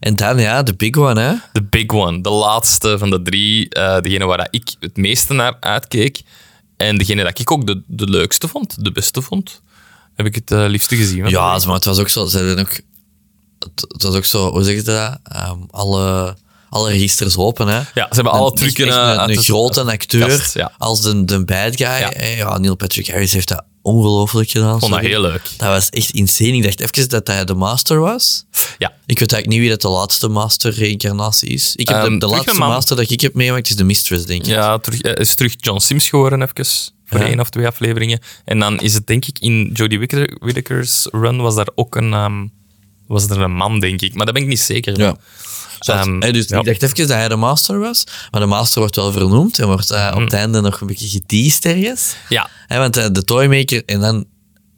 Speaker 1: En dan, ja, de big one, hè.
Speaker 2: De big one, de laatste van de drie. eh, degene waar dat ik het meeste naar uitkeek. En degene dat ik ook de, de leukste vond, de beste vond. Heb ik het eh, liefste gezien. hè?
Speaker 1: Ja, maar het was ook zo. Ze hebben ook, het, het was ook zo, hoe zeg je dat? Ehm, alle, alle registers open, hè?
Speaker 2: ja, ze hebben alle
Speaker 1: Een- echt-
Speaker 2: trucken
Speaker 1: echt
Speaker 2: eh,
Speaker 1: een,
Speaker 2: uit
Speaker 1: een
Speaker 2: de-
Speaker 1: grote acteur
Speaker 2: kast, ja.
Speaker 1: als de, de bad guy.
Speaker 2: Ja.
Speaker 1: Eh, ja, Neil Patrick Harris heeft dat ongelooflijk gedaan.
Speaker 2: vond dat
Speaker 1: sorry.
Speaker 2: heel leuk.
Speaker 1: Dat was echt insane. Ik dacht even dat hij de master was.
Speaker 2: Ja.
Speaker 1: Ik weet eigenlijk niet wie dat de laatste master reïncarnatie is. Ik heb
Speaker 2: Ehm,
Speaker 1: de, de
Speaker 2: terug
Speaker 1: laatste
Speaker 2: naar mam.
Speaker 1: master dat ik heb meegemaakt is de mistress, denk ik.
Speaker 2: Ja, terug, eh, is terug John Sims geworden even. Voor
Speaker 1: Ja.
Speaker 2: één of twee afleveringen. En dan is het denk ik in Jodie Whittaker- Whittaker's run was daar ook een... ehm, was er een man, denk ik. Maar dat ben ik niet zeker.
Speaker 1: Ja. Zat.
Speaker 2: Ehm,
Speaker 1: Hè, dus
Speaker 2: ja.
Speaker 1: ik dacht even dat hij de master was, maar de master wordt wel vernoemd en wordt eh, op het einde nog een beetje geteased ergens.
Speaker 2: Mhm. Ja.
Speaker 1: Hè, want eh, de toymaker, en dan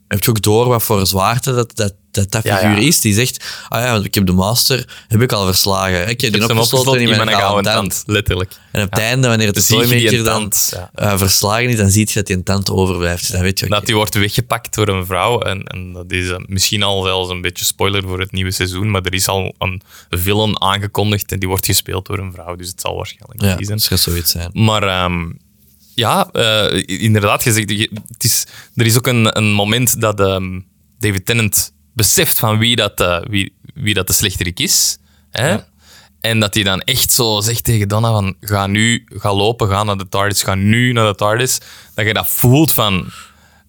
Speaker 1: heb je ook door wat voor zwaarte dat dat, dat, dat
Speaker 2: Ja,
Speaker 1: figuur
Speaker 2: ja.
Speaker 1: is. Die zegt, ah ja, want ik heb de master, heb ik al verslagen. Ik heb
Speaker 2: Ik
Speaker 1: die
Speaker 2: heb hem
Speaker 1: opgesloten
Speaker 2: opgesloten in mijn gouden
Speaker 1: tand.
Speaker 2: tand. Letterlijk.
Speaker 1: En op het einde, wanneer de
Speaker 2: zie je die
Speaker 1: toymaker dan
Speaker 2: tand, ja.
Speaker 1: eh, verslagen is, dan zie je dat die een tand overblijft. Dus Dan weet je, oké.
Speaker 2: Dat die wordt weggepakt door een vrouw. En, en dat is eh, misschien al zelfs een beetje spoiler voor het nieuwe seizoen. Maar er is al een villain aangekondigd en die wordt gespeeld door een vrouw. Dus het zal waarschijnlijk
Speaker 1: ja,
Speaker 2: die zijn.
Speaker 1: dat zou zoiets zijn.
Speaker 2: Maar ehm, ja, eh, inderdaad, je zegt, je- het is, er is ook een, een moment dat ehm, David Tennant beseft van wie dat, eh, wie, wie dat de slechterik is. Hè? En dat hij dan echt zo zegt tegen Donna van ga nu, ga lopen, ga naar de TARDIS, ga nu naar de TARDIS. Dat je dat voelt van,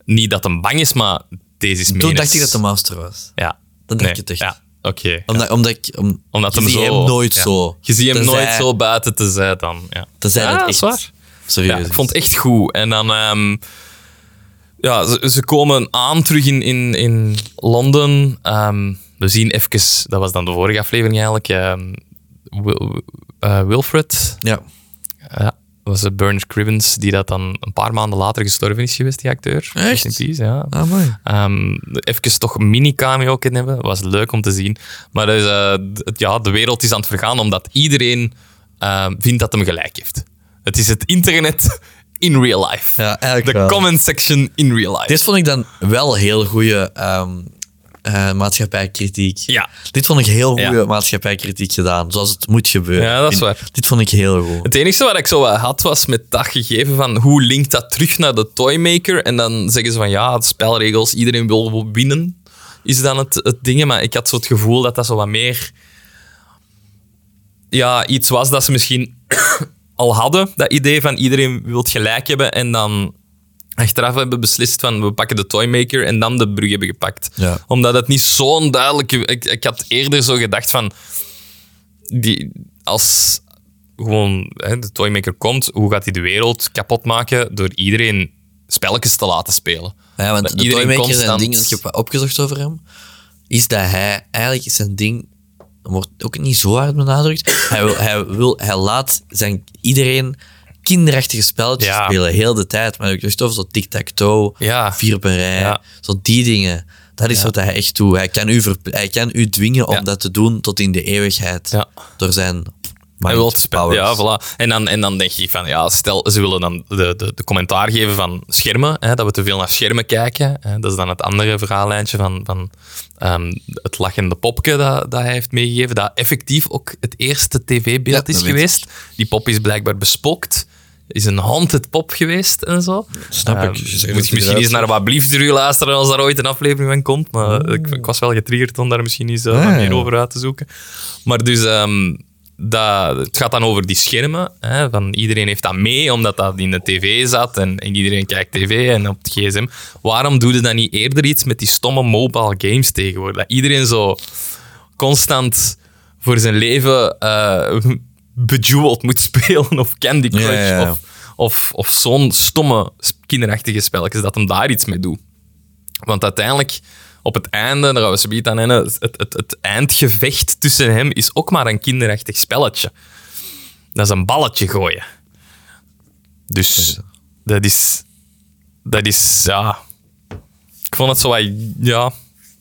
Speaker 2: niet dat hem bang is, maar deze is
Speaker 1: Toen
Speaker 2: menens.
Speaker 1: dacht ik dat de master was.
Speaker 2: Ja.
Speaker 1: Dan dacht ik het echt.
Speaker 2: Ja, oké.
Speaker 1: Omdat, omdat ik... om-
Speaker 2: Omdat
Speaker 1: je
Speaker 2: hem
Speaker 1: ziet
Speaker 2: zo...
Speaker 1: hem nooit
Speaker 2: ja.
Speaker 1: zo.
Speaker 2: Je ziet hem
Speaker 1: Tenzij-
Speaker 2: nooit zo buiten te zijn dan. Ja.
Speaker 1: Tenzij
Speaker 2: Ja,
Speaker 1: dat
Speaker 2: dat is
Speaker 1: echt...
Speaker 2: waar.
Speaker 1: Serieus.
Speaker 2: Ja, ik vond het echt goed. En dan... ehm, ja, ze, ze komen aan terug in, in, in Londen. Ehm, we zien even... Dat was dan de vorige aflevering eigenlijk. ehm, Wil- eh, Wilfred.
Speaker 1: Ja.
Speaker 2: Ja, dat was eh, Burns Cribbins, die dat dan een paar maanden later gestorven is geweest, die acteur.
Speaker 1: Echt?
Speaker 2: Rest in peace, ja.
Speaker 1: Ah, mooi.
Speaker 2: Ehm, even toch een mini-cameo kunnen hebben. was leuk om te zien. Maar dus, eh, d- het- ja, de wereld is aan het vergaan omdat iedereen eh, vindt dat hem gelijk heeft. Het is het internet in real life.
Speaker 1: Ja, eigenlijk
Speaker 2: de
Speaker 1: wel.
Speaker 2: comment section in real life.
Speaker 1: Dit vond ik dan wel heel goede ehm eh, maatschappijkritiek.
Speaker 2: Ja.
Speaker 1: Dit vond ik heel goede
Speaker 2: Ja.
Speaker 1: maatschappijkritiek gedaan, zoals het moet gebeuren.
Speaker 2: Ja, dat is
Speaker 1: En
Speaker 2: waar.
Speaker 1: Dit vond ik heel goed.
Speaker 2: Het enige wat ik zo wat had was met dat gegeven van hoe linkt dat terug naar de Toymaker. En dan zeggen ze van ja, de spelregels, iedereen wil winnen, is dan het, het ding. Maar ik had zo het gevoel dat dat zo wat meer ja, iets was dat ze misschien al hadden. Dat idee van iedereen wil het gelijk hebben en dan achteraf hebben beslist van we pakken de Toymaker en dan de brug hebben gepakt.
Speaker 1: Ja.
Speaker 2: Omdat het niet zo'n duidelijke... Ik, ik had eerder zo gedacht van die als gewoon hè, de Toymaker komt, hoe gaat hij de wereld kapot maken door iedereen spelletjes te laten spelen?
Speaker 1: Ja, want
Speaker 2: Dat
Speaker 1: de
Speaker 2: iedereen
Speaker 1: Toymaker zijn
Speaker 2: constant-
Speaker 1: ding, dat ik heb opgezocht over hem, is dat hij eigenlijk zijn ding, wordt ook niet zo hard benadrukt, hij, wil, hij, wil, hij laat zijn, iedereen kinderachtige spelletjes
Speaker 2: Ja.
Speaker 1: spelen, heel de tijd. Maar ik dacht over zo tic-tac-toe,
Speaker 2: Ja.
Speaker 1: vierperij,
Speaker 2: Ja.
Speaker 1: zo die dingen. Dat is wat hij echt doet. Hij kan u, verp- hij kan u dwingen om
Speaker 2: Ja.
Speaker 1: dat te doen tot in de eeuwigheid.
Speaker 2: Ja.
Speaker 1: Door zijn
Speaker 2: Hij wil het
Speaker 1: mind
Speaker 2: spel-
Speaker 1: powers.
Speaker 2: Ja, voilà. En dan, en dan denk je van, ja, stel, ze willen dan de, de, de commentaar geven van schermen, hè, dat we te veel naar schermen kijken. Hè. Dat is dan het andere verhaallijntje van, van ehm, het lachende popke dat, dat hij heeft meegegeven, dat effectief ook het eerste tv-beeld
Speaker 1: Ja,
Speaker 2: is
Speaker 1: dat weet
Speaker 2: geweest. Die pop is blijkbaar bespookt. Is een haunted pop geweest en zo.
Speaker 1: Snap
Speaker 2: Ehm,
Speaker 1: ik. Je zegt dat
Speaker 2: moet
Speaker 1: hij
Speaker 2: je misschien
Speaker 1: eruit
Speaker 2: eens naar wat bliefdruur luisteren als daar ooit een aflevering van komt. Maar ik, ik was wel getriggerd om daar misschien eens eh, wat
Speaker 1: Ah, ja.
Speaker 2: meer over uit te zoeken. Maar dus, ehm, dat, het gaat dan over die schermen. Hè, van iedereen heeft dat mee, omdat dat in de tv zat en, en iedereen kijkt tv en op het gsm. Waarom doe je dan niet eerder iets met die stomme mobile games tegenwoordig? Dat iedereen zo constant voor zijn leven eh bejeweled moet spelen of Candy Crush
Speaker 1: Ja, ja, ja.
Speaker 2: of, of, of zo'n stomme sp- kinderachtige spelletjes, dat hem daar iets mee doet. Want uiteindelijk, op het einde, daar gaan we zo aan herinneren, het, het, het eindgevecht tussen hem is ook maar een kinderachtig spelletje. Dat is een balletje gooien. Dus dat is... Dat is, ja... Ik vond het zo wat, ja...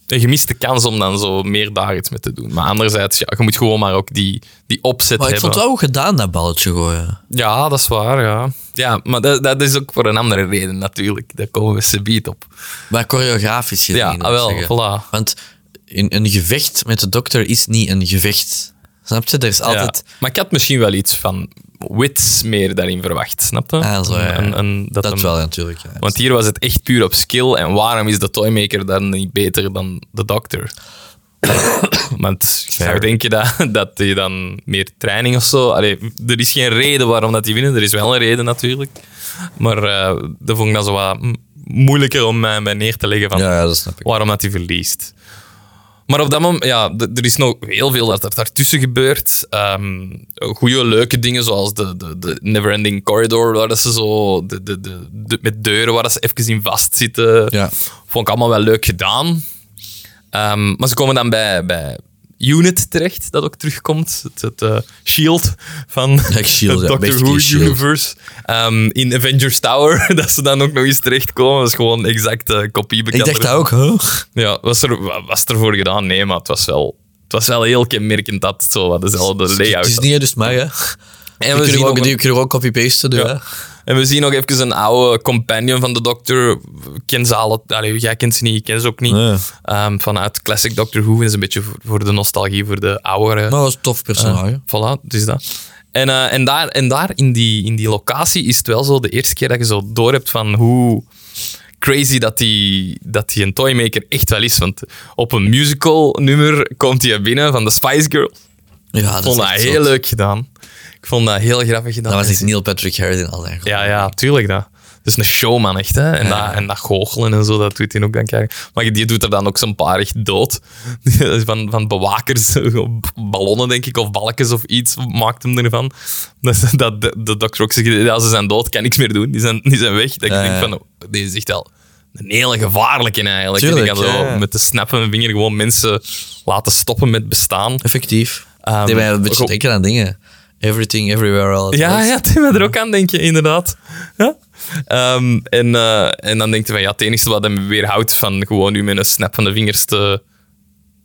Speaker 2: Een gemiste kans om dan zo meer daar iets mee te doen. Maar anderzijds, ja, je moet gewoon maar ook die, die opzet
Speaker 1: Maar ik
Speaker 2: hebben.
Speaker 1: vond het wel goed gedaan, dat balletje gooien.
Speaker 2: Ja, dat is waar, ja. Ja, maar dat, dat is ook voor een andere reden natuurlijk. Daar komen we subiet op.
Speaker 1: Maar choreografisch gezien.
Speaker 2: Ja,
Speaker 1: moet ik
Speaker 2: ah, wel,
Speaker 1: zeggen.
Speaker 2: voilà.
Speaker 1: Want in, een gevecht met de dokter is niet een gevecht. Snap je? Er is altijd...
Speaker 2: Ja. Maar ik had misschien wel iets van wits meer daarin verwacht, snap je?
Speaker 1: Ah, zo, ja.
Speaker 2: Een- een-
Speaker 1: dat
Speaker 2: hem-
Speaker 1: wel, natuurlijk. ja.
Speaker 2: Want hier was het echt puur op skill. En waarom is de toymaker dan niet beter dan de dokter? Want ik zou denken dat, dat je dan meer training of zo... Allee, er is geen reden waarom dat die winnen. Er is wel een reden natuurlijk. Maar eh dat vond ik dan zo wat mm, moeilijker om mij bij neer te leggen van
Speaker 1: ja, ja, dat snap ik.
Speaker 2: waarom dat hij verliest. Maar op dat moment, ja, d- er is nog heel veel dat er daartussen gebeurt. Ehm goede, leuke dingen zoals de, de, de Neverending Corridor, waar dat ze zo de, de, de, de- met deuren waar dat ze even in vastzitten.
Speaker 1: Ja.
Speaker 2: Vond ik allemaal wel leuk gedaan. Ehm, maar ze komen dan bij, bij Unit terecht, dat ook terugkomt. Het, het eh, shield van
Speaker 1: Ja, Shield, ja,
Speaker 2: het Doctor
Speaker 1: basically
Speaker 2: Who
Speaker 1: Shield.
Speaker 2: Universe. Ehm, in Avengers Tower, dat ze dan ook nog eens terechtkomen. Dat is gewoon exact eh, kopie
Speaker 1: Ik
Speaker 2: bekend.
Speaker 1: dacht dat ook, hè?
Speaker 2: Ja, was er, wa- was er voor gedaan? Nee, maar het was wel, het was wel heel kenmerkend dat het zo wat dezelfde layout
Speaker 1: Het is
Speaker 2: had.
Speaker 1: niet, dus maar, hè. En we
Speaker 2: zien
Speaker 1: kunnen
Speaker 2: ook
Speaker 1: ook,
Speaker 2: een-
Speaker 1: die kunnen we ook copy-pasten, doen, hè.
Speaker 2: Ja. En we zien nog even een oude companion van de dokter. Ik Ken ze alle, allee, jij kent ze niet, ik ken ze ook niet.
Speaker 1: Nee.
Speaker 2: Ehm, vanuit Classic Doctor Who is een beetje voor, voor de nostalgie, voor de oudere.
Speaker 1: Maar dat was een tof personage.
Speaker 2: Ah, Voilà, het is dat. En, eh, en daar, en daar in, die, in die locatie is het wel zo de eerste keer dat je zo doorhebt van hoe crazy dat die, dat die een toymaker echt wel is. Want op een musical nummer komt hij binnen van de Spice Girl.
Speaker 1: ja,
Speaker 2: Ik
Speaker 1: Ah, dat
Speaker 2: vond
Speaker 1: is
Speaker 2: dat
Speaker 1: echt
Speaker 2: heel
Speaker 1: zot.
Speaker 2: leuk gedaan. Ik vond dat heel grappig gedaan.
Speaker 1: Dat was echt Neil Patrick Harris in al zijn glorie.
Speaker 2: Ja, ja, tuurlijk dat. Dus een showman echt, hè. En, dat, en dat goochelen en zo, dat doet hij ook dan krijgen. Maar die doet er dan ook zo'n paar echt dood. Van, van bewakers, ballonnen denk ik, of balkjes of iets, maakt hem ervan. Dat, dat de, de dokter ook zegt, ja, ze zijn dood, kan niks meer doen. Die zijn, die zijn weg. Dat ik
Speaker 1: Ja,
Speaker 2: denk
Speaker 1: ja.
Speaker 2: van, oh, die is echt wel een hele gevaarlijke eigenlijk.
Speaker 1: Tuurlijk,
Speaker 2: en die kan zo
Speaker 1: ja, ja.
Speaker 2: met de snap van mijn vinger gewoon mensen laten stoppen met bestaan.
Speaker 1: Effectief.
Speaker 2: Ehm,
Speaker 1: Die mij een beetje
Speaker 2: ook-
Speaker 1: denken aan dingen. Everything, everywhere, all at
Speaker 2: Ja,
Speaker 1: once.
Speaker 2: ja, Tim had er ook aan, denk je, inderdaad. Ja. Ehm, en, eh, en dan denkt hij van, ja, het enige wat hem weerhoudt van gewoon u met een snap van de vingers te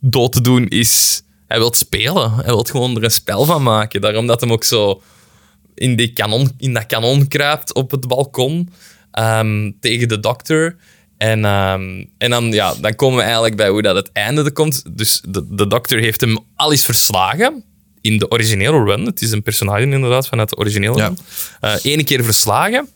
Speaker 2: dood te doen, is... Hij wil spelen. Hij wil gewoon er een spel van maken. Daarom dat hem ook zo in, die kanon, in dat kanon kruipt op het balkon ehm, tegen de dokter. En, ehm, en dan, ja, dan komen we eigenlijk bij hoe dat het einde er komt. Dus de, de dokter heeft hem al eens verslagen in de originele run. Het is een personage inderdaad vanuit de originele
Speaker 1: Ja.
Speaker 2: run. Eén keer verslagen.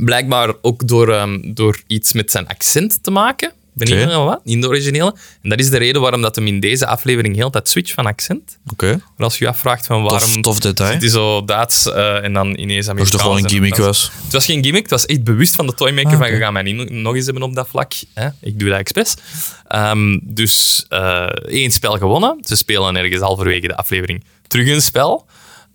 Speaker 2: Blijkbaar ook door, ehm, door iets met zijn accent te maken. Ben ik
Speaker 1: Oké.
Speaker 2: helemaal wat? In de originele. En dat is de reden waarom dat hem in deze aflevering heel dat switch van accent.
Speaker 1: Oké.
Speaker 2: Maar als je je afvraagt van waarom...
Speaker 1: Tof, tof detail.
Speaker 2: Het is zo Duits eh, en dan ineens
Speaker 1: Of
Speaker 2: Amerikaans.
Speaker 1: toch wel Ah, een
Speaker 2: en
Speaker 1: gimmick
Speaker 2: dat-
Speaker 1: was.
Speaker 2: Het was geen gimmick, het was echt bewust van de toymaker van je gaat mij niet no- nog eens hebben op dat vlak. Hè? Ik doe dat expres. Ehm, dus eh, één spel gewonnen. Ze spelen ergens halverwege de aflevering terug een spel.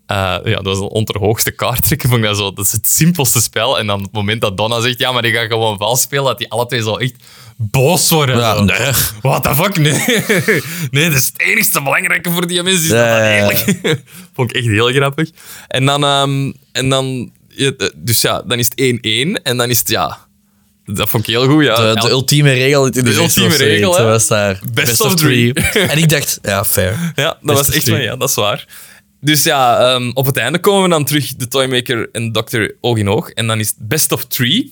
Speaker 2: Eh, ja, dat was een onderhoogste kaart trekken. Vond ik dat, zo, dat is het simpelste spel. En dan op het moment dat Donna zegt, ja, maar die gaat gewoon vals spelen, dat die alle twee zo echt boos worden.
Speaker 1: Ja,
Speaker 2: Zo,
Speaker 1: nee.
Speaker 2: What the fuck, nee. Nee, dat is het enigste belangrijke voor die mensen. Is dat
Speaker 1: Ja,
Speaker 2: dat
Speaker 1: ja, ja.
Speaker 2: eigenlijk. Vond ik echt heel grappig. eh, En dan... ehm, en dan ja, dus ja, dan is het 1-1. En dan is het, ja... Dat vond ik heel goed, ja.
Speaker 1: De, eh, de ultieme regel in de,
Speaker 2: De ultieme
Speaker 1: of zoiets,
Speaker 2: regel, hè.
Speaker 1: was daar.
Speaker 2: Best of three.
Speaker 1: en ik dacht, ja, fair.
Speaker 2: Ja, dat
Speaker 1: Best
Speaker 2: was
Speaker 1: of
Speaker 2: echt
Speaker 1: three.
Speaker 2: van, ja, dat is waar. Dus ja, ehm, op het einde komen we dan terug de Toymaker en Dokter oog in oog. En dan is het best of three.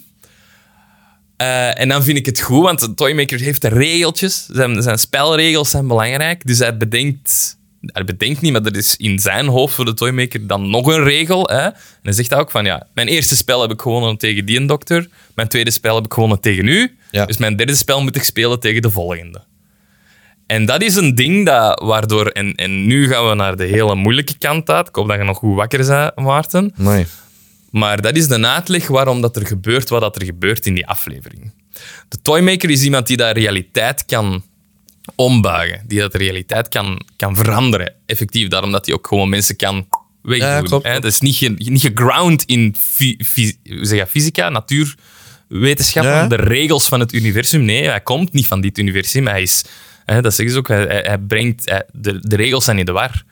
Speaker 2: Eh, en dan vind ik het goed, want de Toymaker heeft de regeltjes. Zijn, zijn spelregels zijn belangrijk. Dus hij bedenkt... Hij bedenkt niet, maar er is in zijn hoofd voor de Toymaker dan nog een regel. Hè? En hij zegt ook van, ja, mijn eerste spel heb ik gewonnen tegen die en dokter. Mijn tweede spel heb ik gewonnen tegen u.
Speaker 1: Ja.
Speaker 2: Dus mijn derde spel moet ik spelen tegen de volgende. En dat is een ding dat, waardoor... En, en nu gaan we naar de hele moeilijke kant uit. Ik hoop dat je nog goed wakker bent, Maarten.
Speaker 1: Nee.
Speaker 2: Maar dat is de uitleg waarom dat er gebeurt wat dat er gebeurt in die aflevering. De toymaker is iemand die dat realiteit kan ombuigen. Die dat realiteit kan, kan veranderen. Effectief, daarom dat hij ook gewoon mensen kan wegdoen.
Speaker 1: Ja, klopt,
Speaker 2: hè. Dat is niet, ge, niet geground in fi- fi- hoe zeg je, fysica, natuurwetenschappen,
Speaker 1: Ja.
Speaker 2: de regels van het universum. Nee, hij komt niet van dit universum. Hij is... Hè, dat zeggen ze ook. Hij, hij- hij brengt, hij- de, de regels zijn in de war.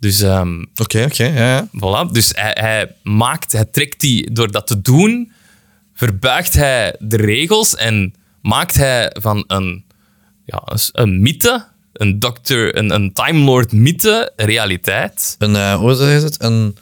Speaker 2: Dus ehm,
Speaker 1: Oké, oké, ja, ja.
Speaker 2: Voilà, dus hij, hij maakt, hij trekt die, door dat te doen, verbuigt hij de regels en maakt hij van een, ja, een s- een mythe, een dokter, een, een Time Lord mythe, realiteit.
Speaker 1: Een, eh, hoe is het? Een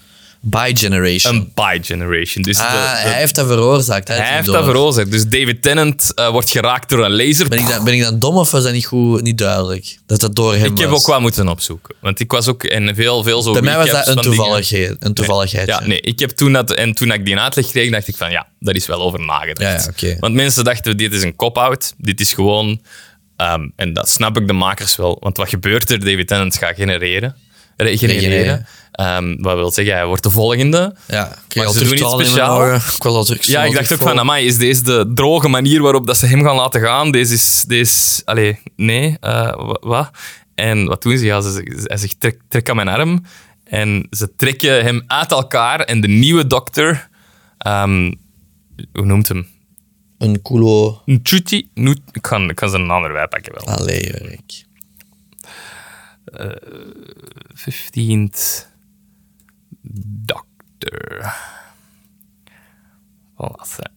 Speaker 1: by-generation.
Speaker 2: Een by-generation. Dus
Speaker 1: ah,
Speaker 2: de- de-
Speaker 1: hij heeft dat veroorzaakt.
Speaker 2: hij
Speaker 1: het
Speaker 2: heeft
Speaker 1: niet
Speaker 2: dat
Speaker 1: door.
Speaker 2: veroorzaakt. Dus David Tennant eh, wordt geraakt door een laser.
Speaker 1: Ben ik, dan, ben ik dan dom of was dat niet, goed, niet duidelijk? Dat dat door hem
Speaker 2: ik heb
Speaker 1: was.
Speaker 2: ook wat moeten opzoeken. Want ik was ook in veel, veel zo
Speaker 1: Bij mij was dat
Speaker 2: recaps
Speaker 1: een
Speaker 2: van dingen.
Speaker 1: toevalligheid. Een toevalligheid.
Speaker 2: Ja, nee, ik heb toen dat, en toen ik die uitleg kreeg, dacht ik van ja, daar is wel over nagedacht.
Speaker 1: Ja, ja, oké.
Speaker 2: Want mensen dachten, dit is een cop-out, dit is gewoon, ehm, en dat snap ik de makers wel, want wat gebeurt er? David Tennant gaat genereren. re- genereren.
Speaker 1: Regenereren.
Speaker 2: Ehm, wat wil zeggen, hij wordt de volgende.
Speaker 1: Ja, ik kreeg
Speaker 2: Maar
Speaker 1: al
Speaker 2: ze doen iets
Speaker 1: terugtalen in mijn
Speaker 2: speciaal.
Speaker 1: ogen. Ik was al terug-
Speaker 2: Ja,
Speaker 1: al
Speaker 2: ik dacht ook
Speaker 1: terug
Speaker 2: van,
Speaker 1: voor.
Speaker 2: amai, is deze de droge manier waarop dat ze hem gaan laten gaan? Deze is, deze, allee, nee, eh, wa- wat? En wat doen ze? Ja, ze, ze- hij zegt, trek, trek aan mijn arm. En ze trekken hem uit elkaar en de nieuwe dokter, ehm, hoe noemt hem?
Speaker 1: Een culo...
Speaker 2: Nchuti, Nut- ik ga, ik ga zijn naam erbij pakken wel.
Speaker 1: Allee, Erik.
Speaker 2: 15th Doctor. Wat? was dat?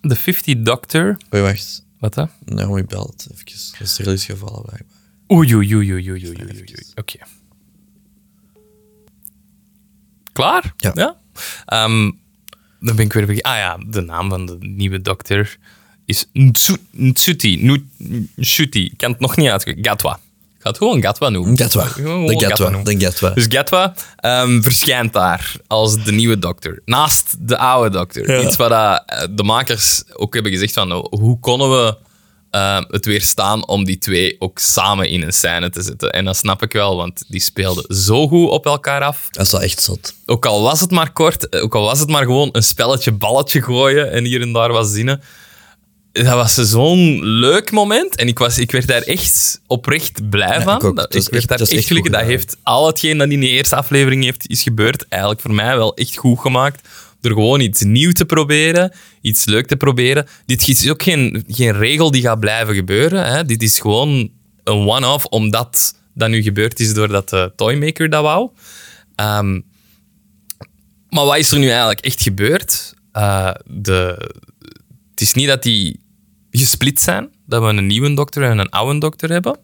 Speaker 2: De 50 Doctor.
Speaker 1: Oei, wacht.
Speaker 2: Wat hè?
Speaker 1: Naomi belt. Even. Dat is er iets gevallen, blijkbaar.
Speaker 2: Oei, oei, oei, oei, oei, oei, oei, oei. Oké. Klaar?
Speaker 1: Ja.
Speaker 2: Ehm, dan ben ik weer begin. Ah ja, de naam van de nieuwe dokter is Ntsu- Ntsuti. Nu- Ntsuti. Ik kan het nog niet uit. Gatwa. Ik ga het gewoon Gatwa noemen.
Speaker 1: Gatwa.
Speaker 2: Gewoon
Speaker 1: De
Speaker 2: Gatwa
Speaker 1: Gatwa.
Speaker 2: noemen.
Speaker 1: De Gatwa.
Speaker 2: Dus Gatwa ehm, verschijnt daar als de nieuwe dokter. Naast de oude dokter.
Speaker 1: Ja.
Speaker 2: Iets wat dat, eh, de makers ook hebben gezegd van oh, hoe konden we ehm, het weerstaan om die twee ook samen in een scène te zetten. En dat snap ik wel, want die speelden zo goed op elkaar af.
Speaker 1: Dat is wel echt zot.
Speaker 2: Ook al was het maar kort, eh, ook al was het maar gewoon een spelletje balletje gooien en hier en daar wat zinnen. Dat was zo'n leuk moment en ik, was, ik werd daar echt oprecht blij
Speaker 1: Ja,
Speaker 2: van.
Speaker 1: ik ook.
Speaker 2: Dat-
Speaker 1: Dat is
Speaker 2: ik werd
Speaker 1: echt-
Speaker 2: daar
Speaker 1: dat is
Speaker 2: echt,
Speaker 1: echt
Speaker 2: gelukkig.
Speaker 1: goed
Speaker 2: Dat heeft al hetgeen dat in die eerste aflevering heeft, is gebeurd eigenlijk voor mij wel echt goed gemaakt. Door gewoon iets nieuw te proberen, iets leuk te proberen. Dit is ook geen, geen regel die gaat blijven gebeuren. Hè. Dit is gewoon een one-off omdat dat nu gebeurd is doordat de Toymaker dat wou. Ehm, maar wat is er nu eigenlijk echt gebeurd? Eh, de, het is niet dat die gesplit zijn, dat we een nieuwe dokter en een oude dokter hebben.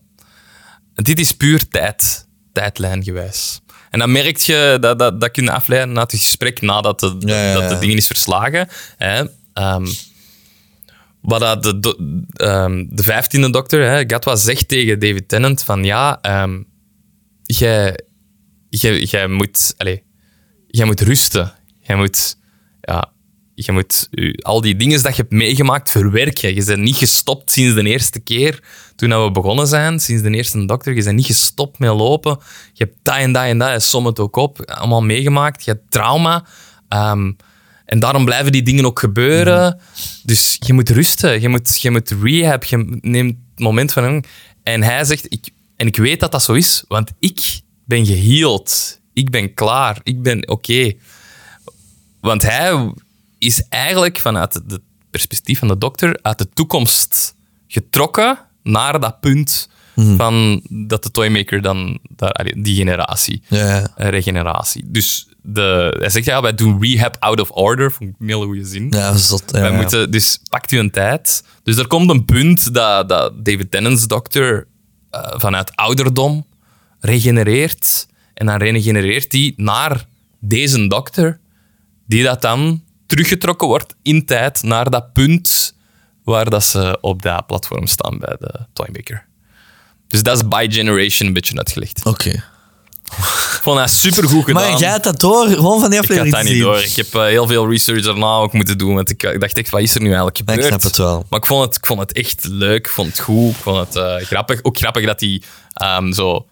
Speaker 2: Dit is puur tijd, tijdlijngewijs. En dan merk je, dat, dat, dat kun je afleiden uit het gesprek nadat de,
Speaker 1: Ja, ja, ja.
Speaker 2: Dat de dingen is verslagen. Hè. Ehm, wat dat de, do- ehm, de vijftiende dokter, hè, Gatwa, zegt tegen David Tennant van ja, ehm, jij, jij, jij moet... Allez, jij moet rusten. Jij moet, ja, jij moet u- al die dingen dat je hebt meegemaakt verwerken. Je bent niet gestopt sinds de eerste keer toen dat we begonnen zijn, sinds de eerste dokter. Je bent niet gestopt met lopen. Je hebt dat en dat en dat, en som het ook op, allemaal meegemaakt. Je hebt trauma. Ehm, en daarom blijven die dingen ook gebeuren.
Speaker 1: Mhm.
Speaker 2: Dus je moet rusten, je moet, je moet rehab, je neemt het moment van hem. En hij zegt, ik, en ik weet dat dat zo is, want ik ben geheeld. Ik ben klaar, ik ben oké. Want hij is eigenlijk vanuit het perspectief van de dokter uit de toekomst getrokken naar dat punt
Speaker 1: Mhm.
Speaker 2: van dat de Toymaker dan, daar, allee, die generatie,
Speaker 1: Ja, ja.
Speaker 2: eh, regeneratie. Dus de, hij zegt ja, wij doen rehab out of order. Vond ik een hele goede zin.
Speaker 1: Ja, zot. Ja,
Speaker 2: Wij
Speaker 1: ja.
Speaker 2: moeten, dus pakt u een tijd. Dus er komt een punt dat, dat David Tennant's dokter eh, vanuit ouderdom regenereert. En dan regenereert hij naar deze dokter, die dat dan teruggetrokken wordt in tijd naar dat punt waar dat ze op dat platform staan bij de Toymaker. Dus dat is by generation een beetje uitgelegd.
Speaker 1: Oké.
Speaker 2: Ik vond dat supergoed gedaan.
Speaker 1: Maar jij had dat door, gewoon van die
Speaker 2: Ik had
Speaker 1: aflevering
Speaker 2: dat niet door. Ik heb eh, heel veel research daarna ook moeten doen. Want ik, eh, ik dacht echt, wat is er nu eigenlijk
Speaker 1: Maar ik
Speaker 2: gebeurd?
Speaker 1: snap het wel.
Speaker 2: Maar ik vond het, ik vond het echt leuk. Ik vond het goed. Ik vond het eh, grappig. Ook grappig dat hij ehm, zo...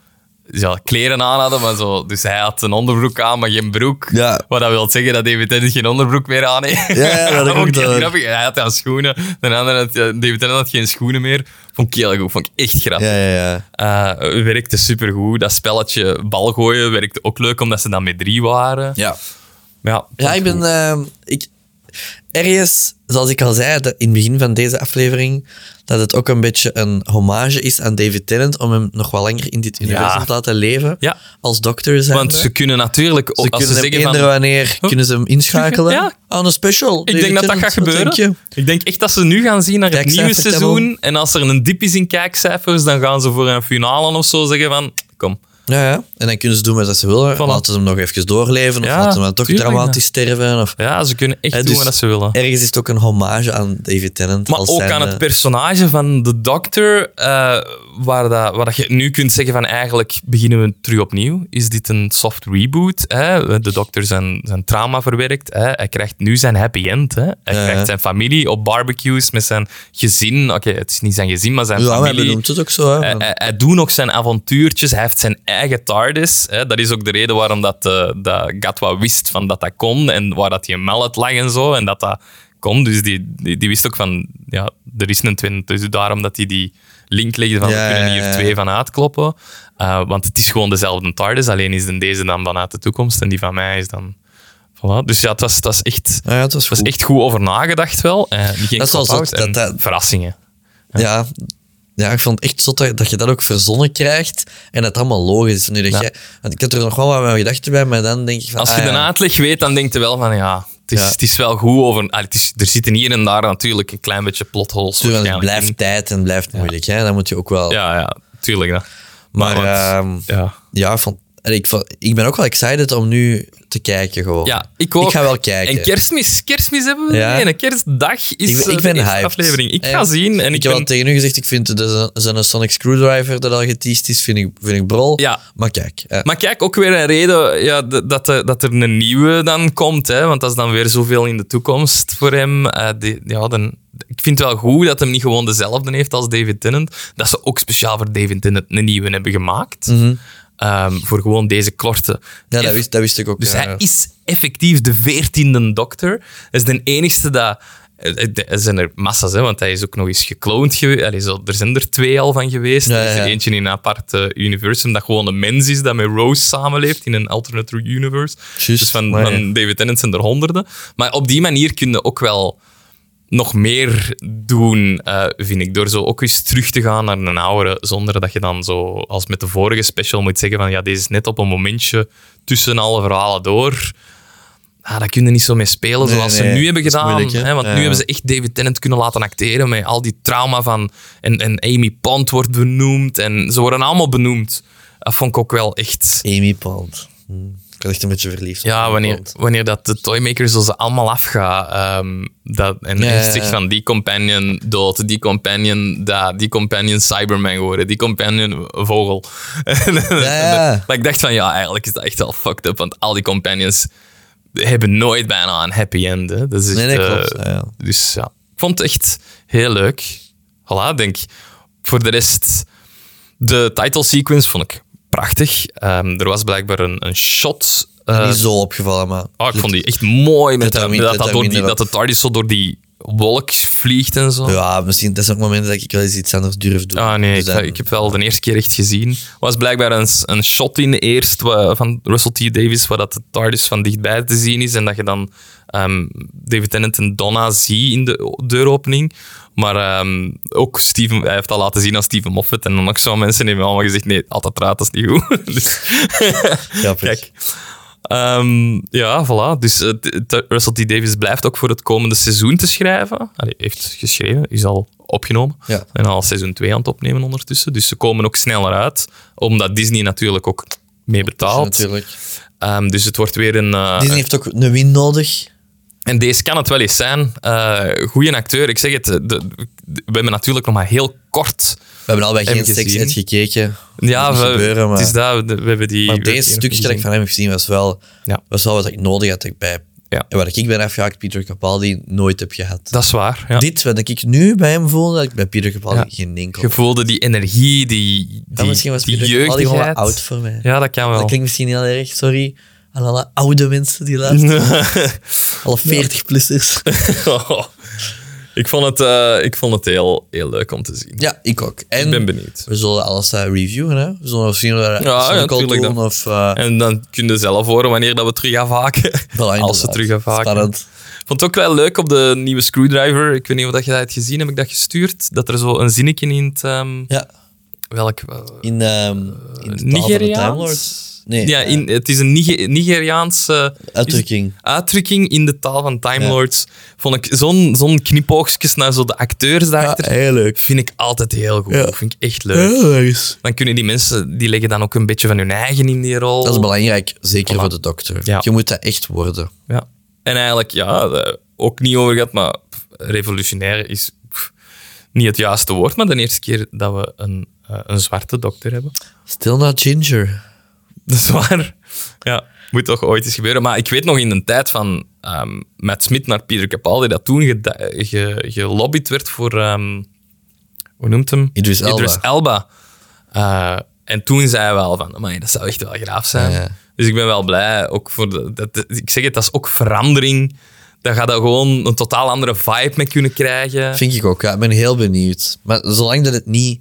Speaker 2: Ja, kleren aan hadden, maar zo. Dus hij had een onderbroek aan, maar geen broek.
Speaker 1: Ja.
Speaker 2: Wat dat wil zeggen dat David Tennant geen onderbroek meer aan heeft.
Speaker 1: Ja, ja, dat heb ik
Speaker 2: vond
Speaker 1: ook
Speaker 2: heel
Speaker 1: door.
Speaker 2: grappig. Hij had dan schoenen. De andere had, ja, David Tennant had geen schoenen meer. Vond ik heel goed. Vond ik echt grappig.
Speaker 1: Ja, ja, ja.
Speaker 2: Eh, werkte supergoed. Dat spelletje bal gooien werkte ook leuk, omdat ze dan met drie waren.
Speaker 1: Ja,
Speaker 2: Ja,
Speaker 1: ja ik ben... ehm, ik, ergens, zoals ik al zei dat in het begin van deze aflevering, dat het ook een beetje een hommage is aan David Tennant om hem nog wel langer in dit universum te laten leven.
Speaker 2: Ja.
Speaker 1: Als dokter zijn.
Speaker 2: Want ze kunnen natuurlijk ook
Speaker 1: Ze
Speaker 2: als
Speaker 1: kunnen
Speaker 2: ze
Speaker 1: hem
Speaker 2: zeggen van...
Speaker 1: eender wanneer kunnen ze hem inschakelen
Speaker 2: Ja.
Speaker 1: aan een special.
Speaker 2: Ik denk dat dat gaat gebeuren. Ik denk echt dat ze nu gaan zien naar het
Speaker 1: Kijkcijfer
Speaker 2: nieuwe seizoen. En als er een dip is in kijkcijfers, dan gaan ze voor een finale of zo zeggen van... Kom,
Speaker 1: Ja, ja, en dan kunnen ze doen met wat ze willen. Laten ze hem nog even doorleven, of
Speaker 2: Ja,
Speaker 1: laten ze hem toch
Speaker 2: tuurlijk,
Speaker 1: dramatisch sterven. Of...
Speaker 2: ja, ze kunnen echt
Speaker 1: Hè,
Speaker 2: doen
Speaker 1: dus-
Speaker 2: wat ze willen.
Speaker 1: Ergens is het ook een hommage aan David Tennant.
Speaker 2: Maar
Speaker 1: als
Speaker 2: ook
Speaker 1: zijn,
Speaker 2: aan het
Speaker 1: eh,
Speaker 2: personage van de dokter, eh, waar, dat, waar dat je nu kunt zeggen van eigenlijk beginnen we terug opnieuw. Is dit een soft reboot? Hè? De dokter zijn, zijn trauma verwerkt. Hè? Hij krijgt nu zijn happy end. Hè? Hij krijgt zijn familie op barbecues met zijn gezin. Oké, het is niet zijn gezin, maar zijn
Speaker 1: Ja, maar hij
Speaker 2: familie.
Speaker 1: noemt het ook zo. Hè.
Speaker 2: Hij, hij, Eh, hij doet nog zijn avontuurtjes. Hij heeft zijn eigen TARDIS. Hè. Dat is ook de reden waarom dat, eh, dat Gatwa wist van dat dat kon. En waar dat hij een mallet lag en zo. En dat dat kon. Dus die, die, die wist ook van... Ja, er is een twin. Dus daarom dat hij die link legde van...
Speaker 1: Ja,
Speaker 2: we kunnen
Speaker 1: ja,
Speaker 2: hier
Speaker 1: ja.
Speaker 2: twee van uitkloppen. Eh, want het is gewoon dezelfde TARDIS. Alleen is dan deze dan vanuit de toekomst. En die van mij is dan... Voilà. Dus ja, het was, het was echt...
Speaker 1: ja, het was
Speaker 2: Het
Speaker 1: goed.
Speaker 2: was echt goed over nagedacht wel. Eh, niet geen
Speaker 1: Dat is wel
Speaker 2: cop-out
Speaker 1: zot, dat
Speaker 2: en
Speaker 1: dat-
Speaker 2: Verrassingen.
Speaker 1: Ja. ja, ik vond het echt zot dat, dat je dat ook verzonnen krijgt en dat het allemaal logisch is. Nu dat jij, want ik had er nog wel wat mijn gedachten bij, maar dan denk ik van...
Speaker 2: Als je
Speaker 1: ah,
Speaker 2: de
Speaker 1: ja.
Speaker 2: uitleg weet, dan denk je wel van ja, het is,
Speaker 1: Ja.
Speaker 2: Het is wel goed over. ah, het is, er zitten hier en daar natuurlijk een klein beetje plotholes.
Speaker 1: Tuurlijk, want het
Speaker 2: waarschijnlijk
Speaker 1: blijft tijd en het blijft moeilijk. Hè? Dan moet je ook wel...
Speaker 2: in. Ja, ja, tuurlijk. Ja.
Speaker 1: maar
Speaker 2: want-
Speaker 1: ehm,
Speaker 2: ja.
Speaker 1: ja, ik vond, en ik, vond- ik ben ook wel excited om nu te kijken gewoon.
Speaker 2: ja, ik ook.
Speaker 1: Ik ga wel kijken.
Speaker 2: En kerstmis, kerstmis hebben we
Speaker 1: Ja.
Speaker 2: niet. En kerstdag is
Speaker 1: Ik,
Speaker 2: eh,
Speaker 1: ik
Speaker 2: de
Speaker 1: ben
Speaker 2: eerste
Speaker 1: hyped.
Speaker 2: aflevering. Ik
Speaker 1: Eh,
Speaker 2: ga zien. En ik
Speaker 1: heb al
Speaker 2: ben,
Speaker 1: tegen u gezegd, ik vind de, zijn Sonic Screwdriver dat al geteased is, vind ik, vind ik brol.
Speaker 2: Ja.
Speaker 1: Maar kijk. eh,
Speaker 2: maar kijk, ook weer een reden ja, d- dat, eh, dat er een nieuwe dan komt. Hè, want dat is dan weer zoveel in de toekomst voor hem. Eh, die, ja, dan, ik vind het wel goed dat hem niet gewoon dezelfde heeft als David Tennant. Dat ze ook speciaal voor David Tennant een nieuwe hebben gemaakt. Ehm, voor gewoon deze korte.
Speaker 1: Mhm. ja, dat
Speaker 2: Eff-
Speaker 1: wist, dat wist ik ook.
Speaker 2: dus
Speaker 1: ja.
Speaker 2: hij is effectief de veertiende dokter. Dat is de enigste dat... eh, eh, Er zijn er massa's, hè, want hij is ook nog eens gekloond geweest. Allee, zo, Er zijn er twee al van geweest.
Speaker 1: Ja,
Speaker 2: er is
Speaker 1: ja,
Speaker 2: er
Speaker 1: ja.
Speaker 2: eentje in een apart eh, universum dat gewoon een mens is dat met Rose samenleeft in een alternate universe.
Speaker 1: Juist,
Speaker 2: dus van,
Speaker 1: maar ja.
Speaker 2: van David Tennant zijn er honderden. Maar op die manier kun je ook wel nog meer doen, eh, vind ik. Door zo ook eens terug te gaan naar een oudere, zonder dat je dan zo, als met de vorige special, moet zeggen van ja, deze is net op een momentje tussen alle verhalen door. Ah, daar kun je niet zo mee spelen
Speaker 1: Nee,
Speaker 2: zoals
Speaker 1: nee,
Speaker 2: ze nu hebben
Speaker 1: dat is
Speaker 2: gedaan.
Speaker 1: moeilijk, hè?
Speaker 2: hè, want
Speaker 1: Ja.
Speaker 2: nu hebben ze echt David Tennant kunnen laten acteren met al die trauma van... En, en Amy Pond wordt benoemd en ze worden allemaal benoemd. Dat vond ik ook wel echt...
Speaker 1: Amy Pond. Hm. Ik was echt een beetje verliefd. op
Speaker 2: Ja,
Speaker 1: Amy
Speaker 2: wanneer,
Speaker 1: Pond.
Speaker 2: wanneer dat de Toymaker zo ze allemaal afgaat. ehm, dat, en
Speaker 1: Ja,
Speaker 2: echt
Speaker 1: ja,
Speaker 2: zegt
Speaker 1: ja.
Speaker 2: van die companion dood, die companion dat, die companion Cyberman geworden, die companion vogel. En- en-
Speaker 1: ja.
Speaker 2: en- maar ik dacht van ja, eigenlijk is dat echt wel fucked up, want al die companions hebben nooit bijna een happy end. Hè. Dat is echt,
Speaker 1: Nee, nee,
Speaker 2: eh,
Speaker 1: klopt. Ja, ja.
Speaker 2: Dus ja, ik vond het echt heel leuk. Voilà, denk ik. Voor de rest, de title sequence vond ik prachtig. Ehm, er was blijkbaar een, een shot. eh,
Speaker 1: Niet zo opgevallen, maar...
Speaker 2: Oh, ik vond die echt mooi met
Speaker 1: Let
Speaker 2: dat,
Speaker 1: daar min-
Speaker 2: dat,
Speaker 1: let
Speaker 2: dat
Speaker 1: daar
Speaker 2: door die,
Speaker 1: minder
Speaker 2: dat de TARDIS zo door die wolk vliegt en zo.
Speaker 1: Ja, misschien dat zijn ook momenten dat ik wel eens iets anders durf doen.
Speaker 2: Ah nee,
Speaker 1: Dus
Speaker 2: ik,
Speaker 1: dan-
Speaker 2: ik heb wel de eerste keer echt gezien. was blijkbaar een, s- een shot in eerst wa- van Russell T. Davis, waar dat de TARDIS van dichtbij te zien is. En dat je dan ehm, David Tennant en Donna ziet in de o- deuropening. Maar ehm, ook Steven, hij heeft dat laten zien aan Steven Moffat. En dan ook zo'n mensen hebben allemaal gezegd, nee, altijd raad, dat is niet goed. Dus,
Speaker 1: Grappig.
Speaker 2: kijk. Ehm, ja, voilà. Dus eh, t- t- Russell T. Davis blijft ook voor het komende seizoen te schrijven. Hij heeft geschreven, is al opgenomen.
Speaker 1: Ja.
Speaker 2: En al seizoen 2 aan het opnemen ondertussen. Dus ze komen ook sneller uit, omdat Disney natuurlijk ook mee betaalt.
Speaker 1: dus Natuurlijk.
Speaker 2: Ehm, dus het wordt weer een... eh,
Speaker 1: Disney heeft ook een win nodig.
Speaker 2: en deze kan het wel eens zijn. Eh goeie acteur, ik zeg het. eh, de- de- we hebben natuurlijk nog maar heel kort...
Speaker 1: We hebben allebei
Speaker 2: Heb
Speaker 1: geen
Speaker 2: je
Speaker 1: Sex
Speaker 2: gezien?
Speaker 1: Ed gekeken.
Speaker 2: Ja,
Speaker 1: Dat moet
Speaker 2: we,
Speaker 1: gebeuren, maar-
Speaker 2: het is dat. We, we hebben die...
Speaker 1: Maar
Speaker 2: we hebben
Speaker 1: deze
Speaker 2: die nog
Speaker 1: stukjes dat ik
Speaker 2: niet gezien.
Speaker 1: van hem heb gezien was wel,
Speaker 2: Ja.
Speaker 1: was wel wat ik nodig had. Ik bij,
Speaker 2: Ja.
Speaker 1: En wat ik ben afgehaakt, Peter Capaldi, nooit heb gehad.
Speaker 2: Dat is waar, ja.
Speaker 1: Dit, wat ik nu bij hem voelde, dat ik bij Peter Capaldi geen enkel...
Speaker 2: Je voelde die energie, die,
Speaker 1: Ja,
Speaker 2: die,
Speaker 1: misschien was
Speaker 2: die
Speaker 1: Peter Capaldi gewoon wat
Speaker 2: jeugdigheid.
Speaker 1: oud voor mij.
Speaker 2: Ja, dat kan wel.
Speaker 1: Dat klinkt misschien heel erg, sorry. Aan alle oude mensen die luisteren. alle 40-plussers.
Speaker 2: ik vond het, eh, ik vond het heel, heel leuk om te zien.
Speaker 1: ja, ik ook. En
Speaker 2: Ik ben benieuwd.
Speaker 1: we zullen alles eh, reviewen, hè. We zullen zien wat we
Speaker 2: Ja, ja,
Speaker 1: Sonic al
Speaker 2: tuurlijk
Speaker 1: doen,
Speaker 2: dan.
Speaker 1: of... eh,
Speaker 2: En dan kun je zelf horen wanneer dat we terug gaan vaken.
Speaker 1: wel,
Speaker 2: Als ze
Speaker 1: inderdaad.
Speaker 2: terug gaan vaken.
Speaker 1: Spannend.
Speaker 2: Ik vond het ook wel leuk op de nieuwe Screwdriver. Ik weet niet of dat je dat hebt gezien. Heb ik dat gestuurd? Dat er zo een zinnetje in het... ehm,
Speaker 1: Ja,
Speaker 2: welk... eh,
Speaker 1: in, ehm in de taal van de Time Lords.
Speaker 2: Nigeriaans?
Speaker 1: Nee,
Speaker 2: ja,
Speaker 1: eh,
Speaker 2: in, het is een Nige- Nigeriaanse...
Speaker 1: Uitdrukking.
Speaker 2: uitdrukking in de taal van Time
Speaker 1: Ja.
Speaker 2: Lords. Vond ik zo'n zo'n knipoogjes naar zo de acteurs daarachter.
Speaker 1: Ah, heel leuk.
Speaker 2: vind ik altijd heel goed. Vind ik echt leuk.
Speaker 1: Heel nice.
Speaker 2: Dan kunnen die mensen, die leggen dan ook een beetje van hun eigen in die rol.
Speaker 1: Dat is belangrijk, zeker voor de dokter.
Speaker 2: Ja.
Speaker 1: Je moet dat echt worden.
Speaker 2: Ja. En eigenlijk, ja, eh, ook niet over gehad, maar pff, revolutionair is pff, niet het juiste woord, maar de eerste keer dat we een, eh, een zwarte dokter hebben.
Speaker 1: Still not ginger.
Speaker 2: Dat is waar. Ja, moet toch ooit eens gebeuren. Maar ik weet nog in de tijd van ehm Matt Smith naar Peter Capaldi, dat toen geda- ge- gelobbyd werd voor... ehm, hoe noemt hem?
Speaker 1: Idris Elba.
Speaker 2: Elba. Eh, en toen zei hij wel van, "Amai, dat zou echt wel graaf zijn.
Speaker 1: Ja.
Speaker 2: Dus ik ben wel blij. Ook voor de, dat, dat- ik zeg het, dat is ook verandering. Daar gaat dat gewoon een totaal andere vibe mee kunnen krijgen.
Speaker 1: Vind ik ook, ja. Ik ben heel benieuwd. Maar zolang dat het niet...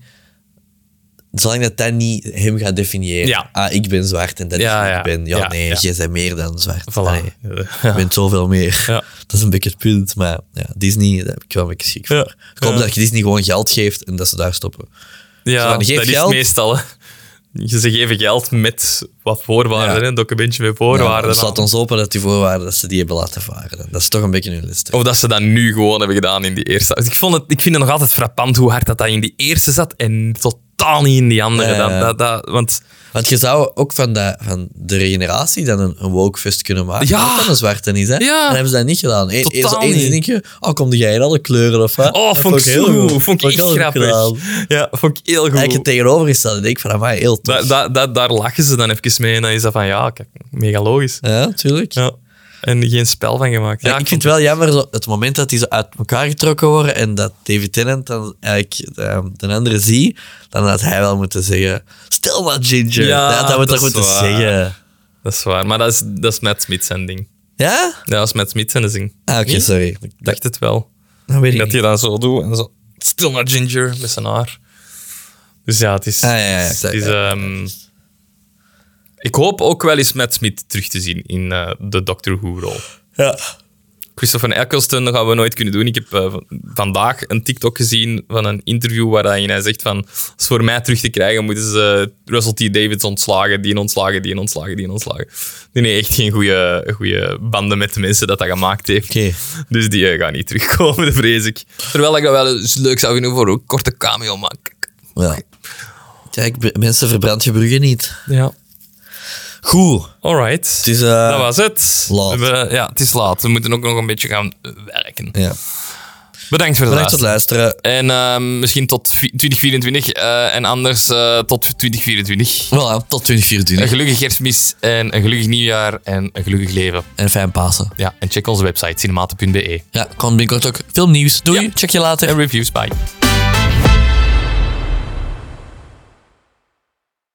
Speaker 1: Zolang dat dat niet hem gaat definiëren.
Speaker 2: Ja.
Speaker 1: Ah, ik ben zwart en dat
Speaker 2: Ja,
Speaker 1: is wie
Speaker 2: ja.
Speaker 1: ik ben. Ja,
Speaker 2: Ja,
Speaker 1: nee,
Speaker 2: ja.
Speaker 1: jij bent meer dan zwart.
Speaker 2: Voilà.
Speaker 1: Nee,
Speaker 2: Ja.
Speaker 1: je bent zoveel meer.
Speaker 2: Ja.
Speaker 1: Dat is een beetje het punt. Maar ja, Disney, daar heb ik wel een beetje schrik voor.
Speaker 2: Ja.
Speaker 1: Ik hoop dat je Disney gewoon geld geeft en dat ze daar stoppen. Zo
Speaker 2: Ja,
Speaker 1: van,
Speaker 2: dat
Speaker 1: geef
Speaker 2: is
Speaker 1: geld.
Speaker 2: meestal. hè. Je- Ze geven geld met wat voorwaarden,
Speaker 1: Ja.
Speaker 2: hè, een documentje met
Speaker 1: Ja,
Speaker 2: voorwaarden.
Speaker 1: het slaat ons open dat die voorwaarden dat ze die hebben laten varen. Dat is toch een beetje hun les.
Speaker 2: Of dat ze dat nu gewoon hebben gedaan in die eerste. Dus ik, vond het, ik vind het nog altijd frappant hoe hard dat, dat in die eerste zat en totaal niet in die andere.
Speaker 1: Ja, ja, ja.
Speaker 2: Dat, dat, dat, want
Speaker 1: Want je zou ook van de, van de regeneratie dan een, een wokefest kunnen maken.
Speaker 2: Ja.
Speaker 1: Dat dan een zwarte is, hè?
Speaker 2: Ja.
Speaker 1: Dan hebben ze dat niet gedaan. Eén
Speaker 2: Totaal
Speaker 1: zo één
Speaker 2: niet.
Speaker 1: zinnetje. Oh, kom jij in alle kleuren of wat?
Speaker 2: Oh,
Speaker 1: Dat
Speaker 2: vond ik
Speaker 1: heel
Speaker 2: zo goed. Vond ik echt
Speaker 1: heel goed
Speaker 2: grappig.
Speaker 1: gedaan.
Speaker 2: ja, vond ik heel
Speaker 1: Eigenlijk het
Speaker 2: goed.
Speaker 1: tegenovergestelde. Ik denk van, mij heel tof.
Speaker 2: Da, da, da- daar lachen ze dan even mee en dan is dat van ja, kijk, mega logisch.
Speaker 1: ja, tuurlijk.
Speaker 2: Ja. En geen spel van gemaakt. Ja,
Speaker 1: Ja, ik vind het wel jammer, zo, het moment dat die zo uit elkaar getrokken worden en dat David Tennant dan eigenlijk de, de andere zie, dan had hij wel moeten zeggen, stil maar Ginger.
Speaker 2: Ja,
Speaker 1: dat had hij
Speaker 2: dat
Speaker 1: toch
Speaker 2: is
Speaker 1: moeten
Speaker 2: waar.
Speaker 1: zeggen.
Speaker 2: Dat is waar, maar dat is, dat is Matt Smith zijn ding.
Speaker 1: Ja?
Speaker 2: Ja, dat is Matt Smith zijn ding.
Speaker 1: Ah, oké,
Speaker 2: Niet?
Speaker 1: sorry.
Speaker 2: Ik dacht het wel.
Speaker 1: Dat weet ik
Speaker 2: dat
Speaker 1: niet.
Speaker 2: hij dat zo doet en zo. Stil naar Ginger met zijn haar. Dus ja, het is.
Speaker 1: Ah, ja, ja, ja.
Speaker 2: het is, ehm, ik hoop ook wel eens Matt Smith terug te zien in eh, de Doctor Who-rol.
Speaker 1: Ja.
Speaker 2: Christopher Eccleston dat gaan we nooit kunnen doen. Ik heb eh, v- vandaag een TikTok gezien van een interview waarin hij zegt van... Als het voor mij terug te krijgen, moeten ze Russell T. Davids ontslagen, die ontslagen, die ontslagen, die ontslagen. Die heeft echt geen goede, goede banden met de mensen dat dat gemaakt heeft.
Speaker 1: Oké.
Speaker 2: Dus die eh, gaan niet terugkomen, vrees ik. Terwijl ik dat wel eens leuk zou vinden voor een korte cameo, maar... kijk.
Speaker 1: Ja. Kijk, b- mensen verbrand je bruggen niet.
Speaker 2: Ja.
Speaker 1: Goed.
Speaker 2: Alright.
Speaker 1: Het is... eh,
Speaker 2: dat was het.
Speaker 1: laat.
Speaker 2: We hebben- ja, het is laat. We moeten ook nog een beetje gaan eh, werken.
Speaker 1: Ja.
Speaker 2: Bedankt voor het
Speaker 1: Bedankt voor
Speaker 2: luisteren.
Speaker 1: het luisteren.
Speaker 2: En ehm, misschien tot vi- 2024 eh, en anders eh, tot 2024.
Speaker 1: Voilà, tot 2024.
Speaker 2: Een gelukkig kerstmis en een gelukkig nieuwjaar en een gelukkig leven.
Speaker 1: En fijn Pasen.
Speaker 2: Ja, en check onze website cinemate.be.
Speaker 1: Ja, komt binnenkort ook filmnieuws. Doei,
Speaker 2: Ja.
Speaker 1: check je later.
Speaker 2: En reviews, bye.